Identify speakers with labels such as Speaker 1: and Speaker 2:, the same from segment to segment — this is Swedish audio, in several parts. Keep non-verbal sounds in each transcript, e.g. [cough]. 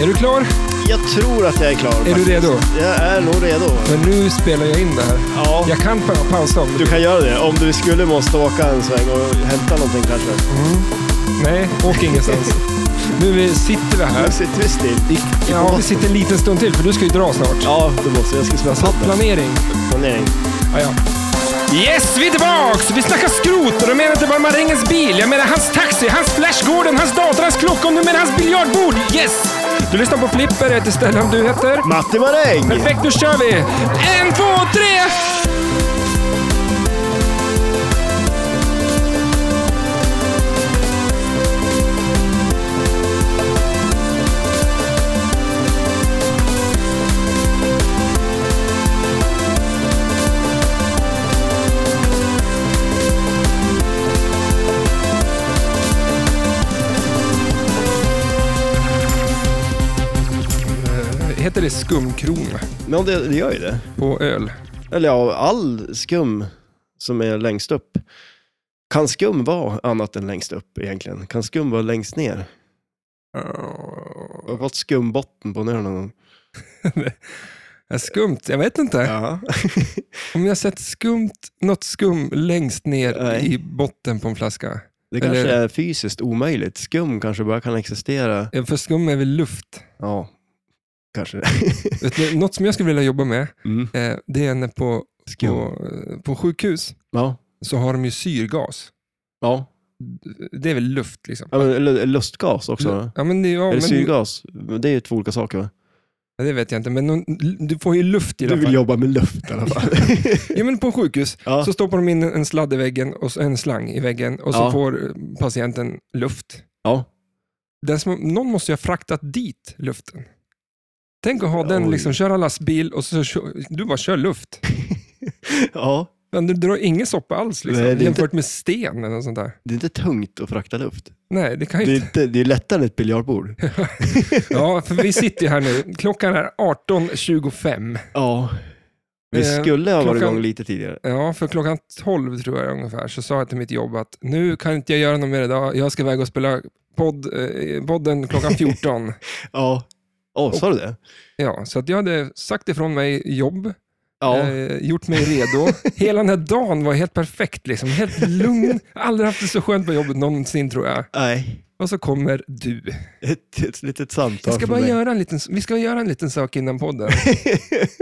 Speaker 1: Är du klar?
Speaker 2: Jag tror att jag är klar.
Speaker 1: Är du redo?
Speaker 2: Jag är nog redo.
Speaker 1: Men nu spelar jag in det här.
Speaker 2: Ja,
Speaker 1: Jag kan pa pausa om
Speaker 2: du
Speaker 1: du...
Speaker 2: kan göra det. Om du skulle måste åka en sväng och hämta någonting kanske.
Speaker 1: Nej, åk ingenstans. nu vi- sitter vi
Speaker 2: Nu
Speaker 1: här.
Speaker 2: sitter vi still.
Speaker 1: Ja, vi sitter en liten stund till för du ska ju dra snart.
Speaker 2: Ja, det måste jag. Jag ska smsa upp den.
Speaker 1: Planering.
Speaker 2: Planering.
Speaker 1: Ja, ja. Yes, vi är tillbaks! Vi snackar skrot och då menar jag inte bara Marängens bil. Jag menar hans taxi, hans flashgården, hans dator, hans klocka och nu menar hans biljardbord. Yes! Du lyssnar på Flipper, jag heter Stellan, du heter?
Speaker 2: Matti Maräng!
Speaker 1: Perfekt, då kör vi! En, två, tre! Heter det skumkrona
Speaker 2: Men det, det gör ju det.
Speaker 1: på öl?
Speaker 2: Eller ja, all skum som är längst upp. Kan skum vara annat än längst upp egentligen? Kan skum vara längst ner? Jag har fått skumbotten på någon gång.
Speaker 1: Ja, skumt, jag vet inte.
Speaker 2: Ja.
Speaker 1: Om jag sett skumt, något skum längst ner
Speaker 2: Nej.
Speaker 1: i botten på en flaska.
Speaker 2: Det kanske
Speaker 1: Eller-
Speaker 2: är fysiskt omöjligt. Skum kanske bara kan existera.
Speaker 1: Eh, För skum är väl luft.
Speaker 2: Ja,
Speaker 1: [laughs]
Speaker 2: kanske.
Speaker 1: Vet du, Något som jag skulle vilja jobba med,
Speaker 2: Mm.
Speaker 1: eh, det är när på,
Speaker 2: Skum.
Speaker 1: på, eh, på sjukhus
Speaker 2: Ja.
Speaker 1: så har de ju syrgas.
Speaker 2: Ja.
Speaker 1: Det är väl luft liksom.
Speaker 2: Ja, men, eller lustgas också. va?
Speaker 1: Ja, men det, ja,
Speaker 2: Eller
Speaker 1: men,
Speaker 2: syrgas. Det är ju två olika saker. Va?
Speaker 1: ja, det vet jag inte, men någon- du får ju luft i alla
Speaker 2: Du
Speaker 1: fall.
Speaker 2: vill jobba med luft i
Speaker 1: [laughs]
Speaker 2: alla fall.
Speaker 1: Ja, men på sjukhus
Speaker 2: ja.
Speaker 1: så stoppar de in en sladd i väggen och så- en slang i väggen och så
Speaker 2: Ja.
Speaker 1: får eh, patienten luft.
Speaker 2: ja.
Speaker 1: Den som, någon måste ju ha fraktat dit luften. Tänk att ha den,
Speaker 2: Oj.
Speaker 1: liksom, köra lastbil och så kö- du bara kör luft.
Speaker 2: ja.
Speaker 1: Men du drar ingen soppa alls liksom,
Speaker 2: Nej, det är
Speaker 1: jämfört med sten eller något sånt där.
Speaker 2: Det är inte tungt att frakta luft.
Speaker 1: Nej, det kan
Speaker 2: Det
Speaker 1: ju
Speaker 2: är,
Speaker 1: inte.
Speaker 2: inte, det är lättare än ett biljardbord.
Speaker 1: [laughs] Ja, för vi sitter ju här nu. Klockan är 18.25.
Speaker 2: Ja. Vi
Speaker 1: Eh,
Speaker 2: skulle ha varit
Speaker 1: klockan-
Speaker 2: igång lite tidigare.
Speaker 1: Ja, för klockan 12 tror jag ungefär så sa jag till mitt jobb att nu kan inte jag göra något mer idag. Jag ska iväg och spela podd, eh, podden klockan
Speaker 2: [laughs]
Speaker 1: 14.
Speaker 2: Ja. Åh, sa du det?
Speaker 1: Ja, så att jag hade sagt ifrån mig jobb,
Speaker 2: Ja.
Speaker 1: eh, gjort mig redo. Hela den här dagen var helt perfekt, liksom. helt lugn. Aldrig haft det så skönt på jobbet någonsin tror jag.
Speaker 2: Nej. [laughs]
Speaker 1: Och så kommer du.
Speaker 2: Ett, ett litet samtal
Speaker 1: Jag ska
Speaker 2: från
Speaker 1: bara
Speaker 2: mig.
Speaker 1: göra en liten, vi ska göra en liten sak innan
Speaker 2: [laughs]
Speaker 1: podden.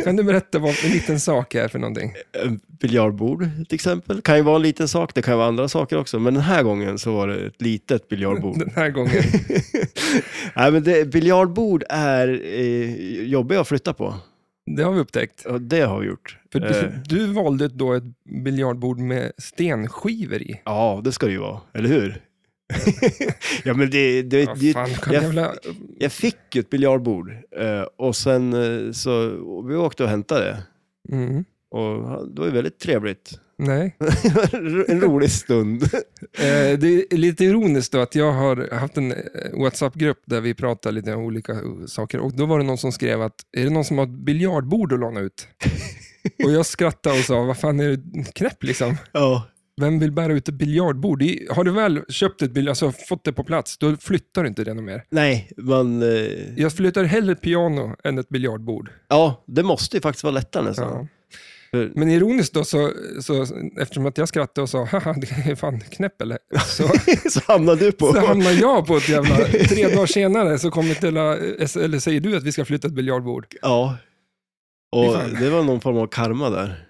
Speaker 1: Kan du berätta vad en liten sak är för någonting?
Speaker 2: En biljardbord till exempel. Kan ju vara en liten sak, det kan ju vara andra saker också. Men den här gången så var det ett litet biljardbord.
Speaker 1: Den här gången.
Speaker 2: Nej, men det, biljardbord är eh, jobbiga att flytta på.
Speaker 1: Det har vi upptäckt.
Speaker 2: Och det har vi gjort.
Speaker 1: För du,
Speaker 2: Eh,
Speaker 1: du valde då ett biljardbord med stenskivor i.
Speaker 2: ja, det ska det ju vara, eller hur? [laughs] ja, men det, det,
Speaker 1: Ja,
Speaker 2: det,
Speaker 1: fan, kan
Speaker 2: jag-
Speaker 1: jävla...
Speaker 2: jag fick ju ett biljardbord eh, och sen eh, så och vi åkte och hämtade det.
Speaker 1: mm.
Speaker 2: Och ja, det var ju väldigt trevligt. [laughs]
Speaker 1: Nej.
Speaker 2: en
Speaker 1: [laughs]
Speaker 2: rolig stund.
Speaker 1: Eh, det är lite ironiskt då att jag har haft en eh, WhatsApp-grupp där vi pratar lite om olika eh, saker och då var det någon som skrev att är det någon som har ett biljardbord att låna ut? och jag skrattade och sa, vad fan är du knäpp liksom?
Speaker 2: ja.
Speaker 1: Vem vill bära ut ett biljardbord? Det är- Har du väl köpt ett biljard, alltså fått det på plats, då flyttar du inte det något mer.
Speaker 2: Nej, man... Eh,
Speaker 1: Jag flyttar hellre ett piano än ett biljardbord.
Speaker 2: ja, det måste ju faktiskt vara lättare nästan.
Speaker 1: Ja.
Speaker 2: För-
Speaker 1: Men ironiskt då, så, så, eftersom att jag skrattade och sa haha, det är fan knäpp eller? Så,
Speaker 2: [laughs] så hamnade du på...
Speaker 1: så hamnar jag på ett jävla... Tre dagar senare så kommer hela, eller säger du att vi ska flytta ett biljardbord?
Speaker 2: [laughs] Ja.
Speaker 1: Fy
Speaker 2: Och
Speaker 1: fan.
Speaker 2: det var någon form av karma där.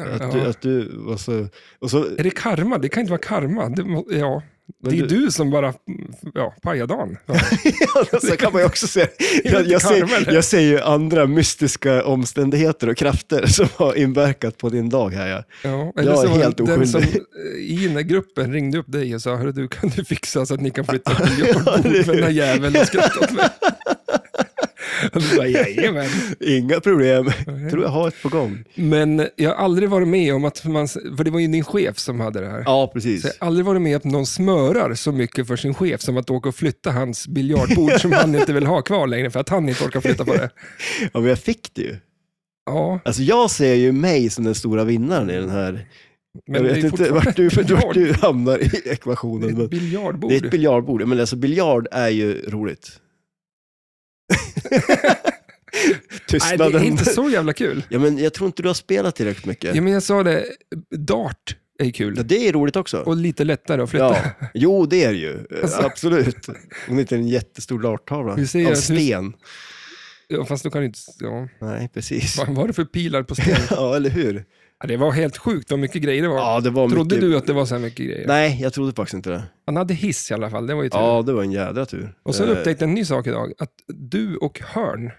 Speaker 2: Att du,
Speaker 1: Ja.
Speaker 2: att du var så... Och så
Speaker 1: Är det karma? Det kan inte vara karma. Det, må- ja. det
Speaker 2: men
Speaker 1: är ju
Speaker 2: du,
Speaker 1: du som bara ja, pajar
Speaker 2: [laughs]
Speaker 1: dagen. Ja.
Speaker 2: så kan man ju också säga.
Speaker 1: är väl
Speaker 2: Jag,
Speaker 1: inte
Speaker 2: jag,
Speaker 1: karma, eller?
Speaker 2: ser, jag ser ju andra mystiska omständigheter och krafter [laughs] som har inverkat på din dag här. Ja.
Speaker 1: Ja,
Speaker 2: Jag
Speaker 1: eller så
Speaker 2: är
Speaker 1: var det
Speaker 2: helt
Speaker 1: den
Speaker 2: oskyldig.
Speaker 1: som eh, i den här gruppen ringde upp dig och sa, Hörru, du kan du fixa så att ni kan flytta ett
Speaker 2: [laughs] Ja, det
Speaker 1: biljardbord
Speaker 2: är-
Speaker 1: för den här jäveln har skrattat åt
Speaker 2: [laughs]
Speaker 1: mig. Och du bara, jajamän.
Speaker 2: Inga problem. tror jag har ett på gång.
Speaker 1: Men jag har aldrig varit med om att man, för det var ju din chef som hade det här.
Speaker 2: Ja,
Speaker 1: Så jag
Speaker 2: precis.
Speaker 1: har aldrig varit med att någon smörar så mycket för sin chef som att åka och flytta hans biljardbord som han inte vill ha kvar längre för att han inte orkar flytta på det.
Speaker 2: Ja, men jag fick det ju.
Speaker 1: Ja,
Speaker 2: Alltså jag ser ju mig som den stora vinnaren i den här.
Speaker 1: men
Speaker 2: jag
Speaker 1: det är
Speaker 2: vet inte
Speaker 1: fortfarande
Speaker 2: vart du,
Speaker 1: ett biljard-
Speaker 2: vart du hamnar i
Speaker 1: det
Speaker 2: ekvationen.
Speaker 1: är ett
Speaker 2: Men
Speaker 1: biljardbord. [laughs]
Speaker 2: det är ett biljardbord. Men alltså biljard är ju roligt.
Speaker 1: Nej, det är
Speaker 2: [laughs] Tystnaden.
Speaker 1: inte så jävla kul.
Speaker 2: Ja, men jag tror inte du har spelat tillräckligt mycket.
Speaker 1: Ja, men jag sa det, dart är
Speaker 2: Ja,
Speaker 1: kul.
Speaker 2: det är roligt också.
Speaker 1: Och lite lättare att flytta.
Speaker 2: Ja.
Speaker 1: [laughs]
Speaker 2: Jo, det är det ju. Eh,
Speaker 1: Alltså.
Speaker 2: Absolut. Om det inte är en jättestor darttavla.
Speaker 1: Vi ser ju
Speaker 2: Av
Speaker 1: att hus-
Speaker 2: sten.
Speaker 1: Ja. Fast då kan du inte... Ja.
Speaker 2: Nej, precis.
Speaker 1: Vad var det för pilar på stenen?
Speaker 2: [laughs] ja, eller hur?
Speaker 1: Ja, det var helt sjukt vad mycket grejer det var.
Speaker 2: Ja, det var
Speaker 1: Trodde
Speaker 2: mycket...
Speaker 1: du att det var så här mycket grejer?
Speaker 2: Nej, jag trodde faktiskt inte det.
Speaker 1: Han hade hiss i alla fall, det var ju tur.
Speaker 2: Ja, det var en jädra tur.
Speaker 1: Och så
Speaker 2: Eh,
Speaker 1: upptäckte jag en ny sak idag, att du och Hörn, verkar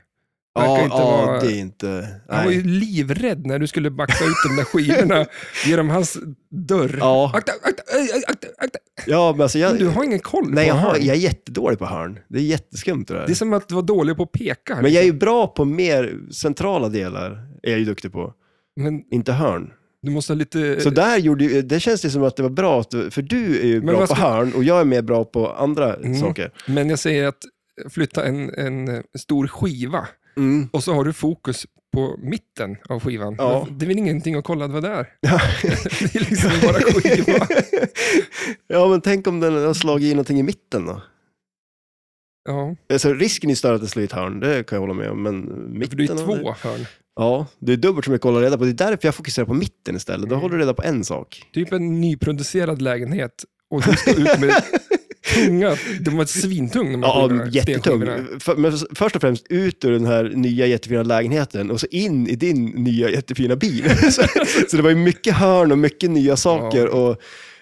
Speaker 2: ja,
Speaker 1: inte
Speaker 2: ja,
Speaker 1: vara-
Speaker 2: det är inte...
Speaker 1: han var ju
Speaker 2: Nej.
Speaker 1: livrädd när du skulle backa ut de där
Speaker 2: [laughs]
Speaker 1: skivorna genom hans dörr.
Speaker 2: Ja.
Speaker 1: Akta, akta, aj, aj, akta, akta.
Speaker 2: Ja, men alltså jag...
Speaker 1: Men du har ingen koll
Speaker 2: Nej,
Speaker 1: på
Speaker 2: jag, har...
Speaker 1: Hörn.
Speaker 2: jag är jättedålig på hörn. Det är jätteskumt det där.
Speaker 1: Det är som att vara dålig på att peka. här,
Speaker 2: Men jag är
Speaker 1: liksom.
Speaker 2: ju bra på mer centrala delar. Är jag ju duktig på.
Speaker 1: liksom. Men
Speaker 2: Inte hörn.
Speaker 1: du måste ha lite...
Speaker 2: Så där gjorde ju, det känns det som att det var bra, att, du- för du är ju
Speaker 1: Eh, Men
Speaker 2: bra
Speaker 1: vad
Speaker 2: på
Speaker 1: ska-
Speaker 2: hörn och jag är mer bra på andra
Speaker 1: Mm.
Speaker 2: saker.
Speaker 1: Men jag säger att flytta en, en eh, stor skiva
Speaker 2: Mm.
Speaker 1: och så har du fokus på mitten av skivan.
Speaker 2: Ja.
Speaker 1: Det är väl ingenting att kolla att vad det är. [laughs] det är liksom bara skiva.
Speaker 2: [laughs] Ja, men tänk om den har slagit i någonting i mitten då?
Speaker 1: Ja,
Speaker 2: Alltså, risken är större att det slår i ett hörn, det kan jag hålla med om, men mitten...
Speaker 1: för det är
Speaker 2: av
Speaker 1: två hörn.
Speaker 2: Ja, det är dubbelt så mycket att hålla reda på. Det är därför jag fokuserar på mitten istället. Då
Speaker 1: Mm.
Speaker 2: håller du reda på en sak.
Speaker 1: Typ en nyproducerad lägenhet och du ska ut
Speaker 2: [laughs]
Speaker 1: med tunga, de var svintung de här
Speaker 2: Ja,
Speaker 1: skivorna,
Speaker 2: jättetung.
Speaker 1: stenskivorna.
Speaker 2: För, men f- först och främst ut ur den här nya jättefina lägenheten och så in i din nya jättefina bil. [laughs] så, så det var ju mycket hörn och mycket nya saker. Och,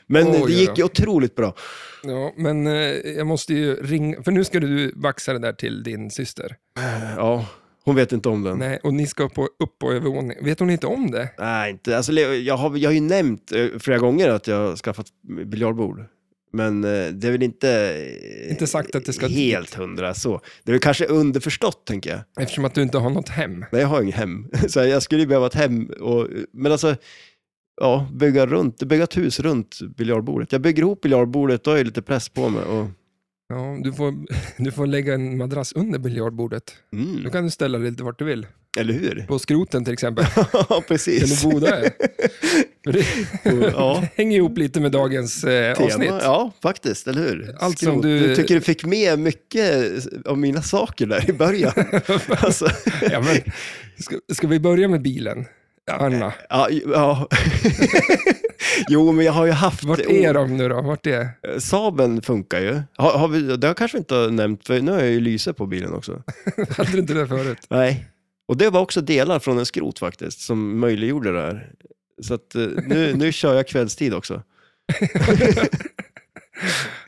Speaker 2: men
Speaker 1: Oj,
Speaker 2: det
Speaker 1: ja.
Speaker 2: gick ju otroligt bra.
Speaker 1: Ja, men eh, jag måste ju ringa, för nu ska du baxa det där till din syster.
Speaker 2: Ja, hon vet inte om den. Nej,
Speaker 1: Nej, och ni ska på, upp på övervåning. Vet hon inte om det?
Speaker 2: inte. Alltså, Leo, jag, har, jag har ju nämnt eh, flera gånger att jag har skaffat biljardbord. Men eh, det är väl inte, eh,
Speaker 1: Inte sagt att det ska dit.
Speaker 2: helt hundra så. Det är väl kanske underförstått, tänker jag.
Speaker 1: Eftersom att du inte har något hem.
Speaker 2: Nej, jag har inget hem. [laughs] Så jag skulle ju behöva ett hem. Och, men alltså, ja, bygga, runt, bygga ett hus runt biljardbordet. Jag bygger ihop biljardbordet, då har jag lite press på mig. Och,
Speaker 1: Ja, du, får, [laughs] du får lägga en madrass under biljardbordet. Då
Speaker 2: mm,
Speaker 1: kan du ställa dig lite vart du vill.
Speaker 2: eller hur?
Speaker 1: På skroten till exempel.
Speaker 2: [laughs] ja,
Speaker 1: Kan
Speaker 2: precis.
Speaker 1: du boda
Speaker 2: [laughs]
Speaker 1: er? För Det
Speaker 2: Ja.
Speaker 1: hänger ihop lite med dagens eh,
Speaker 2: Tema,
Speaker 1: avsnitt.
Speaker 2: Ja, faktiskt, eller hur?
Speaker 1: Allt
Speaker 2: Skrot.
Speaker 1: som du-
Speaker 2: du tycker du fick med mycket av mina saker där
Speaker 1: [laughs]
Speaker 2: i början. alltså,
Speaker 1: Ja, men, ska, ska vi börja med bilen? Anna,
Speaker 2: ja, eh, ja. [laughs] jo, men jag har ju haft...
Speaker 1: vart är de nu då? Vart är... [laughs]
Speaker 2: Saben funkar ju. Har, har vi, det har jag kanske inte har nämnt, för nu har jag ju lyse på bilen också.
Speaker 1: Hade du inte det förut?
Speaker 2: Nej. Och det var också delar från en skrot faktiskt, som möjliggjorde det här. Så att, eh, nu,
Speaker 1: [laughs]
Speaker 2: nu kör jag kvällstid också.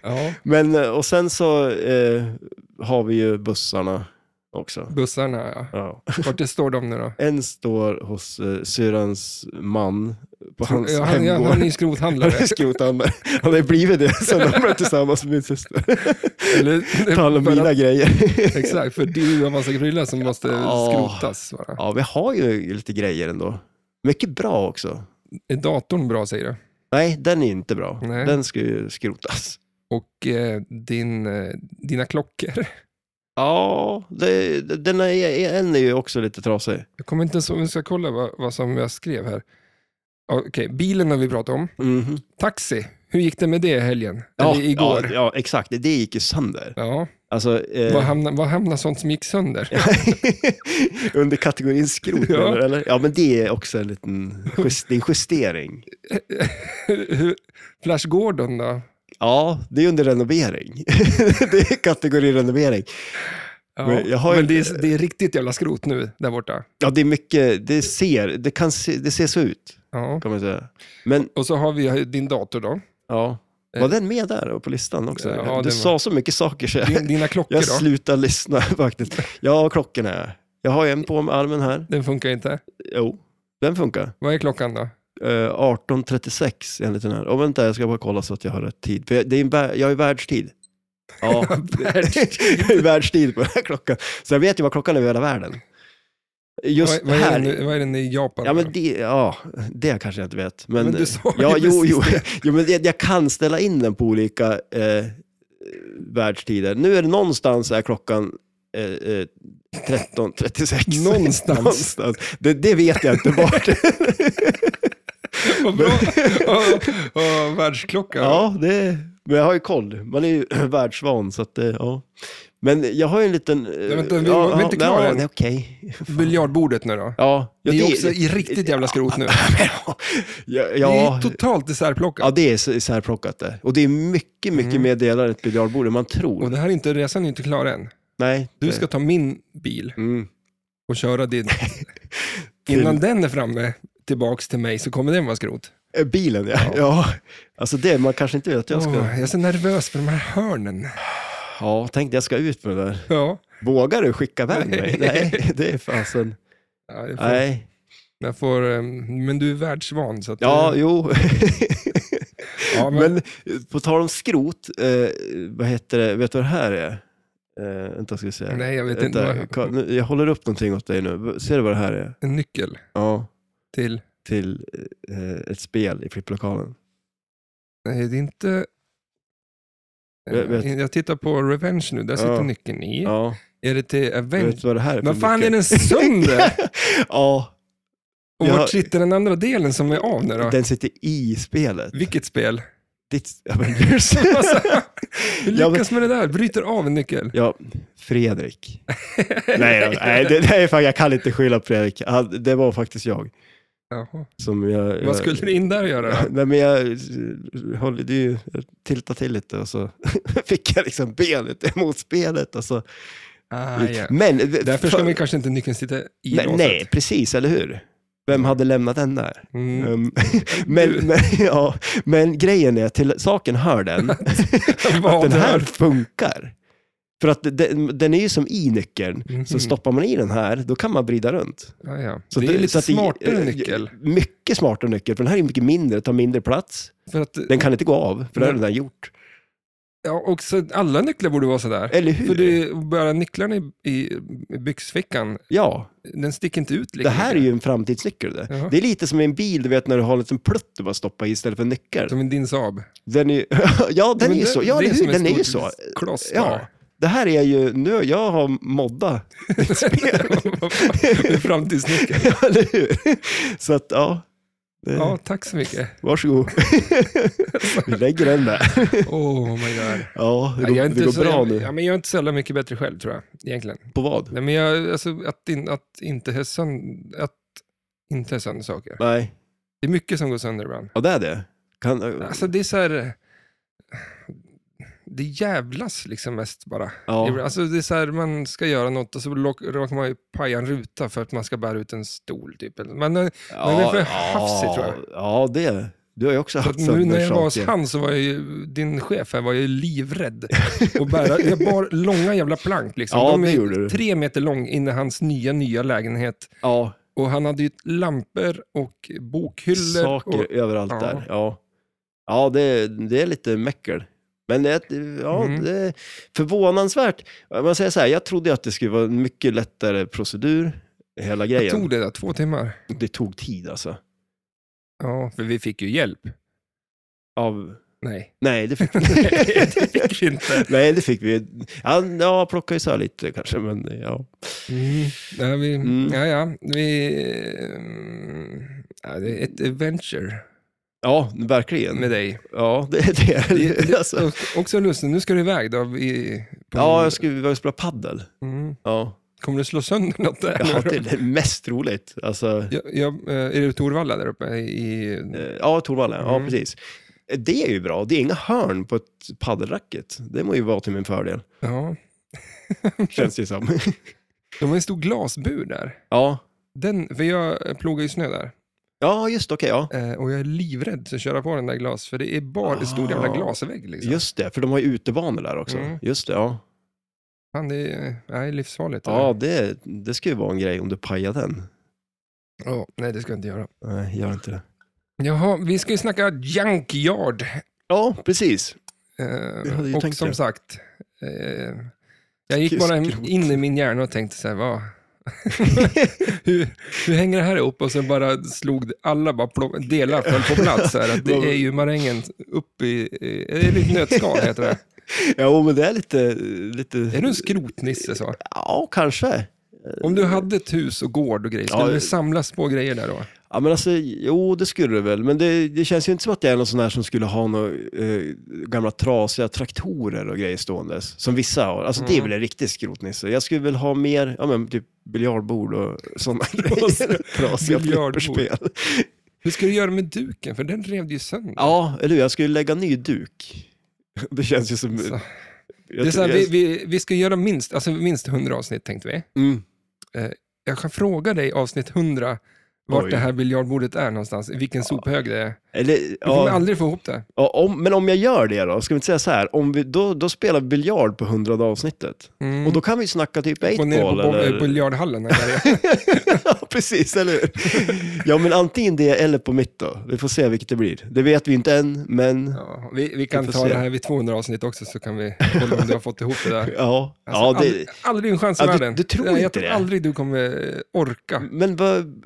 Speaker 1: Ja,
Speaker 2: Men, eh, och sen så eh, har vi ju bussarna också.
Speaker 1: bussarna ja.
Speaker 2: Ja.
Speaker 1: Vart är- står de nu då?
Speaker 2: En står hos eh, syrans man på hans
Speaker 1: Ja, han, ja,
Speaker 2: hemgård.
Speaker 1: han är
Speaker 2: Han,
Speaker 1: ju skrothandlare.
Speaker 2: [laughs] är skrothandlare. Han har ju blivit det sen de blev tillsammans med min syster.
Speaker 1: Eller-
Speaker 2: [laughs] Ta alla
Speaker 1: för att-
Speaker 2: mina grejer.
Speaker 1: Exakt, för du har en massa grillar som måste
Speaker 2: Ja.
Speaker 1: skrotas. Bara.
Speaker 2: Ja, vi har ju lite grejer ändå. Mycket bra också.
Speaker 1: Är datorn bra säger du?
Speaker 2: Nej, den är inte bra.
Speaker 1: Nej.
Speaker 2: Den ska ju skrotas.
Speaker 1: Och eh, din, eh, dina klockor. [laughs]
Speaker 2: Ja, det, det- den är, en är ju också lite trasig.
Speaker 1: Jag kommer inte ens ihåg, vi ska kolla vad, vad som jag skrev här. Okej, bilen har vi pratat om. Taxi, hur gick det med det i helgen?
Speaker 2: Ja,
Speaker 1: Eller Mm-hmm. igår?
Speaker 2: Ja,
Speaker 1: Ja,
Speaker 2: ja, exakt. Det- Det gick ju sönder. Alltså, eh,
Speaker 1: Vad, hamnar, vad hamnar sånt som gick sönder?
Speaker 2: [laughs] under kategorin skrot
Speaker 1: Ja.
Speaker 2: menar du, eller? Ja, men det är också en liten just, det är en justering.
Speaker 1: [laughs] Hur- Flash Gordon då?
Speaker 2: Ja, det är under renovering. [laughs] det är kategorin renovering.
Speaker 1: Ja. Men,
Speaker 2: Men jag har ju-
Speaker 1: det, är, det är riktigt jävla skrot nu där borta.
Speaker 2: Ja, det är mycket, det ser, det kan se, det ser så ut,
Speaker 1: Ja.
Speaker 2: kan man säga. Men,
Speaker 1: Och så har vi din dator då.
Speaker 2: ja. Var den med där och på listan också?
Speaker 1: Ja,
Speaker 2: du
Speaker 1: den var-
Speaker 2: sa så mycket saker så jag-
Speaker 1: Din,
Speaker 2: [laughs]
Speaker 1: dina klockor
Speaker 2: Jag
Speaker 1: då?
Speaker 2: slutar lyssna [laughs] faktiskt. Ja, klockorna. ja. Jag har en på med armen här.
Speaker 1: Den funkar inte.
Speaker 2: Jo, den funkar.
Speaker 1: Vad är klockan då?
Speaker 2: Eh, 18.36 enligt den här. Oh, vänta, jag ska bara kolla så att jag har rätt tid. För jag, det är en, vär- jag har ju världstid. Ja,
Speaker 1: Världstid.
Speaker 2: [laughs] jag har ju världstid på den här klockan. Så jag vet ju vad klockan är över hela världen. Just
Speaker 1: vad, vad, är
Speaker 2: här.
Speaker 1: den, vad är den i Japan?
Speaker 2: Ja, [laughs]
Speaker 1: då?
Speaker 2: men det, ja, det kanske jag inte vet. Men,
Speaker 1: Men du sa ju
Speaker 2: ja, jo,
Speaker 1: precis
Speaker 2: jo, [laughs] jo, men jag, jag kan ställa in den på olika eh, världstider. Nu är det någonstans är klockan eh, eh, 13.36.
Speaker 1: Någonstans. [laughs]
Speaker 2: [laughs] någonstans. Det, det vet jag inte vart.
Speaker 1: Vad bra. [laughs] Och, och världsklocka.
Speaker 2: Ja, det, men jag har ju koll. Man är ju [clears throat] världsvan, så att det, ja. Men jag har ju en liten... Nej,
Speaker 1: vänta, vi- vi är inte klara
Speaker 2: ja,
Speaker 1: än.
Speaker 2: nej, okej.
Speaker 1: Biljardbordet nu då.
Speaker 2: Ja, ja,
Speaker 1: Ni är också i
Speaker 2: [laughs]
Speaker 1: riktigt jävla skrot nu.
Speaker 2: ja,
Speaker 1: Ni
Speaker 2: ja,
Speaker 1: är totalt isärplockat.
Speaker 2: ja, det är så- särplockat det. Och det är mycket, mycket mer delar än ett biljardbord än man tror.
Speaker 1: Mm. Och det här är inte, resan är inte klar än.
Speaker 2: nej,
Speaker 1: Du
Speaker 2: det-
Speaker 1: ska ta min bil
Speaker 2: Mm.
Speaker 1: och köra
Speaker 2: [laughs]
Speaker 1: din. Innan den är framme, tillbaks till mig, så kommer den vara skrot.
Speaker 2: Eh, Bilen, ja. ja. Alltså det, man kanske inte vill att jag ska...
Speaker 1: Åh, jag är så nervös för de här hörnen.
Speaker 2: Ja, tänkte jag ska ut med det där.
Speaker 1: Ja,
Speaker 2: Vågar du skicka
Speaker 1: [laughs]
Speaker 2: iväg mig?
Speaker 1: Nej.
Speaker 2: Nej, det är fasen.
Speaker 1: Ja, jag får,
Speaker 2: Nej.
Speaker 1: Jag får, eh, men du är världsvan. Så att,
Speaker 2: Ja, jo.
Speaker 1: ja, men,
Speaker 2: Men eh, på tal om skrot, eh, vad heter det, vet du vad det här är? Eh, vänta, ska vi se.
Speaker 1: Nej, jag vet
Speaker 2: Vänta,
Speaker 1: inte.
Speaker 2: Ka- nu- Jag håller upp någonting åt dig nu. Ser du vad det här är?
Speaker 1: En nyckel
Speaker 2: Ja,
Speaker 1: till...
Speaker 2: till eh, ett spel i flipplokalen.
Speaker 1: Nej, det är inte...
Speaker 2: Jag vet.
Speaker 1: Eh, Jag tittar på Revenge nu, där sitter
Speaker 2: Ja.
Speaker 1: nyckeln i.
Speaker 2: Ja,
Speaker 1: Är det till Avenge?
Speaker 2: vet du vad det här är? för
Speaker 1: Vad fan är
Speaker 2: nyckel?
Speaker 1: den sönder?
Speaker 2: [laughs] ja,
Speaker 1: Och
Speaker 2: Jag-
Speaker 1: vart sitter den andra delen som är av nu då?
Speaker 2: den sitter i spelet.
Speaker 1: Vilket
Speaker 2: [laughs]
Speaker 1: spel?
Speaker 2: Ditt... Ja, men
Speaker 1: [laughs]
Speaker 2: du ser.
Speaker 1: Alltså, hur
Speaker 2: Ja, men-
Speaker 1: lyckas med det där? Bryter av en nyckel?
Speaker 2: Ja, Fredrik. nej, jag- nej, det, nej fan, jag kan inte skylla på Fredrik. Han- Det var faktiskt jag.
Speaker 1: Jaha.
Speaker 2: Som jag
Speaker 1: Vad skulle du in där och göra då?
Speaker 2: Eh, [laughs] Nej, men jag höll, det är ju, jag tiltade till lite och så [laughs] fick jag liksom benet emot spelet. Och så.
Speaker 1: Ah, ja.
Speaker 2: Men,
Speaker 1: Därför ska
Speaker 2: för-
Speaker 1: man kanske inte nyckeln sitta i
Speaker 2: nej,
Speaker 1: låset.
Speaker 2: nej, precis, eller hur? Vem hade lämnat den där?
Speaker 1: [laughs] Mm.
Speaker 2: Um, [laughs] men, men, [laughs] ja, men grejen är, till saken
Speaker 1: [laughs]
Speaker 2: hör den,
Speaker 1: Vad
Speaker 2: den här
Speaker 1: är-
Speaker 2: funkar. För att den, den är ju som i nyckeln, så
Speaker 1: Mhm.
Speaker 2: stoppar man i den här, då kan man vrida runt.
Speaker 1: Ah, ja.
Speaker 2: Så
Speaker 1: det är
Speaker 2: så
Speaker 1: lite
Speaker 2: att det-
Speaker 1: smartare
Speaker 2: eh,
Speaker 1: nyckel.
Speaker 2: Mycket smartare nyckel, för den här är mycket mindre, tar mindre plats.
Speaker 1: För att,
Speaker 2: Den kan inte gå av, för det har
Speaker 1: Nej.
Speaker 2: den redan gjort.
Speaker 1: ja, och så, alla nycklar borde vara sådär.
Speaker 2: Eller hur?
Speaker 1: För det är bara nycklarna i, i byxfickan,
Speaker 2: Ja,
Speaker 1: den sticker inte ut
Speaker 2: det
Speaker 1: lika
Speaker 2: här är
Speaker 1: mycket.
Speaker 2: ju en framtidsnyckel. Det.
Speaker 1: Jaha.
Speaker 2: det är lite som i en bil, du vet när du har en liten plutt du bara stoppar i istället för en nyckel.
Speaker 1: Som en din Saab.
Speaker 2: Den är, [laughs] ju- ja, den är
Speaker 1: Men
Speaker 2: ju
Speaker 1: det-
Speaker 2: så. Ja,
Speaker 1: det är
Speaker 2: den,
Speaker 1: som en
Speaker 2: den är ju
Speaker 1: stor
Speaker 2: så.
Speaker 1: kloss
Speaker 2: Ja,
Speaker 1: bara.
Speaker 2: [laughs]
Speaker 1: [laughs]
Speaker 2: det här är ju, nu, jag har moddat ditt spel,
Speaker 1: Det är [laughs] Framtidsnyckel.
Speaker 2: [laughs] eller hur? Så att, ja. Det,
Speaker 1: Ja, tack så mycket.
Speaker 2: [laughs]
Speaker 1: [laughs]
Speaker 2: Varsågod. Vi lägger den där.
Speaker 1: Oh my god.
Speaker 2: Ja, det går,
Speaker 1: jag, är inte
Speaker 2: det
Speaker 1: så,
Speaker 2: går bra nu.
Speaker 1: ja, men jag är inte så jävla mycket bättre själv tror jag, egentligen.
Speaker 2: På vad?
Speaker 1: Nej, men jag, alltså, att, in, att inte ha sönder, att inte ha sönder saker.
Speaker 2: Nej,
Speaker 1: Det är mycket som går sönder ibland.
Speaker 2: ja det är det. Kan,
Speaker 1: Alltså det är så här, det jävlas liksom mest bara.
Speaker 2: ja.
Speaker 1: Ibland- Alltså det är så här, man ska göra något och så lock- råkar man ju paja en ruta för att man ska bära ut en stol typ. Eller- Men eh, men det är för hafsigt, tror jag.
Speaker 2: Ja, det är det. Du har ju också
Speaker 1: så att
Speaker 2: haft
Speaker 1: nu när jag var hos
Speaker 2: saker.
Speaker 1: han så var jag ju, din chef här var jag ju
Speaker 2: [laughs]
Speaker 1: livrädd. Och bära, jag bar långa jävla plank liksom.
Speaker 2: Ja,
Speaker 1: De
Speaker 2: det
Speaker 1: är
Speaker 2: gjorde du.
Speaker 1: tre meter lång in i hans nya, nya lägenhet.
Speaker 2: Ja,
Speaker 1: Och han hade ju lampor och bokhyllor.
Speaker 2: saker
Speaker 1: Och,
Speaker 2: överallt
Speaker 1: Ja.
Speaker 2: där. Ja, ja det, det är lite mäckel. Men det, ja,
Speaker 1: Mm.
Speaker 2: det är förvånansvärt. Man säger så här, jag trodde ju att det skulle vara en mycket lättare procedur, hela
Speaker 1: jag
Speaker 2: grejen.
Speaker 1: tog det där, två timmar.
Speaker 2: Det tog tid alltså.
Speaker 1: Ja, för vi fick ju hjälp.
Speaker 2: Av... [laughs]
Speaker 1: Nej,
Speaker 2: Nej, det fick
Speaker 1: Nej, [laughs] det fick vi inte.
Speaker 2: Nej, det fick vi. Han ja, plockade isär lite kanske, men ja.
Speaker 1: Mm. Ja, vi,
Speaker 2: Mm.
Speaker 1: ja, ja, vi... mm, Ja, det är ett adventure
Speaker 2: Ja, verkligen.
Speaker 1: med dig.
Speaker 2: Ja, det är det.
Speaker 1: Det- det-
Speaker 2: alltså.
Speaker 1: och- Också lustigt, nu ska du iväg då. Vi, på-
Speaker 2: Ja, jag skulle vilja spela paddel.
Speaker 1: mm.
Speaker 2: Ja,
Speaker 1: Kommer du slå sönder något där?
Speaker 2: ja
Speaker 1: nu
Speaker 2: det är
Speaker 1: då?
Speaker 2: det mest roligt. Alltså,
Speaker 1: jag, jag, eh, är det Torvalla där uppe? I,
Speaker 2: Eh, Ja, Torvalla. Ja,
Speaker 1: Mm.
Speaker 2: precis. Det är ju bra. Det är inga hörn på ett paddelracket. Det må ju vara till
Speaker 1: [laughs]
Speaker 2: min fördel,
Speaker 1: ja.
Speaker 2: känns det ju som.
Speaker 1: [laughs] De har en stor glasbur där.
Speaker 2: ja.
Speaker 1: Den, för jag plogar ju snö där.
Speaker 2: ja, just okej. ja.
Speaker 1: Eh, och jag är livrädd för att köra på den där glas, för det är bara en stor jävla
Speaker 2: Ah.
Speaker 1: glasvägg. Liksom.
Speaker 2: Just det, för de har ju utebanor där också.
Speaker 1: Mm.
Speaker 2: Just det, ja.
Speaker 1: Fan, det är, nej, livsfarligt. det
Speaker 2: Ja, det, det ska ju vara en grej om du pajar den.
Speaker 1: där. Ja, nej, det ska jag inte göra.
Speaker 2: Nej, gör inte det.
Speaker 1: Jaha, vi ska ju snacka junkyard.
Speaker 2: Ja, precis. Jag hade
Speaker 1: Eh,
Speaker 2: ju
Speaker 1: och
Speaker 2: tänkt
Speaker 1: som
Speaker 2: det.
Speaker 1: sagt, eh, jag gick
Speaker 2: Skrot.
Speaker 1: bara in i min hjärna och tänkte så här, vad... [laughs] hur, hur hänger det här ihop? Och sen bara slog det- alla bara plock, delar föll på plats. Så här,
Speaker 2: [laughs]
Speaker 1: att det är ju marängen upp i... eh, Är det ett nötskal heter det?
Speaker 2: Ja, men det är lite... lite...
Speaker 1: Är du en skrotnisse? Så?
Speaker 2: Ja, kanske.
Speaker 1: Om du hade ett hus och gård och grejer, skulle
Speaker 2: Ja,
Speaker 1: det samlas på grejer där då?
Speaker 2: Ja, men alltså, jo, det skulle det väl. Men det, det känns ju inte som att jag är någon sån här som skulle ha några eh, gamla trasiga traktorer och grejer ståendes. Som vissa har. Alltså, Det är
Speaker 1: Mm.
Speaker 2: väl en riktig skrotnisse. Jag skulle väl ha mer, ja men typ biljardbord och
Speaker 1: [laughs]
Speaker 2: sådana grejer. Trasiga
Speaker 1: Biljardbord.
Speaker 2: flipperspel.
Speaker 1: Hur ska du göra med duken? För den rev du ju sönder.
Speaker 2: Ja, eller hur? Jag skulle lägga ny duk. [laughs] Det känns ju som...
Speaker 1: Så.
Speaker 2: Jag
Speaker 1: det är så här,
Speaker 2: tror-
Speaker 1: vi, vi, vi ska göra minst, alltså minst 100 avsnitt tänkte vi.
Speaker 2: Mm.
Speaker 1: Jag kan fråga dig avsnitt 100 vart
Speaker 2: Oj.
Speaker 1: det här biljardbordet är någonstans, i vilken sophög det är. Du
Speaker 2: Eller,
Speaker 1: kommer
Speaker 2: ja,
Speaker 1: aldrig få ihop det.
Speaker 2: ja, om, men om jag gör det då, ska vi inte säga så här, om vi, då, då spelar vi biljard på hundrade avsnittet.
Speaker 1: Mm.
Speaker 2: Och då kan vi snacka typ
Speaker 1: Gå ner på
Speaker 2: 8-ball
Speaker 1: bo- eh,
Speaker 2: eller...
Speaker 1: biljardhallen.
Speaker 2: [laughs]
Speaker 1: Här
Speaker 2: ja, precis, eller hur? ja, men antingen det eller på mitt då. Vi får se vilket det blir. Det vet vi inte än, men...
Speaker 1: ja, vi, vi kan
Speaker 2: Vi får
Speaker 1: ta
Speaker 2: se.
Speaker 1: det här vid 200 avsnitt också så kan vi kolla om du har fått ihop det där.
Speaker 2: Ja,
Speaker 1: Alltså,
Speaker 2: ja det...
Speaker 1: aldrig, aldrig en chans i
Speaker 2: Ja, du-
Speaker 1: världen.
Speaker 2: du tror
Speaker 1: jag, jag
Speaker 2: inte
Speaker 1: tror
Speaker 2: det?
Speaker 1: aldrig du kommer eh, orka.
Speaker 2: Men vad,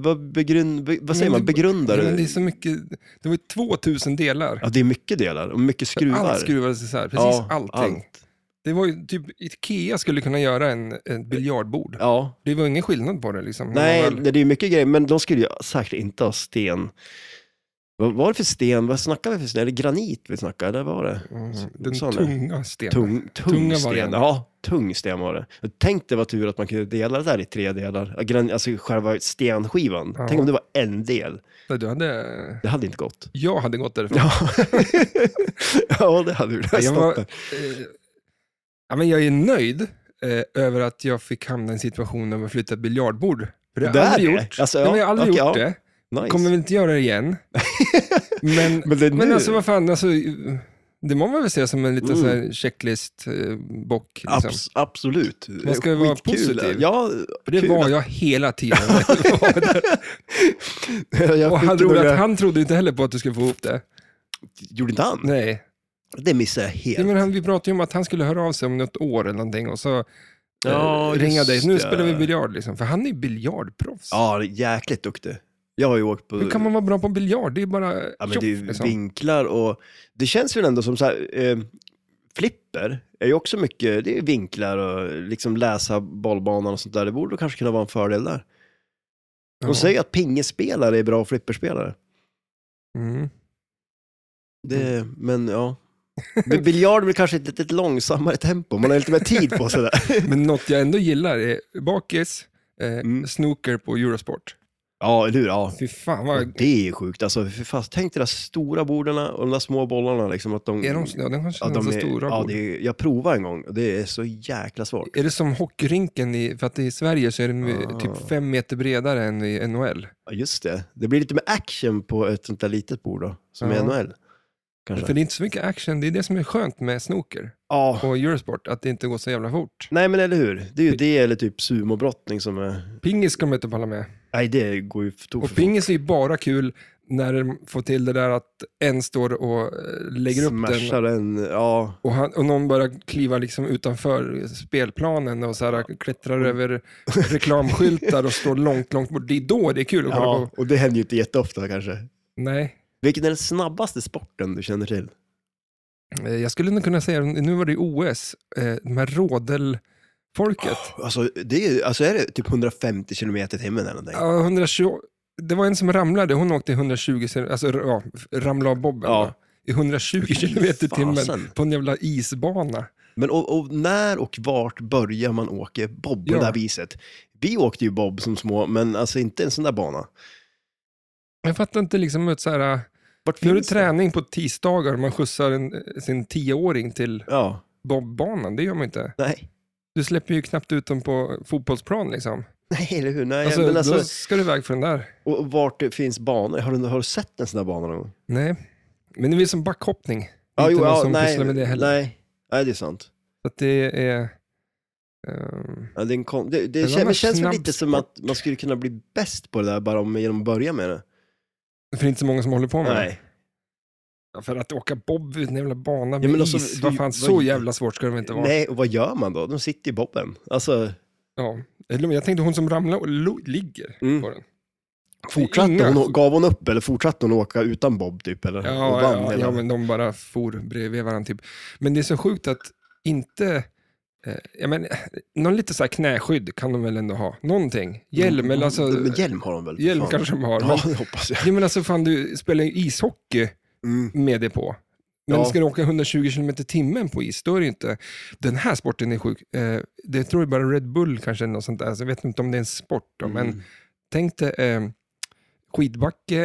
Speaker 2: vad, begrund, be- vad säger
Speaker 1: Men
Speaker 2: man,
Speaker 1: det-
Speaker 2: begrundar
Speaker 1: Men det är
Speaker 2: du?
Speaker 1: så mycket, det var ju 2000 delar.
Speaker 2: Ja, det är mycket delar och mycket skruvar.
Speaker 1: Allt skruvades isär, precis
Speaker 2: Ja,
Speaker 1: allting.
Speaker 2: Allt.
Speaker 1: Det var ju typ, Ikea skulle kunna göra en, en biljardbord.
Speaker 2: Ja,
Speaker 1: Det var ingen skillnad på det liksom. när
Speaker 2: Nej,
Speaker 1: man väl-
Speaker 2: det det är ju mycket grejer, men de skulle ju säkert inte ha sten. Vad var det för sten? Vad snackade vi för sten? Är det granit vi snackade? Eller vad var det?
Speaker 1: Mm,
Speaker 2: Så-
Speaker 1: den
Speaker 2: sån där.
Speaker 1: tunga stenen.
Speaker 2: Tung, tung
Speaker 1: Tunga
Speaker 2: sten.
Speaker 1: varianter.
Speaker 2: Ja, tung sten var det. Jag tänkte vad tur att man kunde dela det där i tre delar. Ja, gran- Alltså själva stenskivan.
Speaker 1: Ja.
Speaker 2: Tänk om det var en del.
Speaker 1: Nej, Du hade,
Speaker 2: Det hade inte
Speaker 1: [laughs]
Speaker 2: gått.
Speaker 1: jag hade gått därifrån.
Speaker 2: Ja, ja det hade du.
Speaker 1: Nej, [laughs] jag, var,
Speaker 2: Var...
Speaker 1: eh, ja, men jag är nöjd eh, över att jag fick hamna i en situation där man flyttat biljardbord. För det har jag
Speaker 2: Där
Speaker 1: aldrig
Speaker 2: är det.
Speaker 1: gjort.
Speaker 2: Alltså,
Speaker 1: Nej,
Speaker 2: ja,
Speaker 1: men jag har aldrig
Speaker 2: okej,
Speaker 1: gjort
Speaker 2: ja.
Speaker 1: det.
Speaker 2: Nice.
Speaker 1: Kommer väl inte göra det
Speaker 2: [laughs]
Speaker 1: igen. Men,
Speaker 2: Men det är
Speaker 1: men
Speaker 2: nu.
Speaker 1: alltså vad fan, alltså, det må man väl se som en liten
Speaker 2: Mm.
Speaker 1: så här checklist-bock. Liksom.
Speaker 2: Abs- absolut.
Speaker 1: Man ska ju vara
Speaker 2: Skitkul.
Speaker 1: positiv.
Speaker 2: Ja,
Speaker 1: För det
Speaker 2: kul
Speaker 1: var
Speaker 2: att-
Speaker 1: jag hela tiden.
Speaker 2: [laughs] jag
Speaker 1: och
Speaker 2: fick
Speaker 1: han, roligt,
Speaker 2: några...
Speaker 1: att han trodde inte heller på att du skulle få ihop det.
Speaker 2: Gjorde inte han?
Speaker 1: Nej.
Speaker 2: Det missade jag helt.
Speaker 1: Ja, men han, vi pratade ju om att han skulle höra av sig om något år eller någonting och så
Speaker 2: Ja,
Speaker 1: eh, ringa
Speaker 2: just
Speaker 1: dig. Nu
Speaker 2: det.
Speaker 1: spelar vi biljard liksom, för han är ju biljardproffs.
Speaker 2: Ja, jäkligt duktig. Jag har ju åkt på...
Speaker 1: Hur kan man vara bra på biljard? Det är bara
Speaker 2: ja, men
Speaker 1: tjoff, liksom.
Speaker 2: det är ju vinklar och... Det känns väl ändå som så här... Eh, flipper är ju också mycket... Det är ju vinklar och liksom läsa bollbanan och sånt där. Det borde kanske kunna vara en fördel där. De
Speaker 1: Ja.
Speaker 2: säger att pingespelare är bra flipperspelare.
Speaker 1: Mm.
Speaker 2: Det,
Speaker 1: [laughs]
Speaker 2: Men ja... Men biljard blir kanske ett lite långsammare tempo. Man har lite mer tid på
Speaker 1: [laughs]
Speaker 2: sig där.
Speaker 1: Men något jag ändå gillar är bakis, eh,
Speaker 2: Mm.
Speaker 1: snooker på Eurosport.
Speaker 2: Ja, eller hur? Ja.
Speaker 1: Fy fan
Speaker 2: Och
Speaker 1: vad...
Speaker 2: Det är ju sjukt. Alltså, för fast, tänk de där stora borden och de där små bollarna. Liksom, att de...
Speaker 1: Är de, ja, de kanske
Speaker 2: Ja,
Speaker 1: är
Speaker 2: de
Speaker 1: så
Speaker 2: är,
Speaker 1: stora.
Speaker 2: ja,
Speaker 1: bord.
Speaker 2: det är, jag provade en gång och det är så jäkla svårt.
Speaker 1: Är det som hockeyrinken, i, för att i Sverige så är den ju
Speaker 2: Ah.
Speaker 1: typ fem meter bredare än i NHL.
Speaker 2: Ja, just det. Det blir lite mer action på ett sånt där litet bord då, som
Speaker 1: Ja.
Speaker 2: i NHL. Kanske.
Speaker 1: För det är inte så mycket action, det är det som är skönt med snooker
Speaker 2: Ja.
Speaker 1: på Eurosport, att det inte går så jävla fort.
Speaker 2: Nej, men eller hur? Det är ju det eller typ sumobrottning som är...
Speaker 1: Pingis ska man inte palla med.
Speaker 2: Nej, det går ju för tok
Speaker 1: Och
Speaker 2: för fort.
Speaker 1: pingis är ju bara kul när de får till det där att en står och eh, lägger upp den
Speaker 2: Smashar den. Ja,
Speaker 1: och, han, och någon börjar kliva liksom utanför spelplanen och så här, klättrar
Speaker 2: Mm.
Speaker 1: över reklamskyltar och står långt, långt bort. Det är då det är kul att kolla
Speaker 2: ja,
Speaker 1: på.
Speaker 2: och det händer ju inte jätteofta kanske.
Speaker 1: Nej,
Speaker 2: Vilken är den snabbaste sporten du känner till?
Speaker 1: eh, jag skulle nog kunna säga, nu var det ju OS, eh, de här rådelfolket.
Speaker 2: Alltså, det är, alltså är det typ 150 kilometer i timmen eller någonting?
Speaker 1: Ja, 120, det var en som ramlade, hon åkte i 120, sen- alltså ja, ramlade av bobben.
Speaker 2: Ja.
Speaker 1: va? I 120
Speaker 2: Fy
Speaker 1: km i timmen
Speaker 2: fasen.
Speaker 1: på en jävla isbana.
Speaker 2: Men och, och när och vart börjar man åka bob på
Speaker 1: Ja.
Speaker 2: det här viset? Vi åkte ju bob som små, men alltså inte en sån där bana.
Speaker 1: Jag fattar inte liksom ett så här,
Speaker 2: Vart
Speaker 1: nu är det
Speaker 2: finns
Speaker 1: träning på tisdagar och man skjutsar en, sin tioåring till
Speaker 2: Ja,
Speaker 1: bobbanan, det gör man inte.
Speaker 2: nej.
Speaker 1: Du släpper ju knappt ut dem på fotbollsplan liksom.
Speaker 2: Nej, eller hur? Nej,
Speaker 1: Alltså,
Speaker 2: men
Speaker 1: Då
Speaker 2: alltså,
Speaker 1: ska du iväg för den där.
Speaker 2: och och vart det finns banor? Har du, har du sett en sån där bana någon gång?
Speaker 1: Nej, men det är väl som backhoppning. Det är
Speaker 2: Ja,
Speaker 1: inte
Speaker 2: jo,
Speaker 1: någon
Speaker 2: ja,
Speaker 1: som
Speaker 2: nej,
Speaker 1: pysslar med det heller.
Speaker 2: Nej. nej, det är sant.
Speaker 1: Så att det är... ehm,
Speaker 2: Ja, det är en kon... det, det,
Speaker 1: Men
Speaker 2: kän-
Speaker 1: annars
Speaker 2: känns väl
Speaker 1: snabb
Speaker 2: lite som att man skulle kunna bli bäst på det där bara om, genom att börja med det.
Speaker 1: för det är inte så många som håller på med det.
Speaker 2: Nej.
Speaker 1: Ja, För att åka bob ut en jävla bana med
Speaker 2: men
Speaker 1: is,
Speaker 2: alltså, det-
Speaker 1: vad fan,
Speaker 2: vad-
Speaker 1: så jävla svårt ska det väl inte vara?
Speaker 2: nej, och vad gör man då? De sitter i bobben. Alltså,
Speaker 1: Ja. Eller, men Jag tänkte hon som ramlar och lo- ligger
Speaker 2: Mm.
Speaker 1: på den.
Speaker 2: fortsatte
Speaker 1: Inga-
Speaker 2: hon, gav hon upp eller fortsatte hon åka utan bob typ? Eller,
Speaker 1: Ja,
Speaker 2: och vann
Speaker 1: ja,
Speaker 2: hela-
Speaker 1: ja, men de bara for bredvid varandra. Typ. Men det är så sjukt att inte Eh, ja, men, eh, någon lite så här knäskydd kan de väl ändå ha? Någonting. Hjälm, eller alltså,
Speaker 2: Mm. Men hjälm har de väl? för
Speaker 1: hjälm
Speaker 2: fan.
Speaker 1: kanske de har.
Speaker 2: Ja,
Speaker 1: Men,
Speaker 2: det hoppas jag.
Speaker 1: ja, men alltså, fan, du spelar ju ishockey
Speaker 2: Mm.
Speaker 1: med det på. Men
Speaker 2: Ja.
Speaker 1: ska du åka 120 km i timmen på is, då är det inte... Den här sporten är sjuk. Eh, det tror jag bara Red Bull kanske, eller något sånt där. Så jag vet inte om det är en sport, då, men
Speaker 2: Mm.
Speaker 1: tänk dig eh, skidbacke,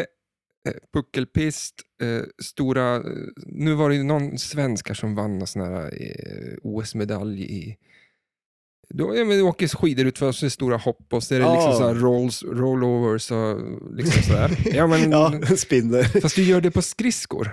Speaker 1: eh, puckelpist, eh, stora... eh, Nu var det ju någon svenskar som vann någon sån här eh, OS-medalj i... Då, ja, men du åker skidor ut för så är det stora hopp och så är det liksom
Speaker 2: Ja.
Speaker 1: så här rolls, rollovers och liksom sådär.
Speaker 2: [laughs]
Speaker 1: ja, men,
Speaker 2: Ja, en spindel.
Speaker 1: Fast du gör det på skridskor.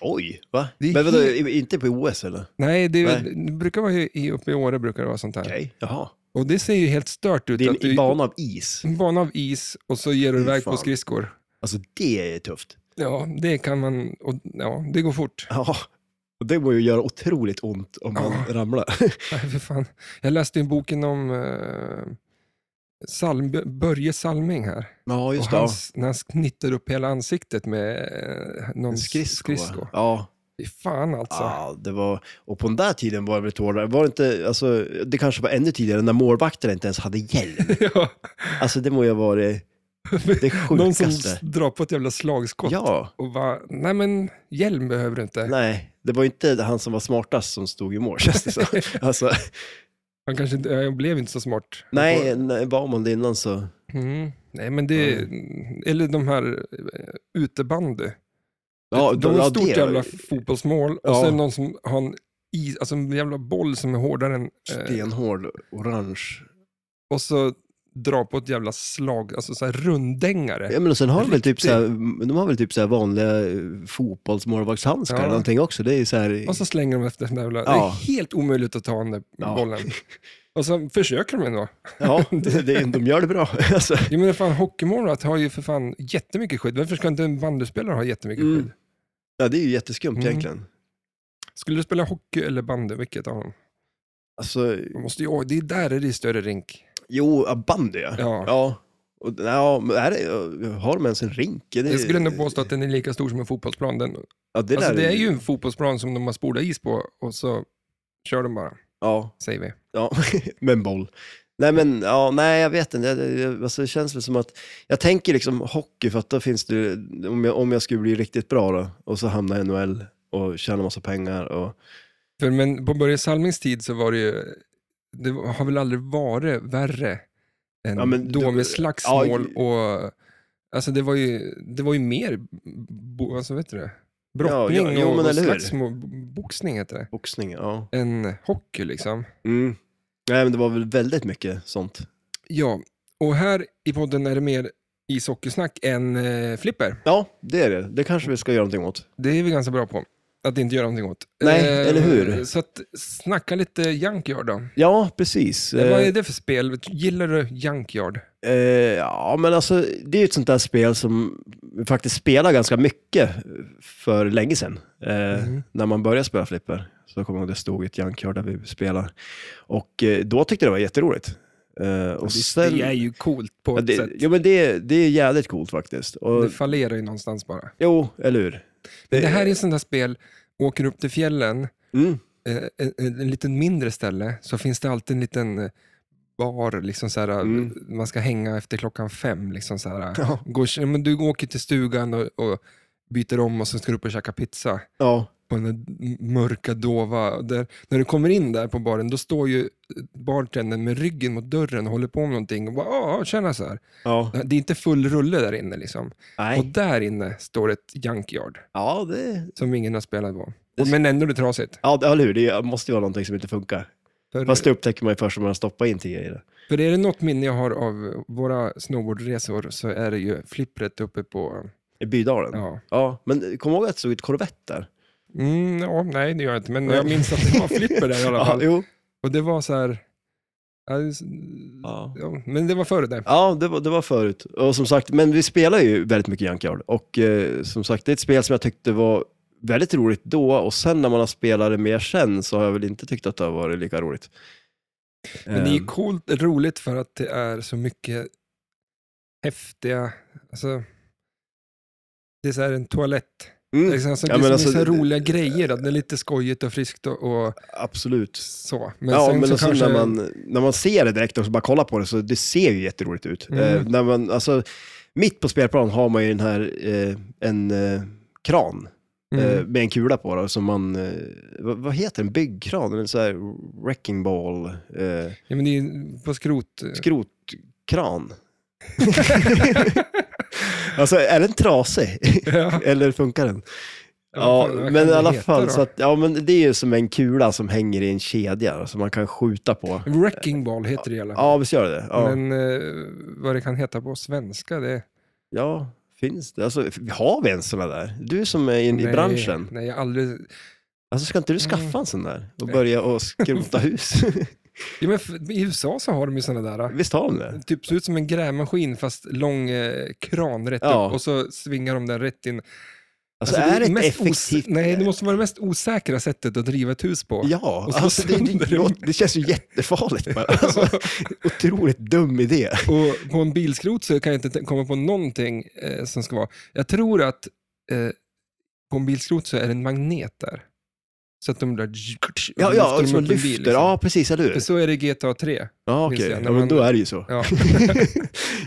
Speaker 2: Oj, va?
Speaker 1: Det är
Speaker 2: Men vadå,
Speaker 1: helt-
Speaker 2: i- inte på OS eller?
Speaker 1: Nej, det, är väl- det brukar vara i- i, uppe i Åre brukar det vara sånt här.
Speaker 2: Okej, jaha.
Speaker 1: Och det ser ju helt stört ut.
Speaker 2: Det är en
Speaker 1: att du,
Speaker 2: bana av is.
Speaker 1: en bana av is och så ger du
Speaker 2: Fy
Speaker 1: iväg på
Speaker 2: fan.
Speaker 1: skridskor.
Speaker 2: Alltså det är tufft.
Speaker 1: Ja, det kan man. Och, ja, det går fort. [laughs]
Speaker 2: Ja, och det må ju göra otroligt ont om man
Speaker 1: Ja.
Speaker 2: ramlar.
Speaker 1: Nej, för fan. Jag läste ju boken om eh, Salm, Börje Salming här.
Speaker 2: Ja, just
Speaker 1: och
Speaker 2: det.
Speaker 1: han,
Speaker 2: ja.
Speaker 1: när han knittade upp hela ansiktet med eh, någon
Speaker 2: En
Speaker 1: skridsko.
Speaker 2: skridsko. Ah, va? Ja,
Speaker 1: Fy fan alltså.
Speaker 2: ja, det var... Och på den där tiden var det väl ett hårdare. Var det inte, alltså, det kanske var ännu tidigare när målvakterna inte ens hade hjälm.
Speaker 1: [laughs]
Speaker 2: [laughs]
Speaker 1: Ja.
Speaker 2: Alltså det må ju ha varit det [laughs]
Speaker 1: Någon som
Speaker 2: sjukaste.
Speaker 1: drar på ett jävla slagskott
Speaker 2: Ja,
Speaker 1: och bara, nej men hjälm behöver du inte.
Speaker 2: nej. Det var ju inte han som var smartast som stod i mål, känns det [laughs] som. Alltså,
Speaker 1: Han kanske inte, jag blev inte så smart.
Speaker 2: nej, nej, var man det innan så...
Speaker 1: Mm. Nej, men det...
Speaker 2: Mm.
Speaker 1: Eller de här eh, utebandy.
Speaker 2: Ja,
Speaker 1: de har
Speaker 2: ja,
Speaker 1: ett stort
Speaker 2: det-
Speaker 1: jävla fotbollsmål och
Speaker 2: Ja.
Speaker 1: så är det någon som har en, is, alltså en jävla boll som är hårdare än... Eh,
Speaker 2: Stenhård, orange.
Speaker 1: och så drar på ett jävla slag, alltså så här runddängare.
Speaker 2: Ja, men och sen har de väl typ
Speaker 1: Riktigt.
Speaker 2: så här, de har väl typ så här vanliga eh, fotbollsmålvaktshandskar
Speaker 1: Ja.
Speaker 2: eller någonting också. Det är ju så här...
Speaker 1: Och så slänger de efter den där jävla...
Speaker 2: Ja.
Speaker 1: Det är helt omöjligt att ta den där
Speaker 2: Ja.
Speaker 1: bollen. Och så försöker de ändå.
Speaker 2: Ja, det, det, de gör
Speaker 1: [laughs]
Speaker 2: det bra. Alltså,
Speaker 1: Jag menar fan, hockeymålvakt har ju för fan jättemycket skydd. Varför ska inte en bandyspelare ha jättemycket
Speaker 2: Mm.
Speaker 1: skydd?
Speaker 2: ja, det är ju jätteskumt
Speaker 1: Mm.
Speaker 2: egentligen.
Speaker 1: Skulle du spela hockey eller bandy, vilket av dem?
Speaker 2: Alltså,
Speaker 1: Man måste ju, det är där är det är större rink.
Speaker 2: jo, ja, bandy ja.
Speaker 1: Ja.
Speaker 2: Ja, och, ja men är det, har de ens en rink? Är det-
Speaker 1: Jag skulle ändå påstå att den är lika stor som en fotbollsplan. Den,
Speaker 2: ja, det,
Speaker 1: alltså,
Speaker 2: där
Speaker 1: det är ju en fotbollsplan som de har spolat is på och så kör de bara,
Speaker 2: Ja,
Speaker 1: säger vi.
Speaker 2: ja [laughs] med en boll. Nej, men ja, nej, jag vet inte. Det, det, alltså, det känns väl som att, jag tänker liksom hockey, för att då finns det, om jag, om jag skulle bli riktigt bra då, och så hamnar jag i NHL och tjänar massa pengar och,
Speaker 1: För, men på Börje Salmings tid så var det ju, det har väl aldrig varit värre än
Speaker 2: Ja, men
Speaker 1: då
Speaker 2: du-
Speaker 1: med slagsmål
Speaker 2: ja,
Speaker 1: och, alltså det var ju, det var ju mer, bo, alltså vet du det? Brottning
Speaker 2: ja, jo,
Speaker 1: och,
Speaker 2: men
Speaker 1: och
Speaker 2: eller hur?
Speaker 1: slagsmål, boxning heter det,
Speaker 2: boxning, ja.
Speaker 1: än hockey liksom.
Speaker 2: Mm. Nej, men det var väl väldigt mycket sånt.
Speaker 1: Ja, och här i podden är det mer ishockeysnack än eh, flipper.
Speaker 2: Ja, det är det. Det kanske vi ska göra någonting åt.
Speaker 1: Det är vi ganska bra på. Att inte göra någonting åt. Eh,
Speaker 2: Nej, eller hur?
Speaker 1: Så att snacka lite Junkyard då.
Speaker 2: Ja, precis.
Speaker 1: Vad
Speaker 2: Eh,
Speaker 1: är det för spel? Gillar du Junkyard?
Speaker 2: eh, ja, men alltså, det är ju ett sånt där spel som vi faktiskt spelar ganska mycket för länge sedan. Eh,
Speaker 1: Mhm.
Speaker 2: När man började spela flipper så kommer jag ihåg det stod ett junkyard där vi spelade. Och eh, då tyckte jag det var jätteroligt. Eh, och sen,
Speaker 1: det är ju coolt på
Speaker 2: ja,
Speaker 1: ett sätt.
Speaker 2: det, jo, men det, det är jävligt coolt faktiskt. Och,
Speaker 1: Det fallerar ju någonstans bara.
Speaker 2: jo, eller hur?
Speaker 1: Det, här är ett sånt där spel, åker upp till fjällen,
Speaker 2: Mm,
Speaker 1: eh, en, en, en liten mindre ställe, så finns det alltid en liten eh, bar, liksom så här,
Speaker 2: Mm.
Speaker 1: man ska hänga efter klockan fem. Liksom så här.
Speaker 2: ja,
Speaker 1: Går, ja, men du åker till stugan och, och byter om och sen ska du upp och käka pizza.
Speaker 2: ja,
Speaker 1: på den där m- mörka, dova. Där, när du kommer in där på baren, då står ju bartendern med ryggen mot dörren och håller på med någonting. Och bara, "Ja, ja, tjena så här.
Speaker 2: ja.
Speaker 1: Det är inte full rulle där inne. Liksom. Och
Speaker 2: Nej.
Speaker 1: där inne står ett junkyard
Speaker 2: Ja, det,
Speaker 1: som ingen har spelat på. Och, men ändå är det trasigt.
Speaker 2: ja, det- eller hur? Det måste ju vara någonting som inte funkar.
Speaker 1: För,
Speaker 2: Fast det upptäcker man ju först om man stoppar in tio i det.
Speaker 1: för är det något minne jag har av våra snowboardresor så är det ju flippret uppe på...
Speaker 2: I Bydalen? Ja.
Speaker 1: Ja.
Speaker 2: men kom ihåg att det stod ett korvett där.
Speaker 1: Mm, ja, nej, det gör jag inte, men jag minns att det var flipper där i alla
Speaker 2: [laughs] Ja,
Speaker 1: fall.
Speaker 2: jo.
Speaker 1: Och det var så här... ja, det är så-
Speaker 2: Ja,
Speaker 1: Ja, men det var före det.
Speaker 2: det, var, det var förut. Och som sagt, men vi spelar ju väldigt mycket Junkyard. Och eh, som sagt, det är ett spel som jag tyckte var väldigt roligt då. Och sen när man har spelat det mer sen så har jag väl inte tyckt att det har varit lika roligt.
Speaker 1: Men det är
Speaker 2: Eh,
Speaker 1: ju coolt, roligt för att det är så mycket häftiga, alltså, det är så här en toalett
Speaker 2: Mm,
Speaker 1: Liksom, alltså,
Speaker 2: Ja,
Speaker 1: det är
Speaker 2: men
Speaker 1: så-
Speaker 2: alltså,
Speaker 1: det är så
Speaker 2: det-
Speaker 1: roliga grejer, att det är lite skojigt och friskt och, och
Speaker 2: absolut.
Speaker 1: så. Men
Speaker 2: ja,
Speaker 1: sen
Speaker 2: men
Speaker 1: så
Speaker 2: alltså
Speaker 1: kanske...
Speaker 2: när, man, när man ser det direkt och så bara kollar på det, så det ser ju jätteroligt ut.
Speaker 1: Mm.
Speaker 2: Eh, när man, alltså, mitt på spelplan har man ju den här, eh, en eh, kran eh,
Speaker 1: mm.
Speaker 2: med en kula på då, som man, eh, vad, vad heter den, byggkran, eller så här wrecking ball, eh,
Speaker 1: ja, men det är på skrot. [laughs]
Speaker 2: skrotkran. [laughs] alltså, är den trasig? [laughs]
Speaker 1: ja,
Speaker 2: eller funkar den?
Speaker 1: vad
Speaker 2: Ja,
Speaker 1: fan, vad kan
Speaker 2: men i
Speaker 1: det
Speaker 2: alla
Speaker 1: heta
Speaker 2: fall,
Speaker 1: då?
Speaker 2: så att, ja, men det är ju som en kula som hänger i en kedja som man kan skjuta på.
Speaker 1: Wrecking ball heter det i alla fall.
Speaker 2: Ja, visst gör det det ja.
Speaker 1: Men eh, vad det kan heta på svenska, det...
Speaker 2: ja, finns det? Alltså, har vi ens sådana där? Du som är in, i branschen,
Speaker 1: Nej, jag har aldrig...
Speaker 2: alltså, ska inte du skaffa en sån där och börja och skrota hus? [laughs]
Speaker 1: Ja, men f- I USA så har de ju sådana där. eh,
Speaker 2: visst har de det?
Speaker 1: Typ ser ut som en grävmaskin fast lång eh, kran rätt
Speaker 2: Ja.
Speaker 1: upp och så svingar de den rätt in.
Speaker 2: Alltså,
Speaker 1: Alltså,
Speaker 2: är det ett
Speaker 1: mest
Speaker 2: effektivt...
Speaker 1: Os- nej, det måste vara det mest osäkra sättet att driva ett hus på. [laughs]
Speaker 2: Ja,
Speaker 1: Och så
Speaker 2: alltså, det,
Speaker 1: sönder
Speaker 2: det,
Speaker 1: det.
Speaker 2: låter- det känns ju
Speaker 1: [laughs]
Speaker 2: jättefarligt bara. Alltså, otroligt dum idé.
Speaker 1: Och på en bilskrot så kan jag inte t- komma på någonting eh, som ska vara... Jag tror att eh, på en bilskrot så är det en magnet där. Så att de där...
Speaker 2: Ja,
Speaker 1: lyfter
Speaker 2: ja
Speaker 1: de
Speaker 2: och som
Speaker 1: upp en bil,
Speaker 2: lyfter.
Speaker 1: liksom.
Speaker 2: Ja, precis, eller hur?
Speaker 1: För så är det i GTA 3.
Speaker 2: Ja,
Speaker 1: Just
Speaker 2: okej.
Speaker 1: det, när
Speaker 2: Ja, men
Speaker 1: man-
Speaker 2: då är det ju så.
Speaker 1: Ja.
Speaker 2: [laughs]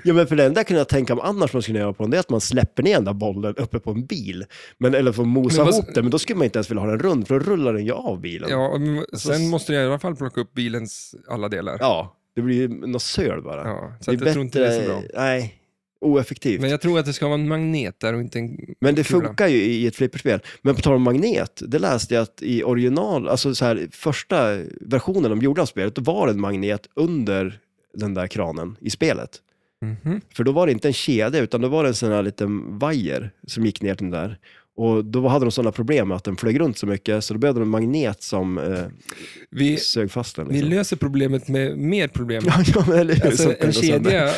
Speaker 2: ja, men för det enda jag kunde tänka mig annars man skulle göra på den, det är att man släpper ner den där bollen uppe på en bil. Men, eller får mosa
Speaker 1: Men vad-
Speaker 2: ihop den, men då skulle man inte ens vilja ha den rund, för då rullar den ju av bilen.
Speaker 1: Ja, och m-
Speaker 2: s-
Speaker 1: sen måste jag i alla fall plocka upp bilens alla delar.
Speaker 2: Ja, det blir ju något söl bara.
Speaker 1: Ja, så att jag tror inte det är så bra.
Speaker 2: Nej, oeffektivt.
Speaker 1: Men
Speaker 2: Men,
Speaker 1: jag tror att det ska vara en magnet där och inte en...
Speaker 2: det
Speaker 1: kul,
Speaker 2: funkar ju i ett flipperspel. Men på tal om magnet, det läste jag att i original, alltså så här, första versionen de gjorde av spelet, då var det en magnet under den där kranen i spelet.
Speaker 1: Mhm.
Speaker 2: För då var det inte en kedja, utan då var det en sån här liten vajer som gick ner till den där. Och då hade de sådana problem med att den flög runt så mycket, så då behövde de en magnet som eh,
Speaker 1: Vi,
Speaker 2: sög fast den.
Speaker 1: vi
Speaker 2: Liksom.
Speaker 1: löser problemet med mer problem.
Speaker 2: [laughs] Ja, ja, men eller hur? Så
Speaker 1: Alltså,
Speaker 2: att den
Speaker 1: en
Speaker 2: går sönder. [laughs]
Speaker 1: kedja eh,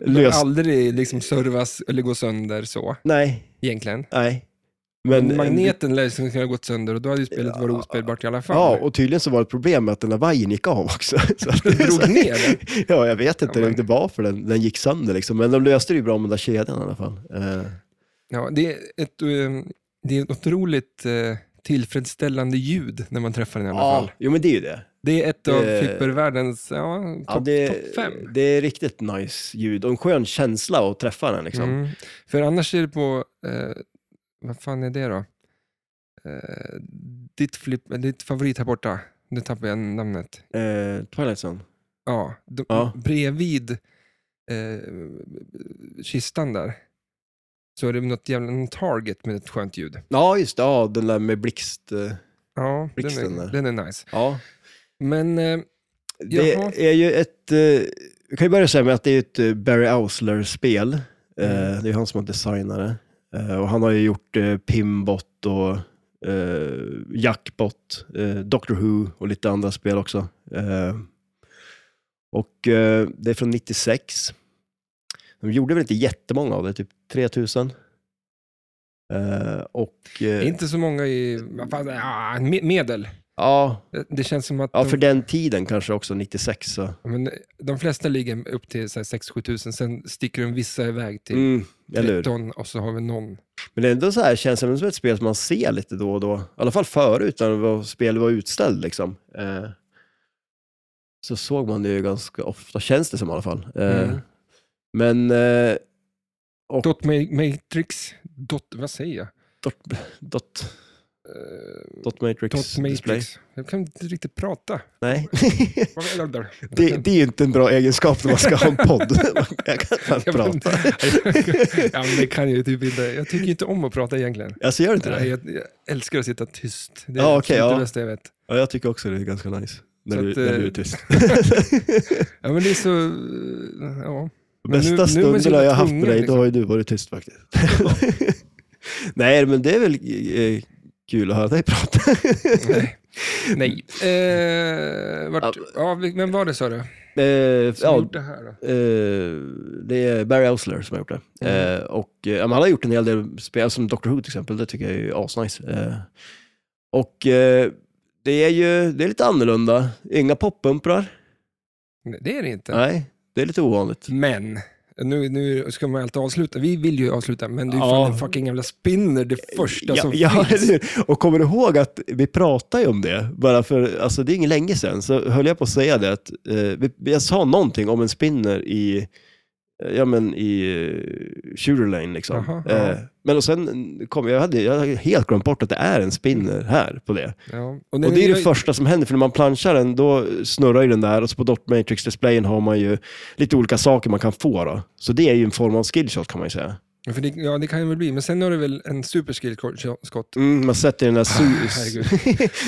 Speaker 2: Lös.
Speaker 1: behöver aldrig liksom servas eller gå sönder så,
Speaker 2: Nej,
Speaker 1: egentligen.
Speaker 2: nej. Men, eh,
Speaker 1: Magneten lär liksom kunna gått sönder och då hade ju spelet varit
Speaker 2: Ja.
Speaker 1: ospelbart i alla fall. [laughs]
Speaker 2: Ja, och tydligen så var det ett problem med att den där vajern gick av också. [laughs] Så att
Speaker 1: Den drog ner den.
Speaker 2: Ja, jag vet inte
Speaker 1: Ja, men-
Speaker 2: det var för den, den gick sönder liksom. Men de löste det ju bra med den där kedjan i alla fall. Eh,
Speaker 1: Ja, det, är ett, eh, det är ett otroligt eh, tillfredsställande ljud när man träffar den i alla
Speaker 2: ja,
Speaker 1: fall.
Speaker 2: jo men det är ju det.
Speaker 1: Det är ett av
Speaker 2: Det-
Speaker 1: flippervärldens ja, topp
Speaker 2: Ja, det,
Speaker 1: top fem.
Speaker 2: det är riktigt nice ljud och en skön känsla att träffa den liksom.
Speaker 1: Mm. För annars är det på, eh, vad fan är det då? Eh, ditt, flip, ditt favorit här borta, nu tappar jag namnet.
Speaker 2: Eh, Twilight Zone.
Speaker 1: Ja, de,
Speaker 2: Ja.
Speaker 1: Bredvid eh, kistan där så är det något jävla en target med ett skönt ljud.
Speaker 2: Ja, just det. Ja, den där med blixt. eh,
Speaker 1: Ja, den
Speaker 2: Blixten
Speaker 1: är,
Speaker 2: där.
Speaker 1: den är nice.
Speaker 2: Ja.
Speaker 1: Men eh,
Speaker 2: Det
Speaker 1: Jaha.
Speaker 2: är ju ett... eh, Jag kan ju börja säga med att det är ett eh, Barry Ausler-spel. Eh,
Speaker 1: Mm.
Speaker 2: Det är han som har designat det. Eh, Och han har ju gjort eh, Pimbot och eh, Jackbot, eh, Doctor Who och lite andra spel också. Eh, och eh, det är från 96. De gjorde väl inte jättemånga av det, typ 3000. Eh, och... eh,
Speaker 1: inte så många i vad fan, ja, me- medel.
Speaker 2: Ja,
Speaker 1: Det känns som att
Speaker 2: Ja,
Speaker 1: de,
Speaker 2: för den tiden kanske också, 96. Så.
Speaker 1: men, de flesta ligger upp till 6-7 tusen, sen sticker de vissa iväg till
Speaker 2: Mm, eller hur?
Speaker 1: 13 och så har vi någon.
Speaker 2: Men det är ändå så här, känns det som ett spel som man ser lite då och då. I alla fall förut när det var, spel var utställd liksom. Eh, så såg man det ju ganska ofta, känns det som i alla fall. Eh,
Speaker 1: Mm.
Speaker 2: Men eh,
Speaker 1: Dot ma- Matrix, dot, vad säger jag?
Speaker 2: dot, dot,
Speaker 1: Eh,
Speaker 2: dot Matrix
Speaker 1: dot
Speaker 2: Display.
Speaker 1: Matrix. Jag kan inte riktigt prata. [laughs]
Speaker 2: Nej, det,
Speaker 1: Det,
Speaker 2: det är ju inte en bra egenskap när man ska ha en
Speaker 1: [laughs]
Speaker 2: podd. Jag kan inte prata.
Speaker 1: ja, men det kan jag ju typ inte. Jag tycker ju inte om att prata egentligen.
Speaker 2: Alltså gör du inte
Speaker 1: Jag,
Speaker 2: det?
Speaker 1: jag, jag älskar att sitta tyst. Det är
Speaker 2: Ja,
Speaker 1: ja,
Speaker 2: okej,
Speaker 1: det
Speaker 2: ja.
Speaker 1: bästa jag vet.
Speaker 2: Ja, jag tycker också det är ganska nice. När,
Speaker 1: Så
Speaker 2: du,
Speaker 1: att,
Speaker 2: när
Speaker 1: eh,
Speaker 2: du är tyst.
Speaker 1: Ja, men det är så... Ja. Men nu- nu
Speaker 2: Bästa
Speaker 1: är man så
Speaker 2: stunderna
Speaker 1: jävla
Speaker 2: jag haft med
Speaker 1: tvungen,
Speaker 2: dig,
Speaker 1: liksom.
Speaker 2: då har ju du varit tyst faktiskt. [laughs] Nej, men det är väl eh, kul att höra dig prata.
Speaker 1: Nej.
Speaker 2: [laughs]
Speaker 1: Nej. Eh, vart,
Speaker 2: Ja.
Speaker 1: ja, vi- vem var det sa du?
Speaker 2: [laughs] Eh,
Speaker 1: Som
Speaker 2: ja,
Speaker 1: gjorde det här då?
Speaker 2: eh, det är Barry Ausler som har gjort det. Eh, och, eh, ja, men han har gjort en hel del spel, som Doctor Who till exempel, det tycker jag är asnice. Eh, och eh, det är ju det är lite annorlunda. Inga poppumprar.
Speaker 1: Nej, Det är det inte.
Speaker 2: Nej, det är lite ovanligt.
Speaker 1: Men nu, nu ska man alltid avsluta. Vi vill ju avsluta, men det är ju
Speaker 2: Ja.
Speaker 1: fan en fucking jävla spinner det första
Speaker 2: ja,
Speaker 1: som
Speaker 2: ja,
Speaker 1: finns.
Speaker 2: eller hur? Och kommer du ihåg att vi pratade ju om det, bara för, alltså det är inget länge sedan, så höll jag på att säga det att eh, vi, jag sa någonting om en spinner i, eh, ja men i eh, shooter lane liksom.
Speaker 1: Jaha, ja.
Speaker 2: eh, men och sen kom jag, hade, jag hade helt glömt bort att det är en spinner här på det.
Speaker 1: Ja.
Speaker 2: och det är det första som händer, för när man planchar den då snurrar ju den där och så på dot matrix displayen har man ju lite olika saker man kan få då. Så det är ju en form av skillshot kan man ju säga.
Speaker 1: Ja, För det, ja, det kan det väl bli, men sen har du väl en
Speaker 2: [laughs]
Speaker 1: superskillskott.
Speaker 2: Mm, man sätter den där su-
Speaker 1: Ah, Herregud.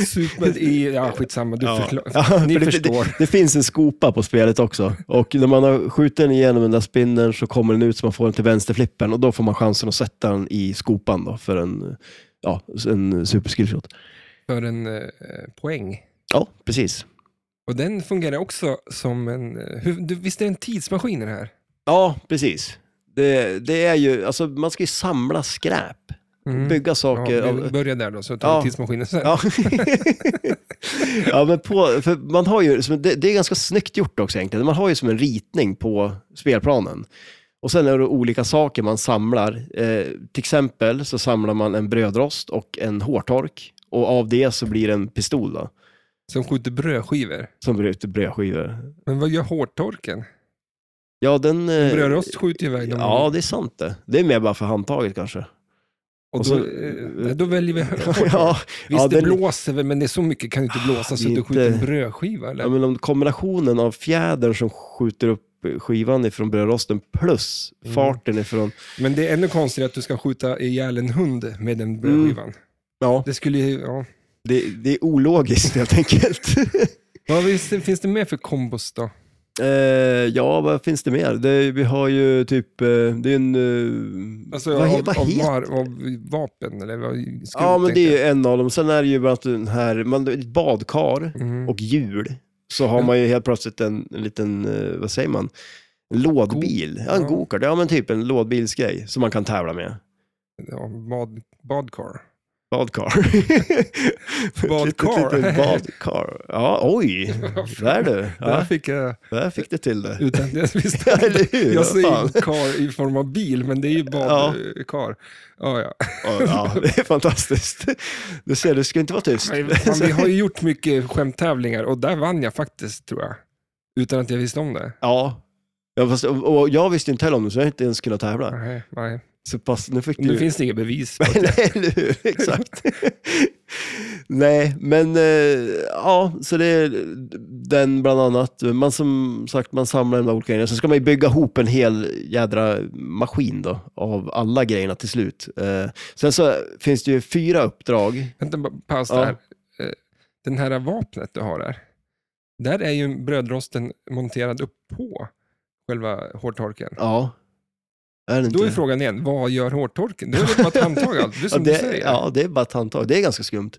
Speaker 1: Super i, ja skitsamma, du förklar, [laughs] ni
Speaker 2: för det,
Speaker 1: förstår.
Speaker 2: Det, det finns en skopa på spelet också. Och när man har skjutit den igenom den där spinnen så kommer den ut så man får den till vänsterflippen och då får man chansen att sätta den i skopan då för en, ja, en superskillshot.
Speaker 1: För en eh, poäng.
Speaker 2: Ja, precis.
Speaker 1: Och den fungerar också som en, eh, hur, du, visst är det en tidsmaskin i det här?
Speaker 2: Ja, precis. Det, det är ju, alltså man ska ju samla skräp,
Speaker 1: Mm.
Speaker 2: bygga saker.
Speaker 1: Ja,
Speaker 2: av-
Speaker 1: vi börjar där då, så tar vi
Speaker 2: eh, Ja.
Speaker 1: tidsmaskinen sen.
Speaker 2: Ja. [laughs] ja, men på, för man har ju, som- det, det är ganska snyggt gjort också egentligen. Man har ju som en ritning på spelplanen. Och sen är det olika saker man samlar. Eh, till exempel så samlar man en brödrost och en hårtork. Och av det så blir det en pistol då,
Speaker 1: Som skjuter brödskivor.
Speaker 2: som blir ut i brödskivor.
Speaker 1: Men vad gör hårtorken?
Speaker 2: Ja, den... eh,
Speaker 1: Brödrost skjuter ju iväg dem.
Speaker 2: Ja, det är sant det. Det är mer bara för handtaget kanske.
Speaker 1: och
Speaker 2: och
Speaker 1: då,
Speaker 2: så-
Speaker 1: eh, då väljer vi hårtork.
Speaker 2: [laughs] ja,
Speaker 1: Visst,
Speaker 2: ja,
Speaker 1: det
Speaker 2: den-
Speaker 1: blåser väl, men det är så mycket kan ju inte blåsa så
Speaker 2: det
Speaker 1: att
Speaker 2: är
Speaker 1: du skjuter en
Speaker 2: inte-
Speaker 1: brödskiva, eller?
Speaker 2: Ja, men om kombinationen av fjädern som skjuter upp skivan ifrån brödrosten plus
Speaker 1: Mm.
Speaker 2: farten ifrån...
Speaker 1: Men det är ännu konstigare att du ska skjuta ihjäl en hund med
Speaker 2: Mm.
Speaker 1: den brödskivan.
Speaker 2: Ja,
Speaker 1: Det skulle ju, ja.
Speaker 2: det, det är ologiskt helt enkelt.
Speaker 1: Vad finns, finns det mer för kombos då?
Speaker 2: [laughs] eh, ja, vad finns det mer? Det, vi har ju typ... eh, Det är en... eh,
Speaker 1: Alltså
Speaker 2: vad, he-
Speaker 1: av,
Speaker 2: vad
Speaker 1: av,
Speaker 2: heter
Speaker 1: var, av vapen eller vad skrot,
Speaker 2: Ja, men det är ju
Speaker 1: tänker
Speaker 2: en av dem. Sen är det ju bland annat den här... Man, ett badkar
Speaker 1: jag. Mm.
Speaker 2: och hjul. Så har
Speaker 1: Ja.
Speaker 2: man ju helt plötsligt en, en liten, eh, vad säger man? En lådbil. Ja, en
Speaker 1: Ja.
Speaker 2: gokart. Ja, men typ en lådbilsgrej som man kan tävla med.
Speaker 1: Ja, bad, badkar.
Speaker 2: Badkar. [laughs]
Speaker 1: Badkar.
Speaker 2: Ett litet, litet badkar. Ja,
Speaker 1: [laughs]
Speaker 2: oj. Där du.
Speaker 1: Där
Speaker 2: Ja,
Speaker 1: fick jag,
Speaker 2: där fick du till det.
Speaker 1: utan att jag visste.
Speaker 2: Ja, [laughs] eller hur?
Speaker 1: Jag säger
Speaker 2: Fan.
Speaker 1: ju kar i form av bil, men det är ju badkar. Ja. Ja,
Speaker 2: Ja, ja, det är fantastiskt. Du ser, du ska inte vara tyst.
Speaker 1: [laughs] Nej, Fan, vi har ju gjort mycket skämttävlingar och där vann jag faktiskt, tror jag. Utan att jag visste om det.
Speaker 2: Ja. Ja, fast, och och jag visste inte heller om det, så jag har inte ens kunnat tävla.
Speaker 1: Nej, nej.
Speaker 2: Så pass, nu fick
Speaker 1: Nu
Speaker 2: du...
Speaker 1: finns det inga bevis. på
Speaker 2: [laughs] Nej, eller hur?
Speaker 1: [laughs]
Speaker 2: Exakt. Nej, men eh, ja, så det är den bland annat. Man som sagt, man samlar de där olika grejerna. Sen ska man ju bygga ihop en hel jädra maskin då, av alla grejerna till slut. Eh, sen så finns det ju fyra uppdrag.
Speaker 1: Vänta, bara paus
Speaker 2: Ja.
Speaker 1: där. Eh, Den här vapnet du har där, där är ju brödrosten monterad upp på själva hårtorken.
Speaker 2: Ja. Är det
Speaker 1: Då är
Speaker 2: inte?
Speaker 1: frågan igen, vad gör hårtorken? Då är det bara ett handtag allt, det
Speaker 2: [laughs]
Speaker 1: är
Speaker 2: ja,
Speaker 1: som du
Speaker 2: det,
Speaker 1: säger.
Speaker 2: ja, det är bara ett handtag. Det är ganska skumt.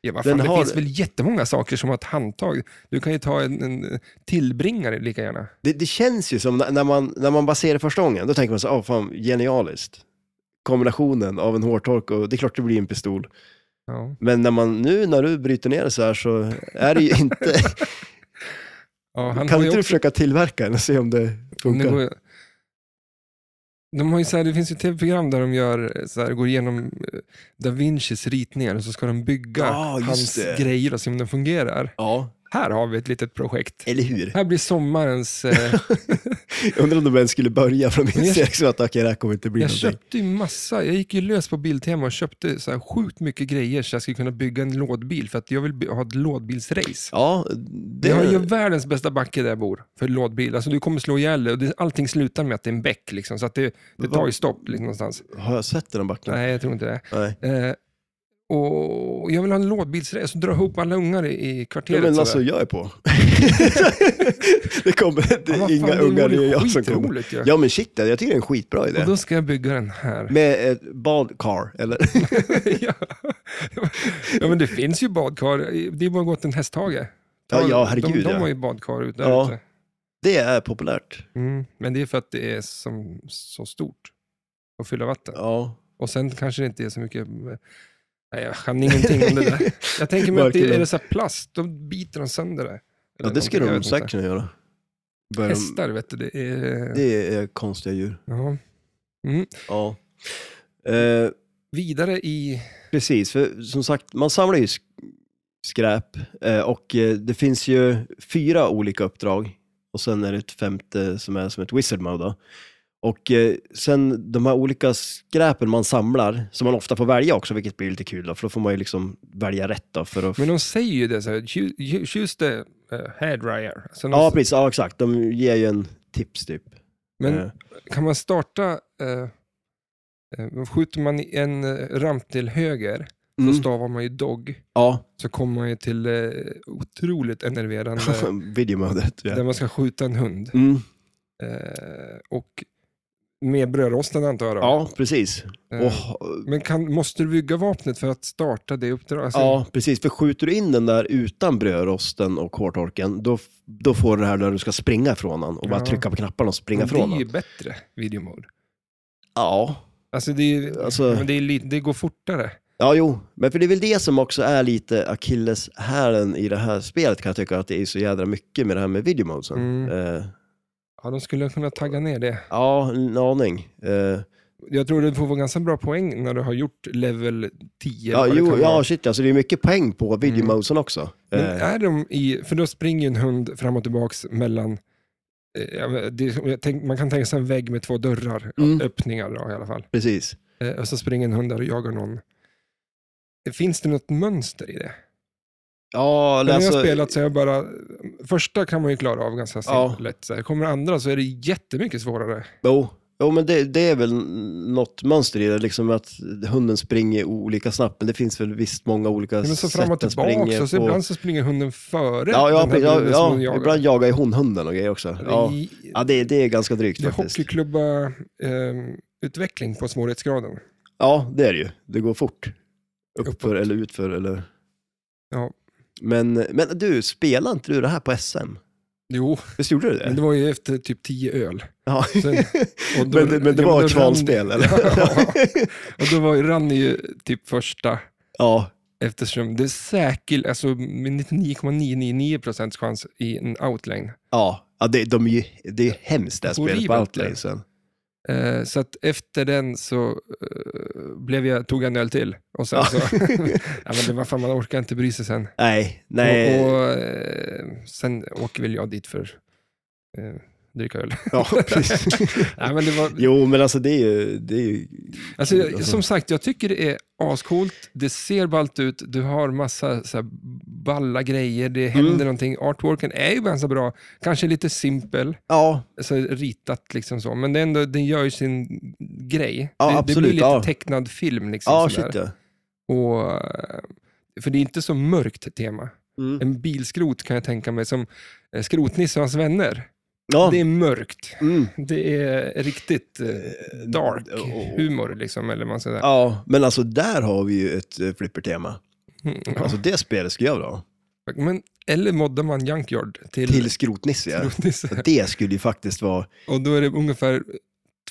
Speaker 1: Ja, vad
Speaker 2: den
Speaker 1: fan, det
Speaker 2: har-
Speaker 1: finns väl jättemånga saker som har ett handtag. Du kan ju ta en, en tillbringare lika gärna.
Speaker 2: Det, det känns ju som när- när man, när man bara ser det första gången, då tänker man så åh fan, genialiskt. Kombinationen av en hårtork och det är klart det blir en pistol.
Speaker 1: Ja.
Speaker 2: Men när man, nu när du bryter ner det så här så är det ju
Speaker 1: [laughs]
Speaker 2: inte...
Speaker 1: Ja, han
Speaker 2: kan
Speaker 1: har ju
Speaker 2: inte du
Speaker 1: också-
Speaker 2: försöka tillverka den och se om det
Speaker 1: om det
Speaker 2: funkar?
Speaker 1: går- de har ju så här, det finns ju tv-program där de gör, eh, så här, går igenom eh, da Vincis ritningar och så ska de bygga
Speaker 2: Ja, just
Speaker 1: hans
Speaker 2: det.
Speaker 1: grejer och se om de fungerar.
Speaker 2: Ja,
Speaker 1: Här har vi ett litet projekt.
Speaker 2: eller hur?
Speaker 1: Här blir sommarens...
Speaker 2: [laughs]
Speaker 1: Eh,
Speaker 2: Jag Undrar om de ens skulle börja från
Speaker 1: Men jag-
Speaker 2: min liksom att okej, det här kommer inte bli
Speaker 1: jag
Speaker 2: någonting.
Speaker 1: köpte ju massa, jag gick ju lös på Biltema och köpte så här sjukt mycket grejer så jag skulle kunna bygga en lådbil för att jag vill by- ha ett lådbilsrace.
Speaker 2: Ja,
Speaker 1: Det...
Speaker 2: det...
Speaker 1: Jag har ju världens bästa backe där jag bor för lådbil. Alltså du kommer slå ihjäl dig och det, allting slutar med att det är en bäck liksom, så att det, det tar ju stopp liksom, någonstans.
Speaker 2: Har jag sett den backen?
Speaker 1: Nej, jag tror inte det.
Speaker 2: Nej.
Speaker 1: Eh, och jag vill ha en lådbilsrace och dra ihop alla ungar i, i
Speaker 2: Ja,
Speaker 1: kvarteret.
Speaker 2: men
Speaker 1: sådär.
Speaker 2: alltså, jag är på. [laughs] det kommer, det
Speaker 1: Ja, vad
Speaker 2: är
Speaker 1: fan,
Speaker 2: inga
Speaker 1: det
Speaker 2: ungar, det
Speaker 1: vore
Speaker 2: är jag som kommer.
Speaker 1: skitroligt ju.
Speaker 2: Ja, men shit, jag tycker det är en skitbra idé.
Speaker 1: Och då ska jag bygga den här.
Speaker 2: [laughs] Med ett badkar, eller?
Speaker 1: ja. [laughs] ja, men det finns ju badkar. Det är bara att gå till en hästhage. Ta-
Speaker 2: Ja, ja, herregud,
Speaker 1: De, de
Speaker 2: ja.
Speaker 1: har ju badkar ute.
Speaker 2: Ja.
Speaker 1: ute.
Speaker 2: Det är populärt.
Speaker 1: Mm. Men det är för att det är som, så stort att fylla vatten.
Speaker 2: Ja.
Speaker 1: Och sen kanske det inte är så mycket... eh, Nej, jag kan ingenting om det
Speaker 2: [laughs]
Speaker 1: där. Jag tänker mig att det,
Speaker 2: Verkligen.
Speaker 1: är det så här plast, då biter de sönder det. Eller
Speaker 2: ja, det skulle
Speaker 1: någonting, jag
Speaker 2: de
Speaker 1: vet
Speaker 2: säkert
Speaker 1: inte.
Speaker 2: kunna göra. Börjar de-
Speaker 1: Hästar, vet du. Det är...
Speaker 2: Det är konstiga djur.
Speaker 1: Ja.
Speaker 2: Ja. Eh,
Speaker 1: Vidare i...
Speaker 2: Precis, för som sagt, man samlar ju sk- skräp eh, och eh, det finns ju fyra olika uppdrag och sen är det ett femte som är som ett wizard mode. Då. Och eh, sen de här olika skräpen man samlar, som man ofta får välja också, vilket blir lite kul då, för då får man ju liksom välja rätt då för att...
Speaker 1: Men de säger ju det så här, "Choo- you- choose the uh, hairdryer. Alltså de-
Speaker 2: Ja, precis, ja exakt, de ger ju en tips typ.
Speaker 1: men
Speaker 2: Eh,
Speaker 1: kan man starta... eh, eh, skjuter man i en eh, ramp till höger,
Speaker 2: mm,
Speaker 1: så stavar man ju dog.
Speaker 2: ja, [laughs]
Speaker 1: Så kommer man ju till eh, otroligt enerverande,
Speaker 2: videomodet.
Speaker 1: där
Speaker 2: [laughs] Ja.
Speaker 1: man ska skjuta en hund.
Speaker 2: Mm,
Speaker 1: Eh, och med brödrosten antar jag då.
Speaker 2: ja, precis.
Speaker 1: Eh,
Speaker 2: Och
Speaker 1: Men kan, måste du bygga vapnet för att starta det uppdraget? Alltså,
Speaker 2: Ja, precis. För skjuter du in den där utan brödrosten och hårtorken, då, då får du det här där du ska springa ifrån den och bara
Speaker 1: Ja.
Speaker 2: trycka på knapparna och springa
Speaker 1: men
Speaker 2: ifrån
Speaker 1: Det är ju
Speaker 2: den.
Speaker 1: bättre videomode.
Speaker 2: Ja.
Speaker 1: Alltså det, är,
Speaker 2: Alltså-
Speaker 1: men det, är, lite- det går fortare.
Speaker 2: ja, jo. Men för det är väl det som också är lite akilleshälen i det här spelet kan jag tycka, att det är så jädra mycket med det här med videomodesen.
Speaker 1: Mm.
Speaker 2: Eh,
Speaker 1: Ja, de skulle kunna tagga ner det.
Speaker 2: ja, en aning. Eh,
Speaker 1: Jag tror du får vara ganska bra poäng när du har gjort level 10.
Speaker 2: ja,
Speaker 1: vad det
Speaker 2: jo,
Speaker 1: kan
Speaker 2: ja,
Speaker 1: vara. Mm.
Speaker 2: shit, alltså det är mycket poäng på videomodesen också.
Speaker 1: Men
Speaker 2: Eh,
Speaker 1: är de i, för då springer ju en hund fram och tillbaks mellan, eh, ja, men det, jag tänk, man kan tänka sig en vägg med två dörrar,
Speaker 2: Mm.
Speaker 1: öppningar då, i alla fall.
Speaker 2: precis.
Speaker 1: Eh, och så springer en hund där och jagar någon. Finns det något mönster i
Speaker 2: Alltså-
Speaker 1: det?
Speaker 2: Ja, eller
Speaker 1: När jag
Speaker 2: alltså-
Speaker 1: har spelat så har jag bara, första kan man ju klara av ganska
Speaker 2: Ja.
Speaker 1: lätt. Så här. Kommer andra så är det jättemycket svårare.
Speaker 2: Jo, jo men det, det är väl något mönster i det, liksom att hunden springer olika snabbt, men det finns väl visst många olika
Speaker 1: Ja, men så
Speaker 2: sätt
Speaker 1: fram och
Speaker 2: den
Speaker 1: tillbaka, så, så
Speaker 2: på.
Speaker 1: ibland så springer hunden före
Speaker 2: Ja, ja,
Speaker 1: den här
Speaker 2: pre- ja,
Speaker 1: hunden som
Speaker 2: ja,
Speaker 1: hon jagar.
Speaker 2: ibland jagar ju hon hunden och grejer också. Ja,
Speaker 1: I-
Speaker 2: ja det, det är ganska drygt
Speaker 1: Det är
Speaker 2: faktiskt.
Speaker 1: hockeyklubba-utveckling på svårighetsgraden.
Speaker 2: Ja, det är det ju. Det går fort. Uppför
Speaker 1: Uppåt.
Speaker 2: eller utför eller...
Speaker 1: Ja.
Speaker 2: Men, men du, spelade inte du det här på SM?
Speaker 1: Jo,
Speaker 2: Visst gjorde du
Speaker 1: men
Speaker 2: det?
Speaker 1: det var ju efter typ tio öl.
Speaker 2: Ja.
Speaker 1: Sen, och då-
Speaker 2: [laughs] men, det- men det
Speaker 1: ja,
Speaker 2: var
Speaker 1: då
Speaker 2: ett kvalspel,
Speaker 1: rann- [laughs]
Speaker 2: eller?
Speaker 1: Ja, och då var, rann ju typ första,
Speaker 2: [laughs] ja,
Speaker 1: eftersom det är säkert, alltså med 99,999 procents chans i en outlane.
Speaker 2: ja. ja det, de är ju, det är ju hemskt det här spelet på
Speaker 1: Horribelt,
Speaker 2: Outlane
Speaker 1: det.
Speaker 2: sen.
Speaker 1: Eh, så att efter den så eh, blev jag, tog jag en öl till. Och sen
Speaker 2: Ja.
Speaker 1: så,
Speaker 2: [laughs]
Speaker 1: ja, men det var fan, man orkar inte bry sig sen.
Speaker 2: Nej, nej.
Speaker 1: Och, och eh, sen åker väl jag dit för eh, dricka öl.
Speaker 2: [laughs]
Speaker 1: [laughs]
Speaker 2: Ja, precis.
Speaker 1: Nej, men det var,
Speaker 2: Jo, men alltså det är ju... Det är ju
Speaker 1: alltså,
Speaker 2: kul,
Speaker 1: jag- som sagt, jag tycker det är ascoolt. Det ser ballt ut. Du har massa så här, balla grejer. Det händer
Speaker 2: Mm.
Speaker 1: någonting. Artworken är ju ganska bra. Kanske lite simpel,
Speaker 2: Ja,
Speaker 1: alltså, ritat liksom så. Men det är ändå, den gör ju sin grej.
Speaker 2: Ja,
Speaker 1: det, det
Speaker 2: absolut,
Speaker 1: blir lite
Speaker 2: ja.
Speaker 1: tecknad film. Liksom,
Speaker 2: ja
Speaker 1: sådär.
Speaker 2: shit ja.
Speaker 1: Och, eh, för det är inte så mörkt tema.
Speaker 2: Mm.
Speaker 1: En bilskrot kan jag tänka mig som eh, Skrotnisse och hans vänner.
Speaker 2: Ja.
Speaker 1: Det är mörkt.
Speaker 2: Mm.
Speaker 1: Det är riktigt eh, dark
Speaker 2: och-
Speaker 1: humor, liksom, eller vad man ska säga.
Speaker 2: Ja, men alltså där har vi ju ett eh, flippertema.
Speaker 1: Mm, ja.
Speaker 2: Alltså det spelet skulle jag vilja ha.
Speaker 1: Men, eller moddar man Junkyard till, [laughs]
Speaker 2: Till Skrotnisse ja.
Speaker 1: Skrotnisse.
Speaker 2: Det skulle ju faktiskt vara...
Speaker 1: Och då är det ungefär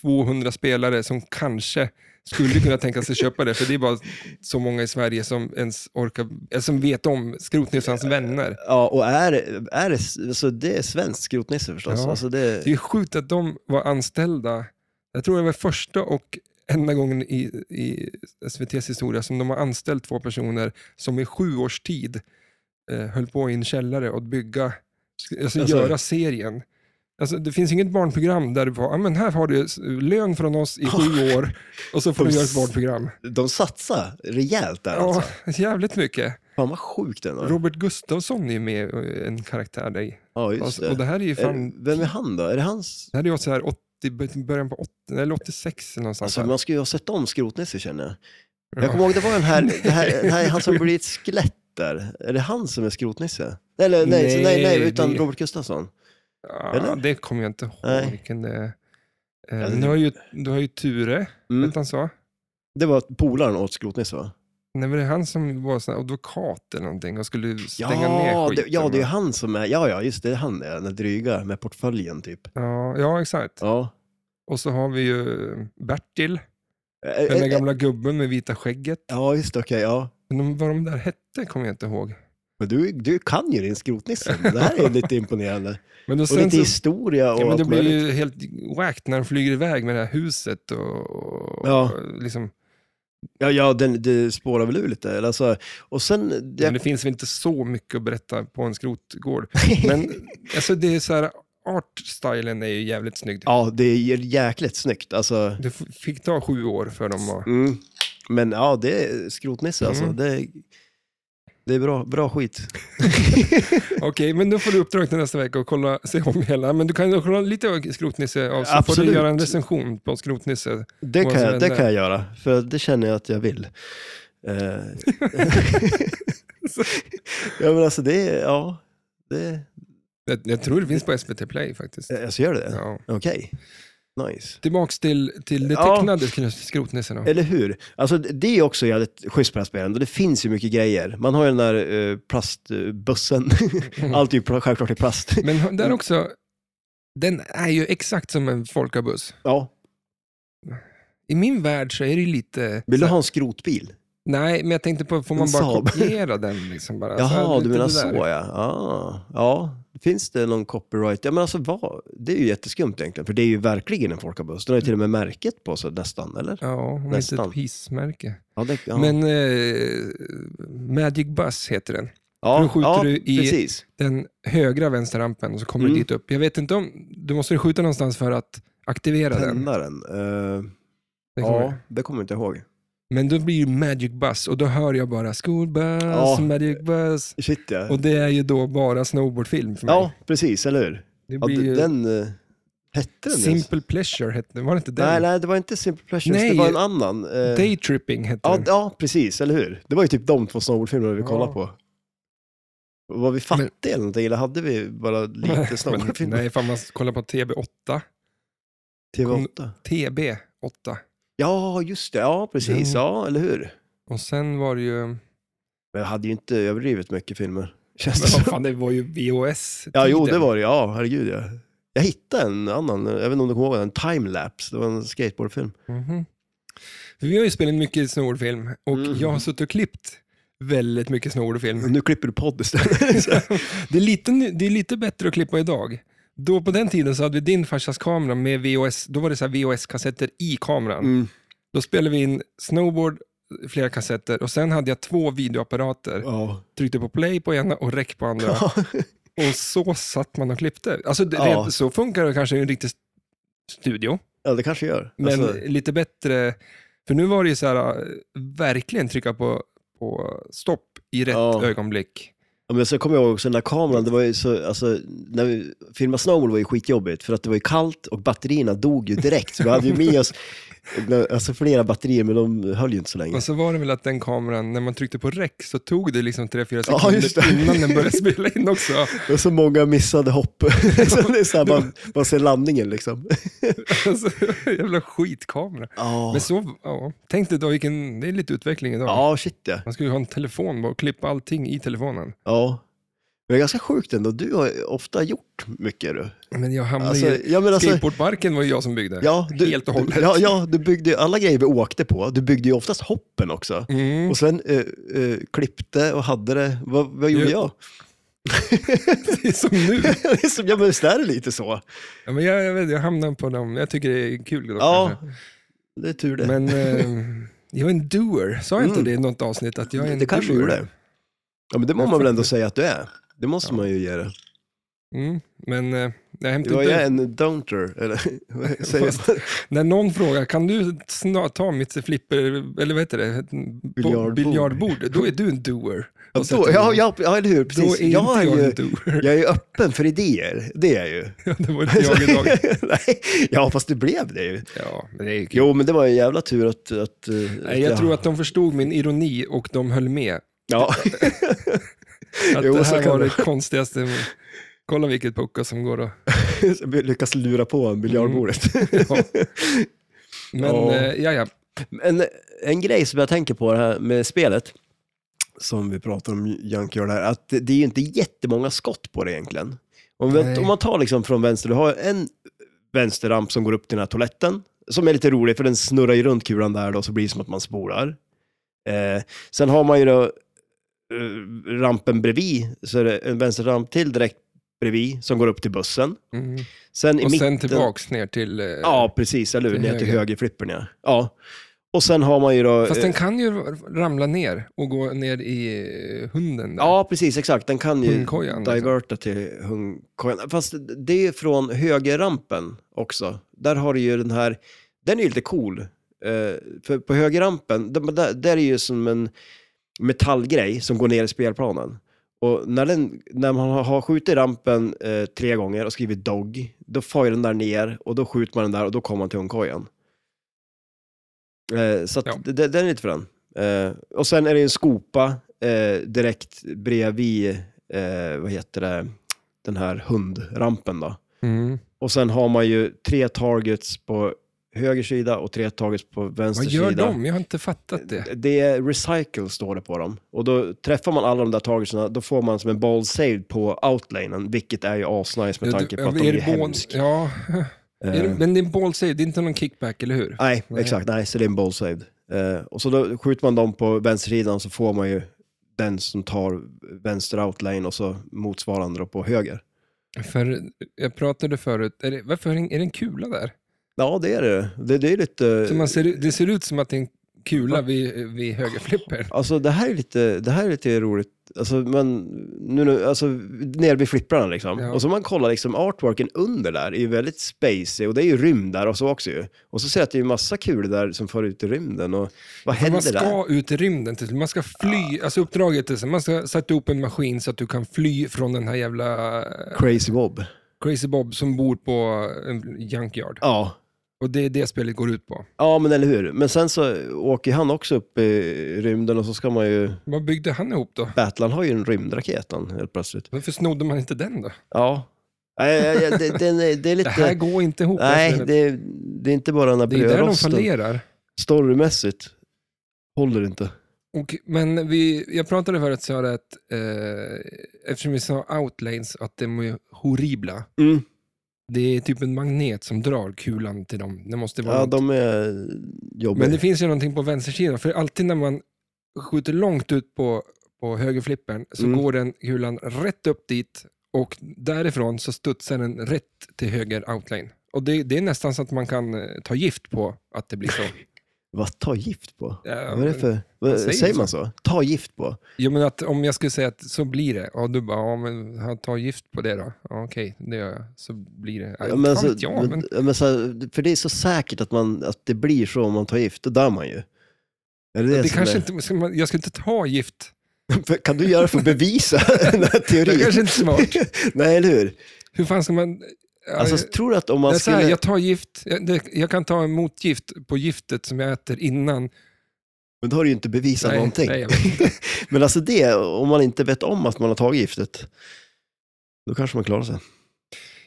Speaker 1: 200 spelare som kanske skulle kunna tänka sig köpa det, för det är bara så många i Sverige som ens orkar, eller som vet om Skrotnisse och hans vänner.
Speaker 2: Ja, och är, är det... Alltså det är svenskt Skrotnisse förstås.
Speaker 1: Ja.
Speaker 2: Alltså det...
Speaker 1: Det är sjukt att de var anställda, jag tror det var första och enda gången i, i SVTs historia som de har anställt två personer som i sju års tid eh, höll på i en källare och bygga, alltså,
Speaker 2: Alltså-
Speaker 1: göra serien. Alltså, det finns inget barnprogram där du får, "Ah, men här har du s- lön från oss i
Speaker 2: [laughs]
Speaker 1: sju år och så får du göra ett barnprogram.
Speaker 2: De satsar rejält där
Speaker 1: Ja,
Speaker 2: alltså.
Speaker 1: jävligt mycket.
Speaker 2: Fan vad sjukt ändå.
Speaker 1: Robert Gustafsson är med eh, en karaktär där i.
Speaker 2: Ja, just
Speaker 1: Alltså, och
Speaker 2: det.
Speaker 1: det här är ju
Speaker 2: Är,
Speaker 1: fan
Speaker 2: vem är han då? Är det hans...
Speaker 1: Det här är ju så här 80, början på 80, eller 86 någonstans.
Speaker 2: Alltså
Speaker 1: här.
Speaker 2: man skulle ju ha sett om Skrotnisse känner jag.
Speaker 1: Ja.
Speaker 2: Jag kommer ihåg, det var den här,
Speaker 1: [laughs]
Speaker 2: det här,
Speaker 1: Nej.
Speaker 2: den här han som blir ett skelett där. Är det han som är skrotnisse? Eller nej, nej, nej,
Speaker 1: Nej,
Speaker 2: utan
Speaker 1: det-
Speaker 2: Robert Gustafsson.
Speaker 1: ja,
Speaker 2: eller?
Speaker 1: det kommer jag inte ihåg
Speaker 2: Nej.
Speaker 1: vilken det är. Eh,
Speaker 2: Ja,
Speaker 1: men
Speaker 2: det-
Speaker 1: du, har ju, du har ju Ture,
Speaker 2: Mm.
Speaker 1: vet han så?
Speaker 2: Det var polaren åt skrotnisse va?
Speaker 1: Nej, men det är han som var sån här advokat eller någonting och skulle stänga ner
Speaker 2: Ja, det,
Speaker 1: skiten.
Speaker 2: ja, det är
Speaker 1: va?
Speaker 2: han som är, ja, ja, just det, det är han där, den där dryga med portföljen typ.
Speaker 1: ja, ja, exakt.
Speaker 2: Ja.
Speaker 1: Och så har vi ju Bertil,
Speaker 2: Eh,
Speaker 1: den
Speaker 2: eh,
Speaker 1: där
Speaker 2: eh,
Speaker 1: gamla gubben med vita skägget.
Speaker 2: Ja, just det, okej, ja.
Speaker 1: Men de, vad de där hette kommer jag inte ihåg.
Speaker 2: Men du, du kan ju din skrotnisse. Det här är
Speaker 1: [laughs]
Speaker 2: lite imponerande.
Speaker 1: Men då
Speaker 2: Och
Speaker 1: sen
Speaker 2: lite
Speaker 1: så,
Speaker 2: historia och
Speaker 1: ja, men det
Speaker 2: allt
Speaker 1: blir
Speaker 2: möjligt.
Speaker 1: ju helt wacked när de flyger iväg med det här huset. Och, och,
Speaker 2: Ja.
Speaker 1: liksom,
Speaker 2: Ja, ja den, det spårar väl ur lite. eller Alltså, och sen...
Speaker 1: Men det finns väl inte så mycket att berätta på en skrotgård.
Speaker 2: [laughs]
Speaker 1: Men alltså, det är så här, artstylen är ju jävligt snygg.
Speaker 2: Ja, det är jäkligt snyggt. Alltså,
Speaker 1: Det f- fick ta sju år för dem att...
Speaker 2: mm. Men ja, det är skrotnisse alltså.
Speaker 1: Mm.
Speaker 2: Det, det är bra, bra skit.
Speaker 1: Okej, men då får du uppdrag till nästa vecka och kolla, se om hela. Men du kan ju kolla lite av Skrotnisse av, så får du
Speaker 2: Absolut.
Speaker 1: göra en recension på Skrotnisse.
Speaker 2: Det
Speaker 1: Vad
Speaker 2: kan,
Speaker 1: som
Speaker 2: jag, det
Speaker 1: händer.
Speaker 2: kan jag göra, för det känner jag att jag vill. Eh, [laughs] ja, men alltså det är... Ja, det,
Speaker 1: Jag, jag tror det finns på SVT Play faktiskt.
Speaker 2: alltså gör det det?
Speaker 1: Ja.
Speaker 2: Okej. Nice.
Speaker 1: Tillbaks till, till det
Speaker 2: Ja.
Speaker 1: tecknade ja. Skrotnisse då.
Speaker 2: Eller hur? Alltså, det är också jävligt schysst på det här spelet. Och det finns ju mycket grejer. Man har ju den där eh, plastbussen.
Speaker 1: Mm.
Speaker 2: [laughs] Allt är ju pl- självklart i
Speaker 1: [laughs]
Speaker 2: plast.
Speaker 1: Men där också, den är ju exakt som en folkabuss.
Speaker 2: Ja.
Speaker 1: I min värld så är det ju lite...
Speaker 2: Vill
Speaker 1: så
Speaker 2: du
Speaker 1: här-
Speaker 2: ha en skrotbil?
Speaker 1: Nej, men jag tänkte på, får man
Speaker 2: En
Speaker 1: bara
Speaker 2: Saab.
Speaker 1: kopiera den? Liksom bara, så här,
Speaker 2: Jaha,
Speaker 1: lite
Speaker 2: du menar
Speaker 1: det
Speaker 2: så
Speaker 1: där.
Speaker 2: ja. Ah, ja. Finns det någon copyright? Ja, men alltså, vad? Det är ju jätteskumt egentligen, för det är ju verkligen en folkabuss. Den har ju till och med märket på sig nästan, eller?
Speaker 1: Ja, om inte
Speaker 2: Nästan.
Speaker 1: ett pissmärke.
Speaker 2: Ja, det, ja.
Speaker 1: Men eh, Magic Bus heter den.
Speaker 2: ja,
Speaker 1: då skjuter
Speaker 2: ja,
Speaker 1: du i-
Speaker 2: precis.
Speaker 1: Den högra vänsterrampen och så kommer
Speaker 2: Mm.
Speaker 1: du dit upp. Jag vet inte om, du måste skjuta någonstans för att aktivera den.
Speaker 2: Tända den. Eh,
Speaker 1: Det kommer
Speaker 2: ja,
Speaker 1: jag.
Speaker 2: det kommer jag inte ihåg.
Speaker 1: Men då blir det Magic Bus och då hör jag bara Skolbuss,
Speaker 2: Ja.
Speaker 1: Magic Bus.
Speaker 2: Shit, ja.
Speaker 1: Och det är ju då bara snowboardfilm för mig.
Speaker 2: ja, precis, eller hur?
Speaker 1: det
Speaker 2: Ja,
Speaker 1: blir
Speaker 2: d-
Speaker 1: ju
Speaker 2: den, eh, hette den ens?
Speaker 1: Simple Pleasure, hette den. var det inte den?
Speaker 2: Nej, nej, det var inte Simple Pleasures,
Speaker 1: Nej,
Speaker 2: det var en annan. eh,
Speaker 1: Daytripping hette
Speaker 2: ja,
Speaker 1: den.
Speaker 2: ja, precis, eller hur? Det var ju typ de två snowboardfilmerna vi
Speaker 1: Ja.
Speaker 2: kollade på. Var vi fattiga eller någonting, eller hade vi bara lite
Speaker 1: [laughs] Men,
Speaker 2: snowboardfilmer?
Speaker 1: nej, fan man kollar på TB8.
Speaker 2: TV8?
Speaker 1: TB8.
Speaker 2: Ja, just det, ja precis,
Speaker 1: Den-
Speaker 2: ja, eller hur?
Speaker 1: Och sen var det ju...
Speaker 2: Men jag hade ju inte överdrivet mycket filmer, [laughs] känns det
Speaker 1: Men vad
Speaker 2: som.
Speaker 1: fan, det var ju VHS.
Speaker 2: Ja, jo, det var det, ja, herregud ja. Jag hittade en annan, jag vet inte om du kommer ihåg den, Timelapse, det var en skateboardfilm.
Speaker 1: Mhm. Vi har ju spelat mycket snowboardfilm och
Speaker 2: Mm.
Speaker 1: jag har suttit och klippt väldigt mycket snowboardfilm.
Speaker 2: Nu klipper du podd
Speaker 1: [laughs]
Speaker 2: istället. [laughs] Så-
Speaker 1: det, är lite, nu- det är lite bättre att klippa idag. Då på den tiden så hade vi din farsas kamera med VHS, då var det så här VHS-kassetter i kameran.
Speaker 2: mm.
Speaker 1: Då spelade vi in snowboard, flera kassetter och sen hade jag två videoapparater.
Speaker 2: ja.
Speaker 1: Tryckte på play på ena och rec på andra. Och så satt man och klippte. Alltså, det-
Speaker 2: Ja.
Speaker 1: rent så funkar det kanske i en riktig st- studio,
Speaker 2: [laughs] ja, det kanske gör.
Speaker 1: men
Speaker 2: Alltså,
Speaker 1: lite bättre. För nu var det ju så här, äh, verkligen trycka på, på stopp i rätt
Speaker 2: Ja.
Speaker 1: ögonblick.
Speaker 2: Ja, men så kommer jag ihåg också den där kameran, det var ju så, alltså, när vi filmade snowboard var ju skitjobbigt för att det var ju kallt och batterierna dog ju direkt. Så vi hade ju med oss [laughs] alltså, flera batterier men de höll ju inte så länge.
Speaker 1: Och så var det väl att den kameran, när man tryckte på rec så tog det liksom 3-4
Speaker 2: Ja, just
Speaker 1: sekunder
Speaker 2: det.
Speaker 1: innan den började spela in också.
Speaker 2: Och så många missade hopp. [laughs] så det är så här, man, man ser landningen liksom.
Speaker 1: Alltså, [laughs] jävla skitkamera.
Speaker 2: Ja,
Speaker 1: Men så, ja, tänk dig då, vilken, det är lite utveckling idag.
Speaker 2: ja shit ja.
Speaker 1: Man skulle ju ha en telefon bara och klippa allting i telefonen.
Speaker 2: ja. Men det är ganska sjukt ändå, du har ju ofta gjort mycket du.
Speaker 1: Men jag hamnade
Speaker 2: Alltså,
Speaker 1: i...
Speaker 2: ja, men alltså,
Speaker 1: Skateboardparken var ju jag som byggde.
Speaker 2: ja, du,
Speaker 1: Helt och hållet.
Speaker 2: Ja, ja, du byggde ju alla grejer vi åkte på, du byggde ju oftast hoppen också.
Speaker 1: Mm.
Speaker 2: Och sen eh, eh, klippte och hade det. Vad, vad gjorde
Speaker 1: Ja.
Speaker 2: jag? [laughs]
Speaker 1: Det är [laughs] som nu.
Speaker 2: Det är som- ja, men visst är det lite så?
Speaker 1: Ja, men jag, jag, vet, jag hamnar på dem. Jag tycker det är kul. Då,
Speaker 2: Ja,
Speaker 1: kanske.
Speaker 2: det är tur det.
Speaker 1: Men eh, jag är en doer. Sa jag inte
Speaker 2: Mm.
Speaker 1: det i något avsnitt? Att jag är en
Speaker 2: det kanske
Speaker 1: doer?
Speaker 2: du gjorde. Ja, men det må
Speaker 1: Jag
Speaker 2: man väl
Speaker 1: tror
Speaker 2: ändå
Speaker 1: det.
Speaker 2: säga att du är. Det måste
Speaker 1: Ja.
Speaker 2: man ju ge det.
Speaker 1: Mm. Men eh, jag hämtade
Speaker 2: Jag
Speaker 1: inte...
Speaker 2: är en donter, eller [laughs] vad säger
Speaker 1: [laughs] Fast-
Speaker 2: man?
Speaker 1: När någon frågar, kan du snart ta mitt flipper, eller vad heter det?
Speaker 2: Biljardbord.
Speaker 1: Biljardbord. Då är du en doer.
Speaker 2: Ja,
Speaker 1: Och sätter
Speaker 2: då,
Speaker 1: du-
Speaker 2: ja, ja, ja, eller hur?
Speaker 1: Då
Speaker 2: Precis.
Speaker 1: är
Speaker 2: Jag är
Speaker 1: inte jag en
Speaker 2: ju,
Speaker 1: doer. [laughs]
Speaker 2: jag är ju öppen för idéer, det är jag ju.
Speaker 1: Ja, det var inte jag idag.
Speaker 2: [laughs] Nej, ja, fast det blev det ju.
Speaker 1: Ja, men det är ju kul.
Speaker 2: Jo, men det var en jävla tur att... att eh, att
Speaker 1: Nej, jag tror att de förstod min ironi och de höll med.
Speaker 2: Ja, [laughs]
Speaker 1: Att
Speaker 2: Jo,
Speaker 1: det
Speaker 2: så
Speaker 1: här
Speaker 2: kan
Speaker 1: var
Speaker 2: det
Speaker 1: det konstigaste. Kolla vilket pucko som
Speaker 2: [laughs]
Speaker 1: går att...
Speaker 2: lyckas lura på en biljardbordet.
Speaker 1: Ja. Men
Speaker 2: Ja.
Speaker 1: eh, ja, ja.
Speaker 2: En, en grej som jag tänker på det här med spelet, som vi pratar om Junkyard här, att det, det är ju inte jättemånga skott på det egentligen. Om, vi,
Speaker 1: Nej.
Speaker 2: om man tar liksom från vänster, du har en vänsterramp som går upp till den här toaletten, som är lite rolig för den snurrar ju runt kulan där då, så blir det som att man spolar. Eh, sen har man ju då eh, rampen bredvid så är det en vänsterramp till direkt bredvid som går upp till bussen.
Speaker 1: Mm.
Speaker 2: Sen i
Speaker 1: Och
Speaker 2: mitten,
Speaker 1: sen tillbaks ner till... eh,
Speaker 2: Ja, precis. Eller hur?
Speaker 1: till
Speaker 2: Ner till
Speaker 1: höger.
Speaker 2: högerflippen, ja. ja. Och sen har man ju då...
Speaker 1: Fast
Speaker 2: eh,
Speaker 1: den kan ju ramla ner och gå ner i eh, hunden där.
Speaker 2: Ja, precis. Exakt. Den kan ju
Speaker 1: Hundkojan, liksom.
Speaker 2: diverta till hundkojan. Fast det är ju från högerrampen också. Där har du ju den här... Den är ju lite cool. Eh, för på högerrampen, där, där, där är ju som en metallgrej som går ner i spelplanen. Och när, den, när man har- har skjutit rampen eh, tre gånger och skrivit dog, då far ju den där ner och då skjuter man den där och då kommer man till hundkojan. Eh, så att
Speaker 1: Ja.
Speaker 2: det, det- den är lite för den. Eh, och sen är det en skopa eh, direkt bredvid, eh, vad heter det, den här hundrampen då.
Speaker 1: Mm.
Speaker 2: Och sen har man ju tre targets på höger sida och tre targets på vänster
Speaker 1: Vad gör
Speaker 2: sida.
Speaker 1: de? Jag har inte fattat det.
Speaker 2: Det är recycle står det på dem. Och då träffar man alla de där targetsna, då får man som en ball saved på outlanen, vilket är ju asnice med
Speaker 1: Ja,
Speaker 2: tanke
Speaker 1: du-
Speaker 2: på att
Speaker 1: är
Speaker 2: de är,
Speaker 1: det bål-
Speaker 2: hemsk.
Speaker 1: Ja, är det,
Speaker 2: Eh,
Speaker 1: men det är en ball save, det är inte någon kickback, eller hur?
Speaker 2: Nej,
Speaker 1: Nej.
Speaker 2: exakt. Nej, så det är en ball saved. Eh, och så då skjuter man dem på vänstersidan så får man ju den som tar vänster outlane och så motsvarande då på höger.
Speaker 1: För eh, jag pratade förut, är det, varför är det, en- är det en kula där?
Speaker 2: Ja, det är det. Det, det är lite...
Speaker 1: Så man ser, ut- det ser ut som att det är en kula vid, eh, vid högerflippen.
Speaker 2: Alltså det här är lite, det här är lite roligt. Alltså, men, nu, nu, alltså nere vid flipprarna liksom.
Speaker 1: Ja.
Speaker 2: Och så man kollar liksom artworken under där, är ju väldigt spacey och det är ju rymd där och så också ju. Och så ser jag att det är ju massa kulor där som far ut i rymden och vad
Speaker 1: För Man
Speaker 2: händer där?
Speaker 1: ska ut i rymden till slut. Man ska fly. Alltså uppdraget är så. Man ska sätta ihop en maskin så att du kan fly från den här jävla eh,
Speaker 2: Crazy Bob.
Speaker 1: Crazy Bob som bor på en junkyard.
Speaker 2: Ja.
Speaker 1: Och det är det spelet går ut på.
Speaker 2: ja, men eller hur. Men sen så åker han också upp i rymden och så ska man ju...
Speaker 1: Vad byggde han ihop då?
Speaker 2: Battlan har ju en rymdraket han, helt plötsligt.
Speaker 1: Varför snodde man inte den då?
Speaker 2: Ja. Nej, nej, nej, det, den är- det är
Speaker 1: Det här
Speaker 2: lite...
Speaker 1: går inte ihop. det här
Speaker 2: Nej,
Speaker 1: spelet.
Speaker 2: det, är- det är inte bara den här
Speaker 1: det är där de
Speaker 2: brödrosten.
Speaker 1: fallerar.
Speaker 2: storymässigt håller inte.
Speaker 1: Och, men vi, jag pratade förut så här att eh, eftersom vi sa outlanes att de är horribla.
Speaker 2: Mm.
Speaker 1: Det är typ en magnet som drar kulan till dem. Det måste vara
Speaker 2: Ja,
Speaker 1: något-
Speaker 2: de är jobbiga.
Speaker 1: Men det finns ju någonting på vänstersidan, för alltid när man skjuter långt ut på, på högerflippen så
Speaker 2: Mm.
Speaker 1: går den kulan rätt upp dit och därifrån så studsar den rätt till höger outline. Och det, det är nästan så att man kan eh, ta gift på att det blir
Speaker 2: [laughs]
Speaker 1: så.
Speaker 2: Vad tar gift på?
Speaker 1: Ja,
Speaker 2: Vad är det för... Vad,
Speaker 1: säger
Speaker 2: säger,
Speaker 1: så.
Speaker 2: man så? Ta gift på?
Speaker 1: Jo, men att om jag skulle säga att så blir det, och du bara, ja men han tar gift på det då. Ja, okej, det gör jag. Så blir det. Ja,
Speaker 2: men
Speaker 1: men,
Speaker 2: så-
Speaker 1: fan vet jag, men...
Speaker 2: men så, här, för det är så säkert att, man, att det blir så om man tar gift, då dör man ju. Är det det
Speaker 1: Det
Speaker 2: som
Speaker 1: kanske
Speaker 2: är, [laughs]
Speaker 1: inte, ska man- jag skulle inte ta gift.
Speaker 2: För- Kan du göra för att bevisa [laughs] den här
Speaker 1: Det
Speaker 2: teorin?
Speaker 1: är kanske inte är smart.
Speaker 2: [laughs] Nej, eller hur?
Speaker 1: Hur fan ska man... eh, Ja,
Speaker 2: Alltså,
Speaker 1: jag-
Speaker 2: tror du att om man
Speaker 1: det är så här,
Speaker 2: skulle...
Speaker 1: jag tar gift, jag, det, jag kan ta motgift på giftet som jag äter innan.
Speaker 2: Men då har du ju inte bevisat någonting.
Speaker 1: nej, jag vet inte. [laughs]
Speaker 2: Men alltså det, om man inte vet om att man har tagit giftet, då kanske man klarar sig.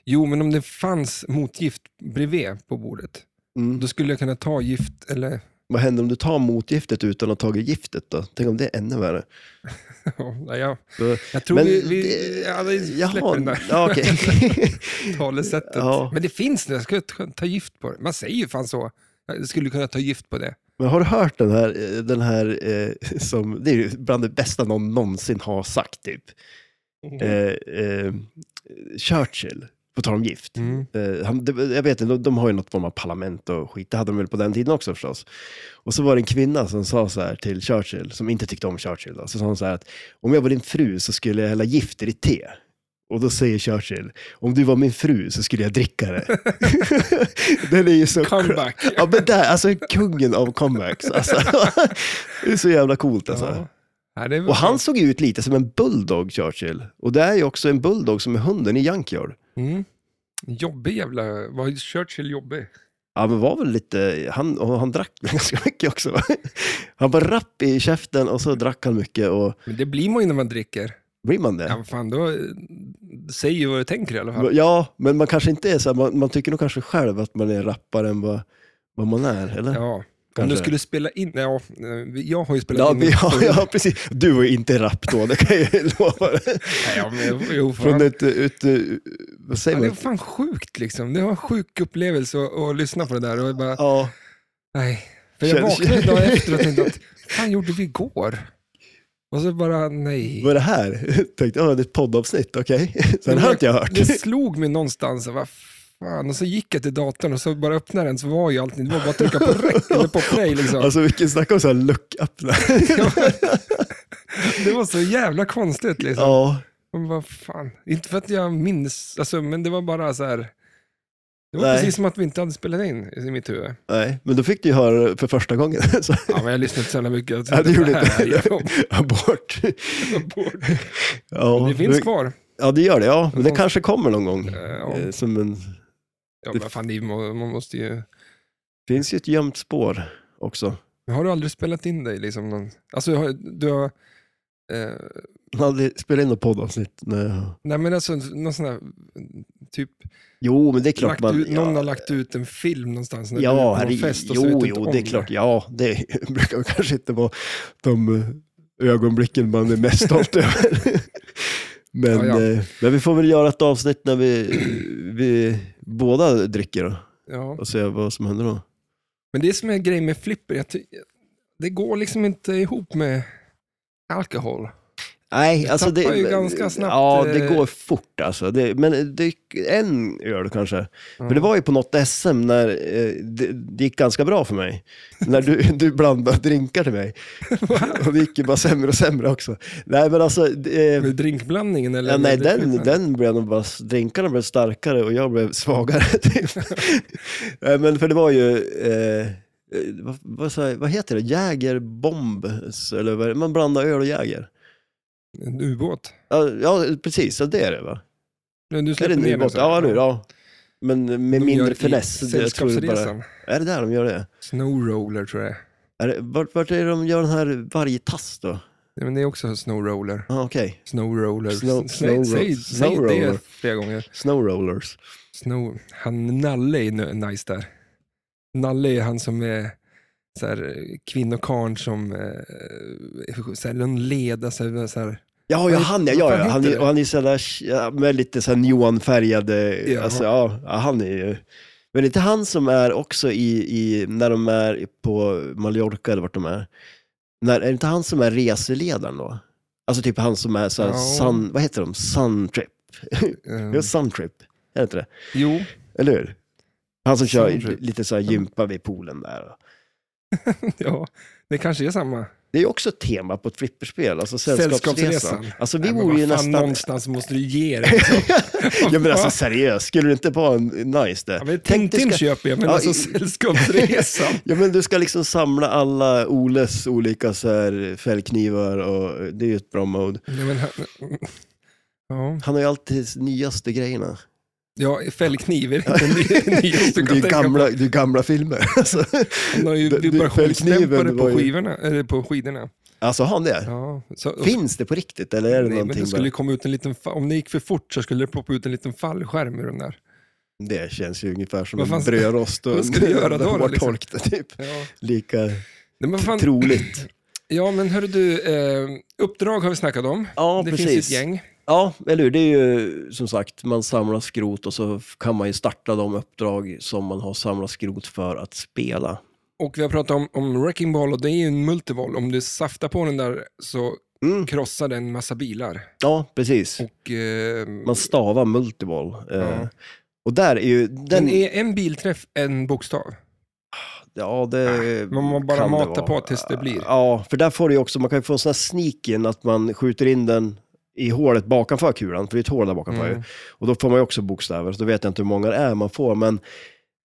Speaker 1: Jo, men om det fanns motgift bredvid på bordet,
Speaker 2: Mm.
Speaker 1: då skulle jag kunna ta gift eller... [laughs]
Speaker 2: Vad händer om du tar motgiftet utan att ha tagit giftet då? Tänk om det är ännu värre.
Speaker 1: Ja, nej, jag,
Speaker 2: Då-
Speaker 1: jag tror
Speaker 2: Men
Speaker 1: vi, vi,
Speaker 2: det-
Speaker 1: ja, vi
Speaker 2: Jaha,
Speaker 1: släpper den där
Speaker 2: Ja, okej.
Speaker 1: [laughs] talesättet.
Speaker 2: Ja.
Speaker 1: Men det finns det, jag skulle ta- ta gift på det. Man säger ju fan så. Jag skulle kunna ta gift på det.
Speaker 2: Men har du hört den här, eh, den här eh, som, det är ju bland det bästa någon någonsin har sagt typ.
Speaker 1: Mm.
Speaker 2: Eh, eh, Churchill, på tal om gift.
Speaker 1: Mm.
Speaker 2: Eh, han, det- jag vet inte, de, de har ju något form av parlament och skit, det hade de väl på den tiden också förstås. Och så var det en kvinna som sa så här till Churchill, som inte tyckte om Churchill, då, så sa hon så här att om jag var din fru så skulle jag hälla gift i ditt te. Och då säger Churchill, om du var min fru så skulle jag dricka det. [laughs] den är ju så...
Speaker 1: Comeback.
Speaker 2: [laughs] Ja men där, alltså kungen av comebacks. Alltså. Det är så jävla coolt alltså.
Speaker 1: Ja. Ja, det är väl
Speaker 2: Och han såg ju ut lite som en bulldog, Churchill. Och det är ju också en bulldog som är hunden i Junkyard.
Speaker 1: Mm. Jobbig jävla... Var Churchill jobbig?
Speaker 2: Ja, men var väl lite, han, och han drack [laughs] väl ganska mycket också. Va? Han var rapp i käften och så drack han mycket och
Speaker 1: Men det blir man ju när man dricker.
Speaker 2: blir man det?
Speaker 1: Ja, vad fan, då eh, säger ju vad du tänker i alla fall.
Speaker 2: Ja, men man kanske inte är så här, man, man tycker nog kanske själv att man är rappare än vad, vad man är, eller?
Speaker 1: Ja. Om
Speaker 2: Kanske.
Speaker 1: du skulle spela in... Ja, eh, jag har ju spelat
Speaker 2: Ja,
Speaker 1: in...
Speaker 2: men, ja, ja, precis. Du var ju inte rapp då, det kan jag ju [laughs] lova. dig.
Speaker 1: Nej, ja, men, jo, fan.
Speaker 2: Från ett, ett, eh, vad
Speaker 1: Ja,
Speaker 2: säger
Speaker 1: det
Speaker 2: man?
Speaker 1: är fan sjukt liksom. Det var en sjuk upplevelse att, att lyssna på det där. Och jag bara,
Speaker 2: Ja,
Speaker 1: nej. För jag
Speaker 2: Känns- [laughs]
Speaker 1: vaknade dagen efter och tänkte att, vad fan gjorde vi igår? Och så bara, nej.
Speaker 2: Vad är det här? [laughs] Tänkte, ja, det är ett poddavsnitt, okej.
Speaker 1: [laughs]
Speaker 2: Sen har inte jag hört.
Speaker 1: Det slog mig någonstans, vad fan. Och så gick jag till datorn och så bara öppnade den, så var ju allting, det var bara att trycka på räck eller på play liksom.
Speaker 2: Alltså vilken, snacka om så här lucköppnare.
Speaker 1: Det var så jävla konstigt liksom.
Speaker 2: ja,
Speaker 1: Men vad fan, inte för att jag minns, alltså, men det var bara så här. Det var
Speaker 2: Nej.
Speaker 1: precis som att vi inte hade spelat in i mitt huvud.
Speaker 2: nej, men då fick du ju höra det för första gången. [laughs] Så,
Speaker 1: Ja, men jag lyssnade inte så jävla mycket. Jag
Speaker 2: [laughs] Ja, det gjorde
Speaker 1: här är
Speaker 2: inte.
Speaker 1: jag
Speaker 2: abort.
Speaker 1: ombord.
Speaker 2: Ja,
Speaker 1: Det finns
Speaker 2: men-
Speaker 1: kvar.
Speaker 2: Ja, det gör det. Ja, men det kanske kommer någon gång.
Speaker 1: Eh, Ja,
Speaker 2: Eh, Som en,
Speaker 1: ja, men fan, det är- man man måste ju...
Speaker 2: finns ju ett gömt spår också.
Speaker 1: Men Har du aldrig spelat in dig? Liksom någon... Alltså, har- du har... Eh,
Speaker 2: Jag har aldrig spelat in något poddavsnitt. Nej.
Speaker 1: nej, men alltså någon sån här... Typ,
Speaker 2: Jo, men det är klart
Speaker 1: lagt
Speaker 2: man...
Speaker 1: ut,
Speaker 2: ja,
Speaker 1: någon har lagt ut en film någonstans när du
Speaker 2: Ja,
Speaker 1: är på någon
Speaker 2: herre,
Speaker 1: fest och så vet
Speaker 2: jo,
Speaker 1: du inte
Speaker 2: jo,
Speaker 1: om
Speaker 2: det är klart. Ja, det [laughs] brukar väl kanske inte vara de eh, ögonblicken man är mest stolt [laughs] över. Men,
Speaker 1: Ja, ja.
Speaker 2: eh, men vi får väl göra ett avsnitt när vi, vi båda dricker då,
Speaker 1: Ja.
Speaker 2: och se vad som händer då.
Speaker 1: Men det som är grejen med flipper, jag ty- det går liksom inte ihop med alkohol.
Speaker 2: Nej,
Speaker 1: Det
Speaker 2: alltså det,
Speaker 1: tappar ju ganska snabbt,
Speaker 2: Ja, det
Speaker 1: eh,
Speaker 2: går fort alltså. Det, men det, en öl kanske.
Speaker 1: Ja.
Speaker 2: För det var ju på något SM när eh, det, det gick ganska bra för mig. När du, [laughs] du blandade drinkar
Speaker 1: [laughs]
Speaker 2: till mig. och det gick ju bara sämre och sämre också. Nej, men alltså... Det, eh,
Speaker 1: Med drinkblandningen eller?
Speaker 2: Ja, nej,
Speaker 1: med
Speaker 2: den,
Speaker 1: flippen?
Speaker 2: den blev nog bara, drinkarna blev starkare och jag blev svagare. [laughs] typ. Eh, Men för det var ju, eh, eh, vad, vad, sa jag- vad heter det, Jägerbomb? Eller vad, är det? man blandar öl och Jäger.
Speaker 1: En ubåt.
Speaker 2: Ja, ja precis, ja, det är det va?
Speaker 1: Nu, du
Speaker 2: Är
Speaker 1: släpper
Speaker 2: det
Speaker 1: ner
Speaker 2: ny
Speaker 1: den
Speaker 2: båt?
Speaker 1: så här.
Speaker 2: Ja, nu, ja. Men med
Speaker 1: De gör
Speaker 2: mindre
Speaker 1: i
Speaker 2: finess. det- jag tror det bara,
Speaker 1: Sällskapsresan.
Speaker 2: är det där de gör det?
Speaker 1: Snowroller tror jag.
Speaker 2: Är det vart, vart är det de gör den här vargtass då?
Speaker 1: Nej, men det är också snowroller.
Speaker 2: Ja, okej.
Speaker 1: Snowroller.
Speaker 2: Snow-
Speaker 1: S- säg,
Speaker 2: snowro-
Speaker 1: säg, säg
Speaker 2: snowroller.
Speaker 1: det flera gånger.
Speaker 2: Snowrollers.
Speaker 1: Snow. Han Nalle är n- nice där. Nalle är han som är så här, eh, kvinnokarn som eh, så här, någon leda, så här, så här,
Speaker 2: Ja, ja, han ja,
Speaker 1: Vad
Speaker 2: ja,
Speaker 1: fan
Speaker 2: ja. Han,
Speaker 1: heter
Speaker 2: är,
Speaker 1: det?
Speaker 2: och han är så där, ja, med lite så här neonfärgade,
Speaker 1: Ja.
Speaker 2: alltså ja, ja, han är ju. Men det är inte han som är också i, i när de är på Mallorca eller vart de är. När, är det inte han som är reseledaren då? Alltså typ han som är så här,
Speaker 1: Ja.
Speaker 2: sun, vad heter de, Suntrip?
Speaker 1: eh,
Speaker 2: Ja, Suntrip, är det inte det?
Speaker 1: Jo,
Speaker 2: Eller hur? Han som kör
Speaker 1: Suntrip.
Speaker 2: lite så här gympa vid poolen där.
Speaker 1: [laughs] ja, det kanske är samma.
Speaker 2: Det är ju också ett tema på ett flipperspel, alltså sällskapsresan.
Speaker 1: Sällskapsresan.
Speaker 2: Alltså vi
Speaker 1: Nej, men
Speaker 2: vore ju
Speaker 1: vad fan,
Speaker 2: nästan...
Speaker 1: Någonstans måste du ge det. Liksom.
Speaker 2: [laughs] Ja men alltså seriöst, skulle det inte vara en nice det?
Speaker 1: Ja, men
Speaker 2: Tänk, du
Speaker 1: Tintin
Speaker 2: ska-
Speaker 1: köper jag, men
Speaker 2: Ja,
Speaker 1: alltså
Speaker 2: i- [laughs]
Speaker 1: Sällskapsresan.
Speaker 2: Ja men du ska liksom samla alla Oles olika så här fällknivar och det är ju ett bra mode.
Speaker 1: Nej, men han, [laughs] ja.
Speaker 2: Han har ju alltid
Speaker 1: [laughs]
Speaker 2: nyaste grejerna.
Speaker 1: ja, fällkniv är inte [laughs] ny- nyast du
Speaker 2: Det är
Speaker 1: kan
Speaker 2: ju
Speaker 1: tänka på.
Speaker 2: gamla, det är ju gamla filmer. [laughs] Alltså,
Speaker 1: Han har ju
Speaker 2: det- det-
Speaker 1: vibrationsdämpare
Speaker 2: fällkniven var
Speaker 1: på,
Speaker 2: ju-
Speaker 1: skivorna, eller på skidorna.
Speaker 2: alltså har han det?
Speaker 1: Ja, så, och-
Speaker 2: Finns det på riktigt eller är
Speaker 1: nej,
Speaker 2: det
Speaker 1: men
Speaker 2: någonting
Speaker 1: det
Speaker 2: bara?
Speaker 1: skulle ju komma ut en liten, fa- om det gick för fort så skulle det ploppa ut en liten fallskärm ur den där.
Speaker 2: Det känns ju ungefär som
Speaker 1: Vad fan
Speaker 2: en
Speaker 1: ska-
Speaker 2: brödrost och
Speaker 1: vad ska du göra då,
Speaker 2: en
Speaker 1: då, liksom?
Speaker 2: [laughs] hårtork, typ.
Speaker 1: Ja,
Speaker 2: Lika
Speaker 1: nej, men fan,
Speaker 2: troligt.
Speaker 1: ja men hörru du, eh, uppdrag har vi snackat om.
Speaker 2: Ja,
Speaker 1: det
Speaker 2: precis.
Speaker 1: finns ju ett gäng.
Speaker 2: Ja, eller hur? Det är ju som sagt, man samlar skrot och så kan man ju starta de uppdrag som man har samlat skrot för att spela.
Speaker 1: Och vi har pratat om, om Wrecking Ball och det är ju en multivoll. Om du saftar på den där så
Speaker 2: Mm.
Speaker 1: krossar den massa bilar.
Speaker 2: Ja, precis.
Speaker 1: Och, eh,
Speaker 2: Man stavar multiball. Eh,
Speaker 1: Ja.
Speaker 2: och där är ju den...
Speaker 1: Men är en bilträff en bokstav?
Speaker 2: ja, det
Speaker 1: Äh, Man må bara
Speaker 2: kan det
Speaker 1: mata
Speaker 2: vara.
Speaker 1: på tills det blir.
Speaker 2: Ja, för där får du ju också, man kan ju få en sån här sneak in att man skjuter in den i hålet bakanför kulan, för det är ett hål där bakanför ju.
Speaker 1: Mm.
Speaker 2: Och då får man ju också bokstäver, så då vet jag inte hur många det är man får. Men,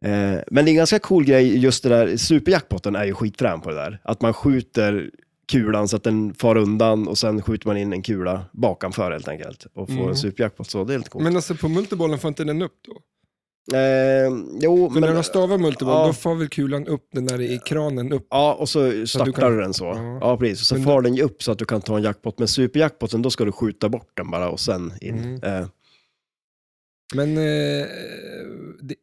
Speaker 2: eh, men det är en ganska cool grej, just det där, superjackpotten är ju skitfrän på det där. Att man skjuter kulan så att den far undan och sen skjuter man in en kula bakanför helt enkelt och får
Speaker 1: Mm.
Speaker 2: en superjackpot. Så det är lite coolt.
Speaker 1: Men alltså på multibollen får inte den upp då?
Speaker 2: eh, jo,
Speaker 1: För
Speaker 2: men...
Speaker 1: när de stavar multiboll,
Speaker 2: ja.
Speaker 1: då får väl kulan upp den där i kranen upp.
Speaker 2: Ja, och så startar du
Speaker 1: kan-
Speaker 2: den så. Ja,
Speaker 1: Ja.
Speaker 2: precis. Och så
Speaker 1: Men
Speaker 2: far den ju upp så att du kan ta en jackpot. Men superjackpoten, då ska du skjuta bort den bara och sen in.
Speaker 1: Mm.
Speaker 2: Eh,
Speaker 1: Men eh, det,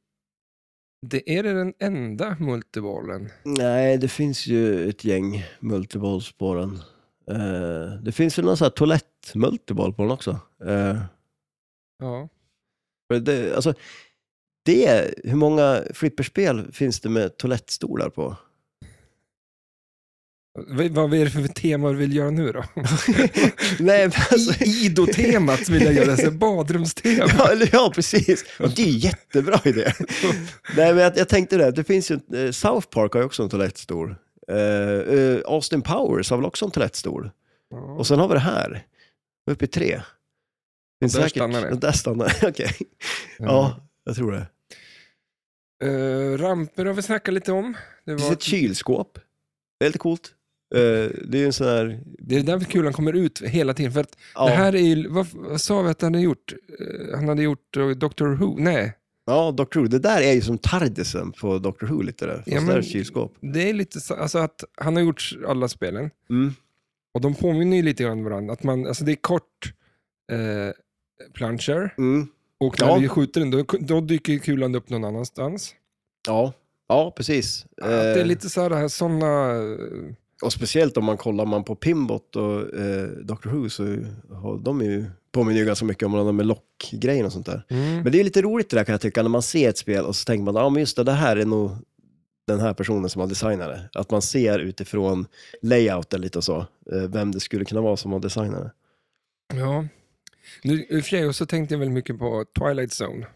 Speaker 1: det är det den enda multibollen.
Speaker 2: Nej, det finns ju ett gäng multiballs på den. Eh, det finns väl någon sån här toalett-multiball på den också. Eh,
Speaker 1: Ja.
Speaker 2: för det, alltså, det, hur många flipperspel finns det med toalettstolar på?
Speaker 1: V- Vad är det för tema du vill göra nu då?
Speaker 2: [laughs] Nej, men alltså, [laughs]
Speaker 1: I Ido-temat vill jag göra, så här badrumstema.
Speaker 2: ja, eller, ja, precis. Och det är ju jättebra idé. Nej, men jag, jag tänkte det, det finns ju, en- eh, South Park har ju också en toalettstor. Eh, eh, Austin Powers har väl också en toalettstor.
Speaker 1: Ja.
Speaker 2: Och sen har vi det här. Vi är uppe i tre. Finns
Speaker 1: där stannar det. Mm.
Speaker 2: och Där stannar [laughs] det, okej. Ja, jag tror det.
Speaker 1: Eh, ramper har vi snackat lite om. Det,
Speaker 2: Det finns
Speaker 1: var,
Speaker 2: ett kylskåp. Det är lite coolt. Eh, det är ju en sån här...
Speaker 1: det är där kulan kommer ut hela tiden. För att
Speaker 2: Ja,
Speaker 1: det här är ju, vad, vad sa vi att han hade gjort? Eh, Han hade gjort eh, Doctor Who? Nej,
Speaker 2: ja Doctor Who. Det där är ju som Tardisen på Doctor Who lite där. Fast
Speaker 1: Ja,
Speaker 2: det är
Speaker 1: men-
Speaker 2: ett kylskåp.
Speaker 1: det är lite så, alltså att han har gjort alla spelen.
Speaker 2: Mm.
Speaker 1: Och de påminner ju lite grann om varandra. Att man, alltså det är kort eh, plunger
Speaker 2: Mm.
Speaker 1: och när
Speaker 2: Ja.
Speaker 1: vi skjuter den då, då dyker ju kulan upp någon annanstans.
Speaker 2: Ja. ja, precis.
Speaker 1: Att det är
Speaker 2: Eh,
Speaker 1: lite så här, sådana...
Speaker 2: Och speciellt om man kollar man på Pimbot och eh, Doctor Who så har de ju, påminner ju ganska mycket om varandra med lockgrejen och sånt där. Men det är lite roligt det där kan jag tycka, när man ser ett spel och så tänker man, ja men just det, det här är nog den här personen som har designat det. Att man ser utifrån layouten lite och så, eh, vem det skulle kunna vara som har designat det.
Speaker 1: Ja. Nu, I och för sig och så tänkte jag väldigt mycket på Twilight Zone.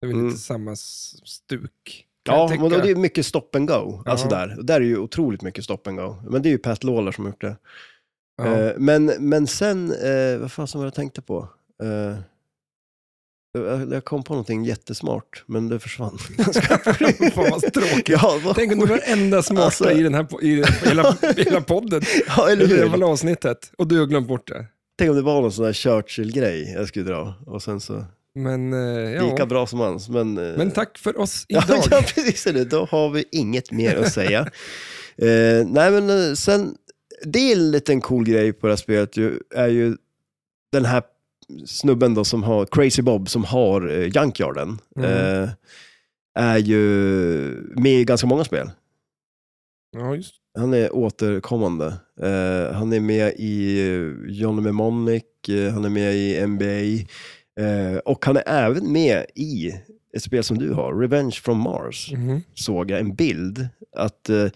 Speaker 1: Det är väl
Speaker 2: Mm.
Speaker 1: lite samma s- stuk. kan jag
Speaker 2: Ja,
Speaker 1: tycka.
Speaker 2: men då, det är mycket stop and go, alltså
Speaker 1: Ja.
Speaker 2: där. Och där är ju otroligt mycket stop and go. Men det är ju Pat Lawler som har gjort det.
Speaker 1: Ja.
Speaker 2: Eh, men, men sen, eh, vad fan som var det jag tänkte på? Eh, jag, jag kom på någonting jättesmart, men det
Speaker 1: [laughs] [laughs]
Speaker 2: försvann. [laughs]
Speaker 1: Fan vad tråkigt.
Speaker 2: ja, vad,
Speaker 1: Tänk om du var den
Speaker 2: [laughs]
Speaker 1: enda smarta
Speaker 2: Alltså-
Speaker 1: i den här po- i den-
Speaker 2: [laughs]
Speaker 1: hela, hela podden,
Speaker 2: ja, eller
Speaker 1: eller
Speaker 2: hur?
Speaker 1: hela avsnittet, och du har glömt bort det.
Speaker 2: Tänk om det var någon sån där Churchill-grej jag skulle dra. Och sen så,
Speaker 1: Men, eh,
Speaker 2: lika
Speaker 1: ja.
Speaker 2: bra som hans. Men, eh,
Speaker 1: men tack för oss
Speaker 2: ja,
Speaker 1: idag.
Speaker 2: [laughs] ja, precis. Eller, då har vi inget mer
Speaker 1: [laughs]
Speaker 2: att säga. eh, nej, men eh, sen, det är en liten cool grej på det här spelet, ju, är ju den här snubben då som har, Crazy Bob, som har eh, Junkyarden.
Speaker 1: Mm.
Speaker 2: Eh, är ju med i ganska många spel.
Speaker 1: Ja, just.
Speaker 2: Han är återkommande. Eh, han är med i eh, Johnny Mnemonic, eh, han är med i NBA eh, och han är även med i ett spel som du har, Revenge from Mars,
Speaker 1: Mhm.
Speaker 2: såg jag en bild att eh,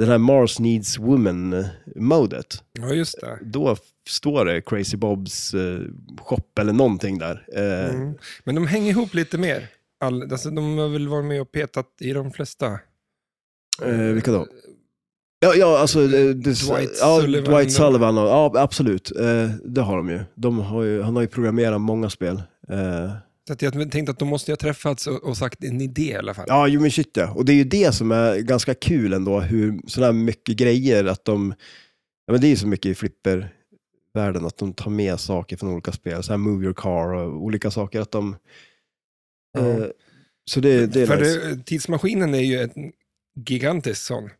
Speaker 2: den här Mars Needs Women-modet,
Speaker 1: Ja, just det.
Speaker 2: då f- står det Crazy Bobs eh, shop eller någonting där. Eh,
Speaker 1: Mm. Men de hänger ihop lite mer. All, alltså, de har väl varit med och petat i de flesta.
Speaker 2: Eh, vilka då? Ja, ja alltså... eh, det-
Speaker 1: Dwight
Speaker 2: ja,
Speaker 1: Sullivan.
Speaker 2: Dwight Sullivan och, ja, absolut. Eh, det har de ju. De har ju. Han har ju programmerat många spel. Eh,
Speaker 1: Så att jag tänkte att de måste ju ha träffats och, och sagt en idé i alla fall.
Speaker 2: ja, jo men shit ja. Och det är ju det som är ganska kul ändå, hur sådana här mycket grejer, att de... Ja, men det är ju så mycket i flippervärlden, att de tar med saker från olika spel. Så här Move Your Car och olika saker. Att de,
Speaker 1: Ja.
Speaker 2: eh, så det, det är
Speaker 1: För
Speaker 2: nice.
Speaker 1: det, tidsmaskinen är ju en gigantisk sån.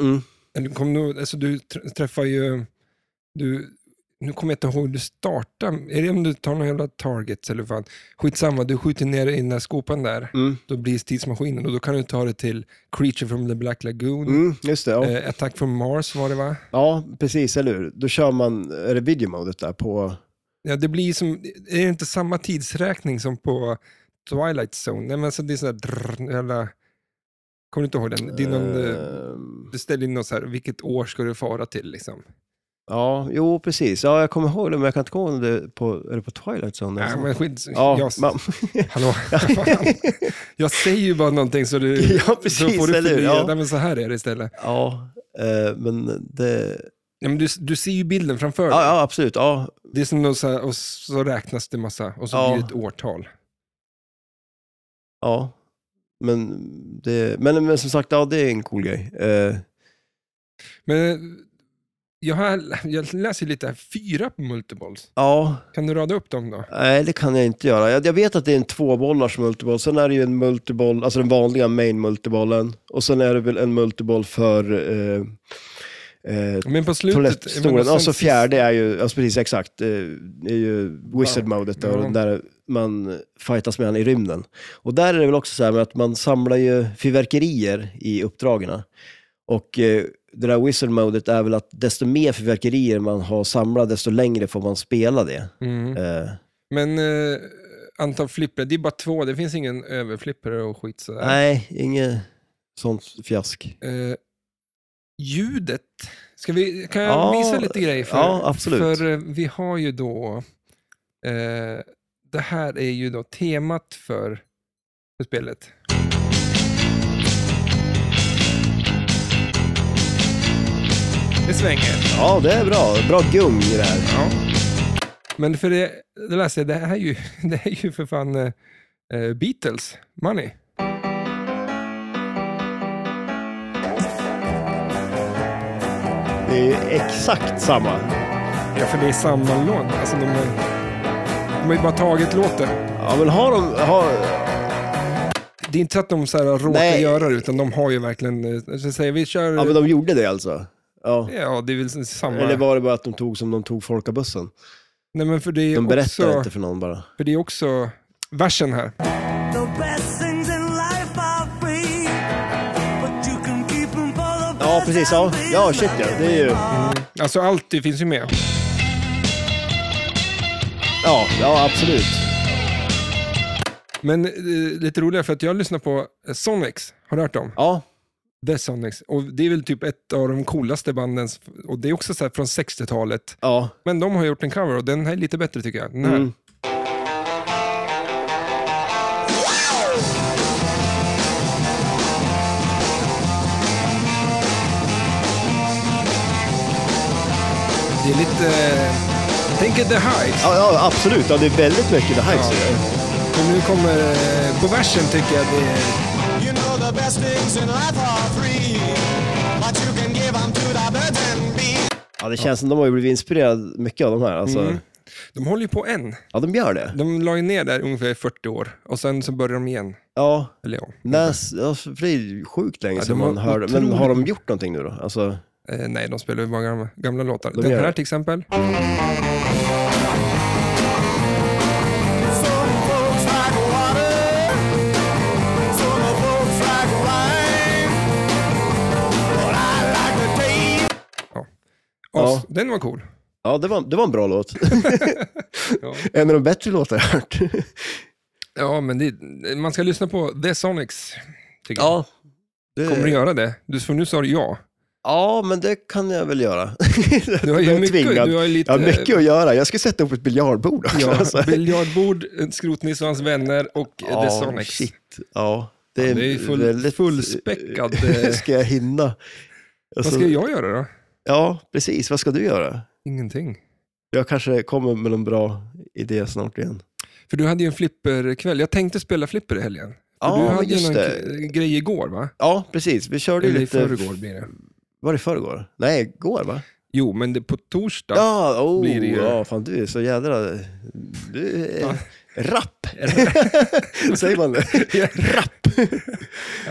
Speaker 2: Mm.
Speaker 1: Men Du, kom nog- alltså, du tr- träffar ju... Du, nu kommer jag inte ihåg hur du startar. Är det om du tar någon jävla target eller fan? Skitsamma, du skjuter ner i den där skopan där.
Speaker 2: Mm.
Speaker 1: Då blir tidsmaskinen och då kan du ta det till Creature from the Black Lagoon.
Speaker 2: Mm, just det, ja.
Speaker 1: Eh, Attack from Mars var det va?
Speaker 2: ja, precis, eller hur? Då kör man, är det videomodet där på...
Speaker 1: Ja, det blir som, är det inte samma tidsräkning som på Twilight Zone? Nej, men alltså det är sådär drr, jävla... Kommer du inte ihåg den? Det är någon, eh,
Speaker 2: Ehm,
Speaker 1: du ställer in något så här, vilket år ska du fara till liksom?
Speaker 2: Ja, jo precis. Ja, jag kommer ihåg det, men jag kan inte komma ihåg om det på, är det på Twilight Zone. Alltså?
Speaker 1: Nej, men skit,
Speaker 2: ja,
Speaker 1: jag,
Speaker 2: man, [laughs]
Speaker 1: hallå, fan. [laughs] jag säger ju bara någonting så, du,
Speaker 2: Ja,
Speaker 1: så
Speaker 2: precis,
Speaker 1: får du
Speaker 2: eller hur?
Speaker 1: fundera.
Speaker 2: Ja.
Speaker 1: Nej, men så här är det istället.
Speaker 2: ja eh, men det...
Speaker 1: Ja, men du, du ser ju bilden framför dig.
Speaker 2: Ja, ja absolut. Ja,
Speaker 1: Det är som något så här, och så räknas det massa, och så
Speaker 2: Ja.
Speaker 1: blir det ett årtal.
Speaker 2: ja. Men, det, men, men som sagt, ja, det är en cool grej. Eh,
Speaker 1: Men eh, jag, har, jag läser lite här, fyra multiballs.
Speaker 2: ja,
Speaker 1: Kan du rada upp dem då?
Speaker 2: nej, det kan jag inte göra. Jag, jag vet att det är en tvåbollars multiboll. Sen är det ju en multiboll, alltså den vanliga main multibollen. Och sen är det väl en multiboll för eh, eh,
Speaker 1: Men på slutet... jag menar,
Speaker 2: Toalettstolen,
Speaker 1: sen
Speaker 2: alltså
Speaker 1: sist-
Speaker 2: fjärde är ju, alltså precis exakt, eh, är ju wizard-modet
Speaker 1: Ja.
Speaker 2: och den där man fightas med han i rymden. Och där är det väl också så här med att man samlar ju fyrverkerier i uppdragen. Och eh, det där wizard-modet är väl att desto mer fyrverkerier man har samlat, desto längre får man spela det.
Speaker 1: Mm.
Speaker 2: Eh,
Speaker 1: Men eh, antal flipper, det är bara två, det finns ingen överflipper och skit sådär.
Speaker 2: nej, inget sånt fjask.
Speaker 1: Eh, ljudet. Ska vi, kan jag
Speaker 2: Ja,
Speaker 1: visa lite grejer? För,
Speaker 2: ja, absolut.
Speaker 1: För eh, vi har ju då, eh, det här är ju då temat för, för spelet. Det svänger.
Speaker 2: Ja, det är bra. Bra gung i det här.
Speaker 1: Ja. Men för det, det läser jag, det här är ju, [laughs] det här är ju för fan eh, eh, Beatles, Money.
Speaker 2: Det är ju exakt samma.
Speaker 1: Ja, för det är samma låt. Alltså, de, har- de har ju bara tagit låten.
Speaker 2: Ja, men har de... Har...
Speaker 1: Det är inte så att de så här råkar
Speaker 2: Nej.
Speaker 1: göra det, utan de har ju verkligen... eh, Så säger, vi kör...
Speaker 2: Ja, men de gjorde det alltså? Ja.
Speaker 1: Ja, det är väl samma.
Speaker 2: Eller var det bara att de tog som de tog folkabussen?
Speaker 1: Nej, men för det är
Speaker 2: De berättar
Speaker 1: också...
Speaker 2: inte för någon bara.
Speaker 1: För det är också versen här.
Speaker 3: The best things in life are free. But you can keep them for the
Speaker 2: Ja,
Speaker 3: best
Speaker 2: precis. Ja,
Speaker 3: and
Speaker 2: ja
Speaker 3: be
Speaker 2: shit ja. Det är ju...
Speaker 1: Alltså allt det finns ju med.
Speaker 2: Ja, ja absolut.
Speaker 1: Men eh, lite roligare för att jag lyssnar på eh, Sonics. Har du hört dem?
Speaker 2: Ja,
Speaker 1: The Sonics. Och det är väl typ ett av de coolaste banden. Och det är också så här från 60-talet.
Speaker 2: ja.
Speaker 1: Men de har gjort en cover och den här är lite bättre tycker jag. Den här.
Speaker 2: Mm.
Speaker 1: Det är lite... eh, Tänk er The Hives.
Speaker 2: Ja, ja, absolut. Ja, det är väldigt mycket det här. Ja.
Speaker 1: Men nu kommer... eh, På versen tycker jag det är...
Speaker 4: You know the best things in life are free, but you can give 'em to the birds and bees.
Speaker 2: ja, det känns som de har ju blivit inspirerade mycket av de här. Alltså.
Speaker 1: De håller ju på än.
Speaker 2: Ja, de gör det.
Speaker 1: De la ju ner där ungefär i 40 år och sen så började de igen.
Speaker 2: Ja,
Speaker 1: Eller ja,
Speaker 2: Näs, ja, för det är ju sjukt länge
Speaker 1: Ja,
Speaker 2: sedan
Speaker 1: de har
Speaker 2: man hörde. Men
Speaker 1: otroligt-
Speaker 2: har de gjort någonting nu då? Alltså,
Speaker 1: eh, nej, de spelar ju bara gamla, gamla låtar.
Speaker 2: De
Speaker 1: Den
Speaker 2: gör
Speaker 1: här
Speaker 2: det.
Speaker 1: till exempel.
Speaker 4: Some folks like water, some folks like wine, but I like the taste.
Speaker 1: As,
Speaker 2: Ja.
Speaker 1: Den var cool.
Speaker 2: ja, det var, det var en bra låt.
Speaker 1: Ja.
Speaker 2: [laughs] en av de bättre låtar jag har hört.
Speaker 1: Ja, men det, man ska lyssna på The Sonics. Tycker jag.
Speaker 2: [laughs] Det,
Speaker 1: Kommer du göra det? Du, för nu sa du ja.
Speaker 2: ja, men det kan jag väl göra.
Speaker 1: Du har
Speaker 2: [laughs] Jag
Speaker 1: ju
Speaker 2: är
Speaker 1: mycket,
Speaker 2: tvingad.
Speaker 1: du har ju lite, eh,
Speaker 2: Jag har mycket att göra. Jag ska sätta upp ett biljardbord också. alltså.
Speaker 1: ja, biljardbord, Skrotnisse och hans vänner och eh, The
Speaker 2: Ja,
Speaker 1: Sonics.
Speaker 2: shit. Ja, det
Speaker 1: Det
Speaker 2: är,
Speaker 1: är ju full,
Speaker 2: väldigt... [laughs]
Speaker 1: fullspäckad. eh,
Speaker 2: ska jag hinna?
Speaker 1: Vad
Speaker 2: Alltså-
Speaker 1: ska jag göra då?
Speaker 2: Ja, precis. Vad ska du göra?
Speaker 1: Ingenting.
Speaker 2: Jag kanske kommer med någon bra idé snart igen.
Speaker 1: För du hade ju en flipperkväll. Jag tänkte spela flipper i helgen. För
Speaker 2: Ja,
Speaker 1: du
Speaker 2: men
Speaker 1: hade ju
Speaker 2: just
Speaker 1: någon
Speaker 2: det.
Speaker 1: k- grej igår va?
Speaker 2: Ja, precis. Vi körde ju
Speaker 1: Eller i
Speaker 2: lite...
Speaker 1: förrgår blir det.
Speaker 2: Var det i förrgår? Nej, igår va?
Speaker 1: Jo, men det, på torsdag.
Speaker 2: Ja, oh,
Speaker 1: blir det ju.
Speaker 2: ja fan du är så jädra... Du är rapp! [laughs] Säger man det? rapp!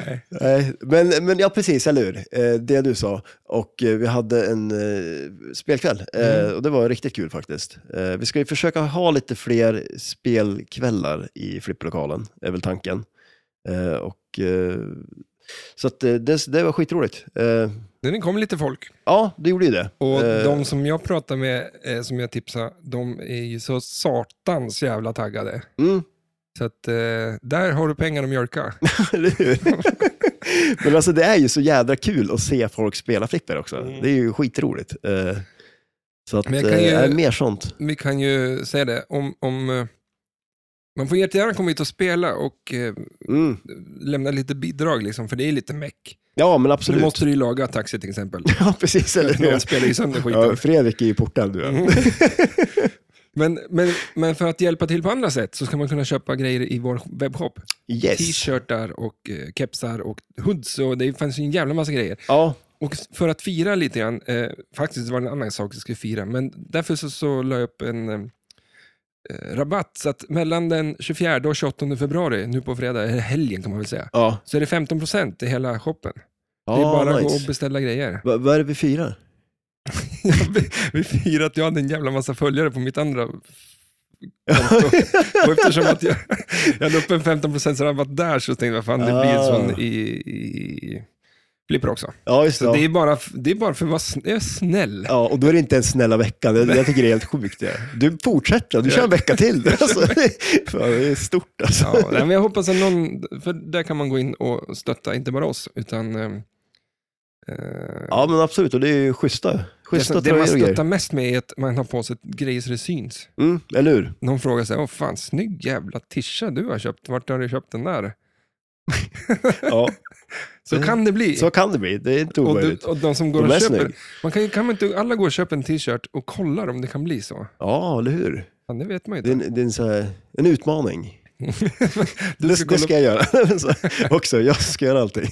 Speaker 1: Nej.
Speaker 2: Nej, men, men ja, precis, eller hur? Eh, Det du sa. Och eh, vi hade en eh, spelkväll Eh,
Speaker 1: Mm.
Speaker 2: och det var riktigt kul faktiskt. Eh, Vi ska ju försöka ha lite fler spelkvällar i flipplokalen, är väl tanken. Eh, Och, eh, så att eh, det, det var skitroligt. Eh,
Speaker 1: Det kom lite folk.
Speaker 2: Ja, det gjorde ju det.
Speaker 1: Och
Speaker 2: Eh,
Speaker 1: de som jag pratar med, eh, som jag tipsar, de är ju så satans jävla taggade.
Speaker 2: Mm.
Speaker 1: Så att eh, där har du pengar att
Speaker 2: [laughs]
Speaker 1: mjölka.
Speaker 2: Eller hur? Men alltså det är ju så jädra kul att se folk spela flipper också. Det är ju skitroligt. Eh, Så att,
Speaker 1: Mm. Men jag kan ju-
Speaker 2: eh, nej, mer sånt.
Speaker 1: Vi kan ju säga det, om, om eh, man får jättegärna komma hit och spela och eh,
Speaker 2: Mm.
Speaker 1: lämna lite bidrag, liksom, för det är lite meck.
Speaker 2: Ja, men
Speaker 1: Nu
Speaker 2: absolut.
Speaker 1: måste du ju laga taxi till exempel.
Speaker 2: [laughs] Ja, precis. Eller
Speaker 1: Någon
Speaker 2: hur?
Speaker 1: spelar ju sönder skiten.
Speaker 2: Ja, Fredrik är ju portad du.
Speaker 1: Mm.
Speaker 2: vet.
Speaker 1: [laughs] Men, men, men för att hjälpa till på andra sätt så ska man kunna köpa grejer i vår webbshop.
Speaker 2: Yes.
Speaker 1: T-shirtar och eh, kepsar och hoods och det fanns ju en jävla massa grejer.
Speaker 2: Ja,
Speaker 1: Och för att fira lite grann, eh, faktiskt var det en annan sak jag skulle fira, men därför så, så la jag upp en eh, rabatt. Så att mellan den 24 och 28 februari, nu på fredag, eller helgen kan man väl säga,
Speaker 2: ja.
Speaker 1: så är det 15% i hela shoppen.
Speaker 2: ja
Speaker 1: det är bara att gå och
Speaker 2: Ah, nice.
Speaker 1: beställa grejer.
Speaker 2: Va- Vad är det vi firar?
Speaker 1: Vi- [laughs] Vi firar att jag hade en jävla massa följare på mitt andra
Speaker 2: [laughs]
Speaker 1: konto. och eftersom att jag, jag la upp en 15 rabatt där så tänkte jag, vad fan det blir
Speaker 2: Ah.
Speaker 1: en sån i, i flipper också.
Speaker 2: Ja, just det.
Speaker 1: Så det,
Speaker 2: Ja.
Speaker 1: är bara, f- det är bara för att vara sn- jag är
Speaker 2: [laughs]
Speaker 1: snäll.
Speaker 2: Ja, och då är det inte ens snälla veckan. Jag, jag tycker det är helt sjukt. Ja. Du fortsätter, du kör en
Speaker 1: [laughs]
Speaker 2: vecka till. Alltså. Fan, det är stort alltså.
Speaker 1: Ja, nej, men jag hoppas att någon, för där kan man gå in och stötta inte bara oss, utan eh, Eh,
Speaker 2: Ja, men absolut. Och det är ju schyssta, schyssta
Speaker 1: det, det
Speaker 2: tröjor
Speaker 1: man
Speaker 2: och
Speaker 1: stöttar
Speaker 2: grejer.
Speaker 1: mest med är att man har på sig grejer så det syns.
Speaker 2: Mm, eller hur?
Speaker 1: Någon frågar så här, åh fan, snygg jävla tisha du har köpt. Vart har du köpt den där?
Speaker 2: Ja,
Speaker 1: Så
Speaker 2: Det-
Speaker 1: kan det bli.
Speaker 2: [laughs] Eh, så kan det bli. Det är inte
Speaker 1: och, du,
Speaker 2: omöjligt.
Speaker 1: och de som går
Speaker 2: De
Speaker 1: och
Speaker 2: är
Speaker 1: köper,
Speaker 2: snygg.
Speaker 1: man kan, ju- kan man inte alla gå och köpa en t-shirt och kolla om det kan bli så?
Speaker 2: Ja, eller hur?
Speaker 1: Fan, det vet man ju
Speaker 2: Det är
Speaker 1: inte.
Speaker 2: en, det är en, så här, en utmaning.
Speaker 1: [laughs] Du ska
Speaker 2: det, det
Speaker 1: kolla-
Speaker 2: ska jag göra [laughs] Så här, också. Jag ska göra allting.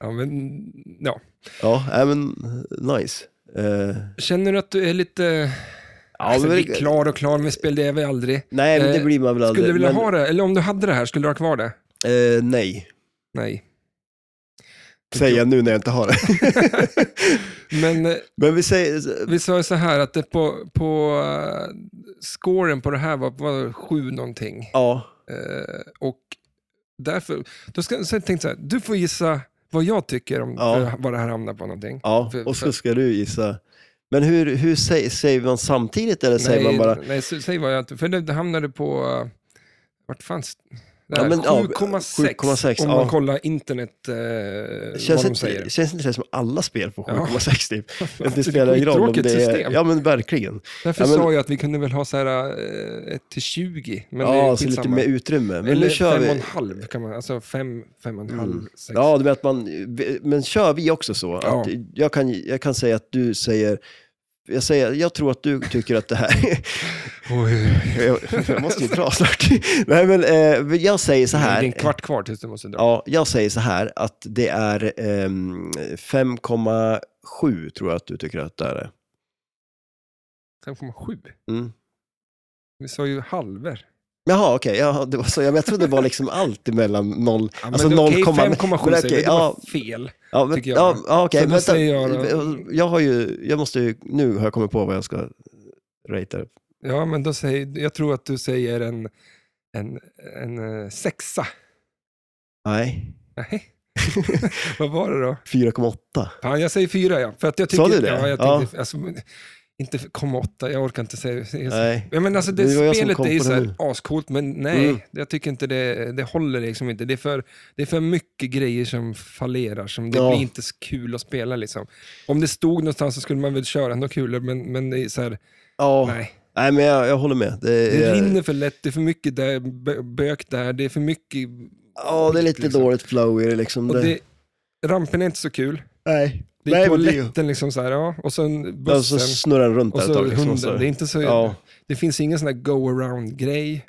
Speaker 1: Ja, men, ja.
Speaker 2: Ja, nej, men nice. Eh,
Speaker 1: Känner du att du är lite... alltså,
Speaker 2: men-
Speaker 1: vi är klar och klar med spel, det är vi aldrig.
Speaker 2: nej, men det
Speaker 1: Eh,
Speaker 2: blir man väl aldrig.
Speaker 1: Skulle du vilja
Speaker 2: men,
Speaker 1: ha det? Eller om du hade det här, skulle du ha kvar det?
Speaker 2: Eh, nej,
Speaker 1: Nej.
Speaker 2: säger jag nu när jag inte har det. [laughs]
Speaker 1: Men eh,
Speaker 2: Men vi säger,
Speaker 1: vi sa ju så här att det på, på eh, scoren på det här var, var sju någonting.
Speaker 2: ja,
Speaker 1: Eh, och därför, då ska, så jag tänkte så här, du får gissa vad jag tycker om
Speaker 2: Ja.
Speaker 1: eh, vad det här hamnar på någonting.
Speaker 2: ja,
Speaker 1: För-
Speaker 2: och
Speaker 1: för-
Speaker 2: så ska du gissa. Men hur, hur säger, säger man samtidigt eller säger man bara,
Speaker 1: nej, s- säg vad jag inte, för det, det hamnade på, eh, vart fanns det?
Speaker 2: Ja,
Speaker 1: här,
Speaker 2: men, ja,
Speaker 1: 7,6
Speaker 2: 7,6,
Speaker 1: om
Speaker 2: ja.
Speaker 1: man kollar internet, eh,
Speaker 2: Känns
Speaker 1: vad de
Speaker 2: inte,
Speaker 1: säger.
Speaker 2: känns inte det som alla spel på
Speaker 1: Ja. [laughs]
Speaker 2: 7,6 typ?
Speaker 1: det
Speaker 2: Att det
Speaker 1: är
Speaker 2: spelar ingen roll om
Speaker 1: skittråkigt
Speaker 2: det är...
Speaker 1: system.
Speaker 2: Ja men verkligen.
Speaker 1: Därför
Speaker 2: Ja, men-
Speaker 1: sa jag att vi kunde väl ha så här eh, 1 till 20, men det är
Speaker 2: ja, så lite
Speaker 1: skitsamma.
Speaker 2: med utrymme. Men
Speaker 1: Eller
Speaker 2: nu kör
Speaker 1: fem och
Speaker 2: vi. Mm.
Speaker 1: en halv kan man, alltså fem, fem och en halv, sex.
Speaker 2: Ja, du menar att man... Men kör vi också så? Att
Speaker 1: Ja.
Speaker 2: jag, kan, jag kan säga att du säger... Jag, säger, jag tror att du tycker att
Speaker 1: [laughs]
Speaker 2: det här...
Speaker 1: Oj,
Speaker 2: jag, jag måste ju dra snart. Nej, men eh, jag säger så
Speaker 1: det är en
Speaker 2: här.
Speaker 1: kvart kvar tills du måste dra.
Speaker 2: Ja, jag säger så här att det är ehm, 5,7 tror jag att du tycker att det här är.
Speaker 1: 5,7.
Speaker 2: Mm.
Speaker 1: Vi sa ju halver.
Speaker 2: Jaha, okej. ja, det var så. Ja, men jag trodde det var liksom allt emellan 0...
Speaker 1: Ja,
Speaker 2: Alltså
Speaker 1: men okej,
Speaker 2: 0,7
Speaker 1: 5,7 säger vi, det
Speaker 2: ja,
Speaker 1: var fel.
Speaker 2: ja, men,
Speaker 1: tycker jag.
Speaker 2: Ja, ja, okej.
Speaker 1: Så då
Speaker 2: vänta.
Speaker 1: säger
Speaker 2: jag, har ju... Jag måste ju... Nu har jag kommit på vad jag ska ratea.
Speaker 1: Ja, men då säger, jag tror att du säger en, en, en eh, sexa.
Speaker 2: Nej,
Speaker 1: Nej. [laughs] Vad var det då?
Speaker 2: 4,8.
Speaker 1: Fan, jag säger fyra, ja. För att jag tycker,
Speaker 2: Sa du det?
Speaker 1: Ja, jag
Speaker 2: Ja.
Speaker 1: tänkte, alltså, men, inte 0,8, jag orkar inte säga. säga så.
Speaker 2: Nej.
Speaker 1: Ja, men alltså, det,
Speaker 2: Det var jag som
Speaker 1: spelet
Speaker 2: kom
Speaker 1: är ju
Speaker 2: på
Speaker 1: så
Speaker 2: det
Speaker 1: här ascoolt, men nej,
Speaker 2: Mm.
Speaker 1: jag tycker inte det, det håller liksom inte. Det är, för, det är för mycket grejer som fallerar, som det
Speaker 2: Ja.
Speaker 1: blir inte så kul att spela liksom. Om det stod någonstans så skulle man väl köra några kulor, men, men det är så här,
Speaker 2: Ja. Nej.
Speaker 1: nej.
Speaker 2: men jag, jag håller med. Det,
Speaker 1: Det
Speaker 2: är-
Speaker 1: rinner för lätt, det är för mycket där, bö- bök där, det är för mycket...
Speaker 2: Ja, det är lite
Speaker 1: liksom.
Speaker 2: dåligt flow i det liksom.
Speaker 1: Och
Speaker 2: Det,
Speaker 1: det, rampen är inte så kul.
Speaker 2: nej.
Speaker 1: Det är
Speaker 2: nej, men
Speaker 1: toaletten liksom så här, ja. Och sen
Speaker 2: Och så
Speaker 1: bussen.
Speaker 2: snurrar den runt
Speaker 1: Och
Speaker 2: där ett
Speaker 1: så
Speaker 2: tag. Liksom,
Speaker 1: hunden.
Speaker 2: och så,
Speaker 1: Det, är inte så,
Speaker 2: Ja.
Speaker 1: det finns ingen sån där go-around-grej.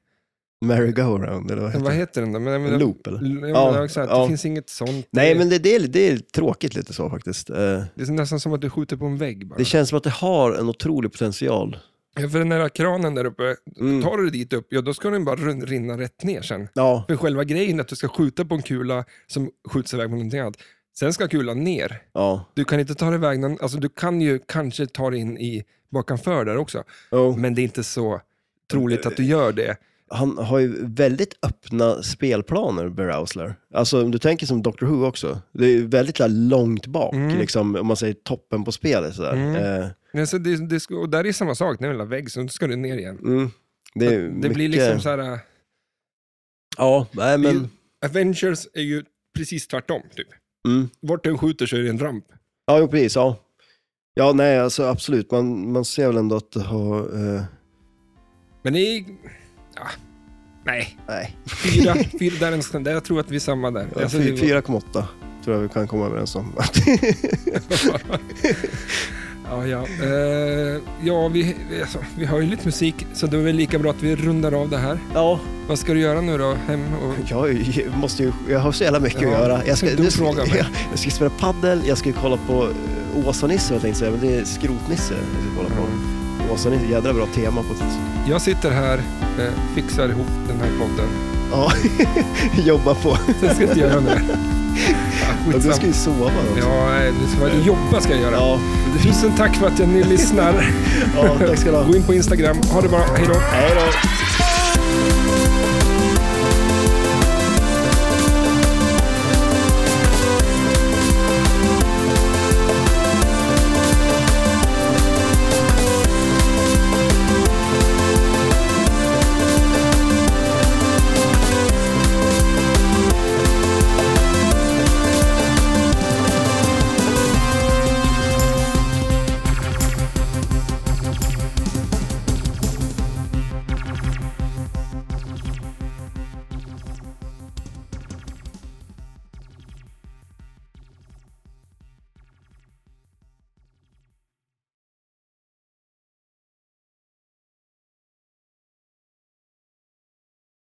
Speaker 2: merry-go-round eller
Speaker 1: Men
Speaker 2: vad heter
Speaker 1: Vad
Speaker 2: det?
Speaker 1: heter den då? Men, men,
Speaker 2: Loop eller?
Speaker 1: Ja, men,
Speaker 2: Ja,
Speaker 1: exakt.
Speaker 2: ja.
Speaker 1: Det finns inget sånt.
Speaker 2: Nej,
Speaker 1: Det-
Speaker 2: men det, det, är, det är tråkigt lite så faktiskt. Eh,
Speaker 1: Det är nästan som att du skjuter på en vägg bara.
Speaker 2: Det känns som att det har en otrolig potential.
Speaker 1: Ja, För den där kranen där uppe,
Speaker 2: Mm.
Speaker 1: tar du det dit upp, ja då ska den bara run- rinna rätt ner sen.
Speaker 2: Ja,
Speaker 1: För själva grejen är att du ska skjuta på en kula som skjuts iväg på någonting annat. Sen ska kulan ner.
Speaker 2: ja.
Speaker 1: Du kan inte ta dig iväg någon, alltså du kan ju kanske ta dig in i bakanför där också.
Speaker 2: Oh.
Speaker 1: Men det är inte så troligt att du
Speaker 2: Eh,
Speaker 1: gör det.
Speaker 2: Han har ju väldigt öppna spelplaner, Berousler. Alltså om du tänker som Doctor Who också. Det är ju väldigt där långt bak,
Speaker 1: Mm.
Speaker 2: liksom, om man säger toppen på spelet. Sådär.
Speaker 1: Mm.
Speaker 2: Eh,
Speaker 1: Men Alltså det, det, ska- och där är samma sak, det är en jävla vägg, så ska du ner igen.
Speaker 2: mm. Det, är
Speaker 1: det
Speaker 2: ju mycket...
Speaker 1: blir liksom så här, äh,
Speaker 2: Ja, nej
Speaker 1: det är
Speaker 2: men...
Speaker 1: ju- Avengers är ju precis tvärtom. Typ.
Speaker 2: Mm.
Speaker 1: Vart du skjuter så är det en ramp.
Speaker 2: Ja, jo, precis. Ja. ja, nej, alltså absolut. Man, man ser väl ändå att det har... eh,
Speaker 1: Men det är... Ja, nej,
Speaker 2: nej,
Speaker 1: fyra. fyra där ens, där jag tror att vi är samma där.
Speaker 2: [laughs] Ja,
Speaker 1: Alltså,
Speaker 2: fy-
Speaker 1: det-
Speaker 2: 4,8 tror jag vi kan komma överens om. [laughs]
Speaker 1: ja, ja. Eh, ja vi, vi- alltså, vi har ju lite musik, så det är väl lika bra att vi rundar av det här.
Speaker 2: ja,
Speaker 1: Vad ska du göra nu då? Hem och...
Speaker 2: jag, är ju- jag måste ju, jag har så jävla mycket
Speaker 1: Ja,
Speaker 2: att göra. Jag ska,
Speaker 1: du
Speaker 2: nu ska-
Speaker 1: frågar
Speaker 2: [laughs]
Speaker 1: mig.
Speaker 2: jag, jag ska spela paddel, jag ska ju kolla på eh, Åsa-Nisse, jag tänkte säga, men det är Skrotnisse jag ska kolla på. Åsa-Nisse, jädra bra tema på
Speaker 1: Jag sitter här, eh, fixar ihop den här podden.
Speaker 2: Ja, [laughs] jobba på.
Speaker 1: Sen ska jag inte göra mer. Ja,
Speaker 2: Ja, du ska
Speaker 1: skitsamma.
Speaker 2: ju sova också.
Speaker 1: Ja, nej, det ska vara- jobba ska jag göra.
Speaker 2: Ja,
Speaker 1: Tusen tack för att ni lyssnar.
Speaker 2: ja, tack ska du ha.
Speaker 1: Gå in på Instagram. Ha det bra. Hej då.
Speaker 2: Hej då.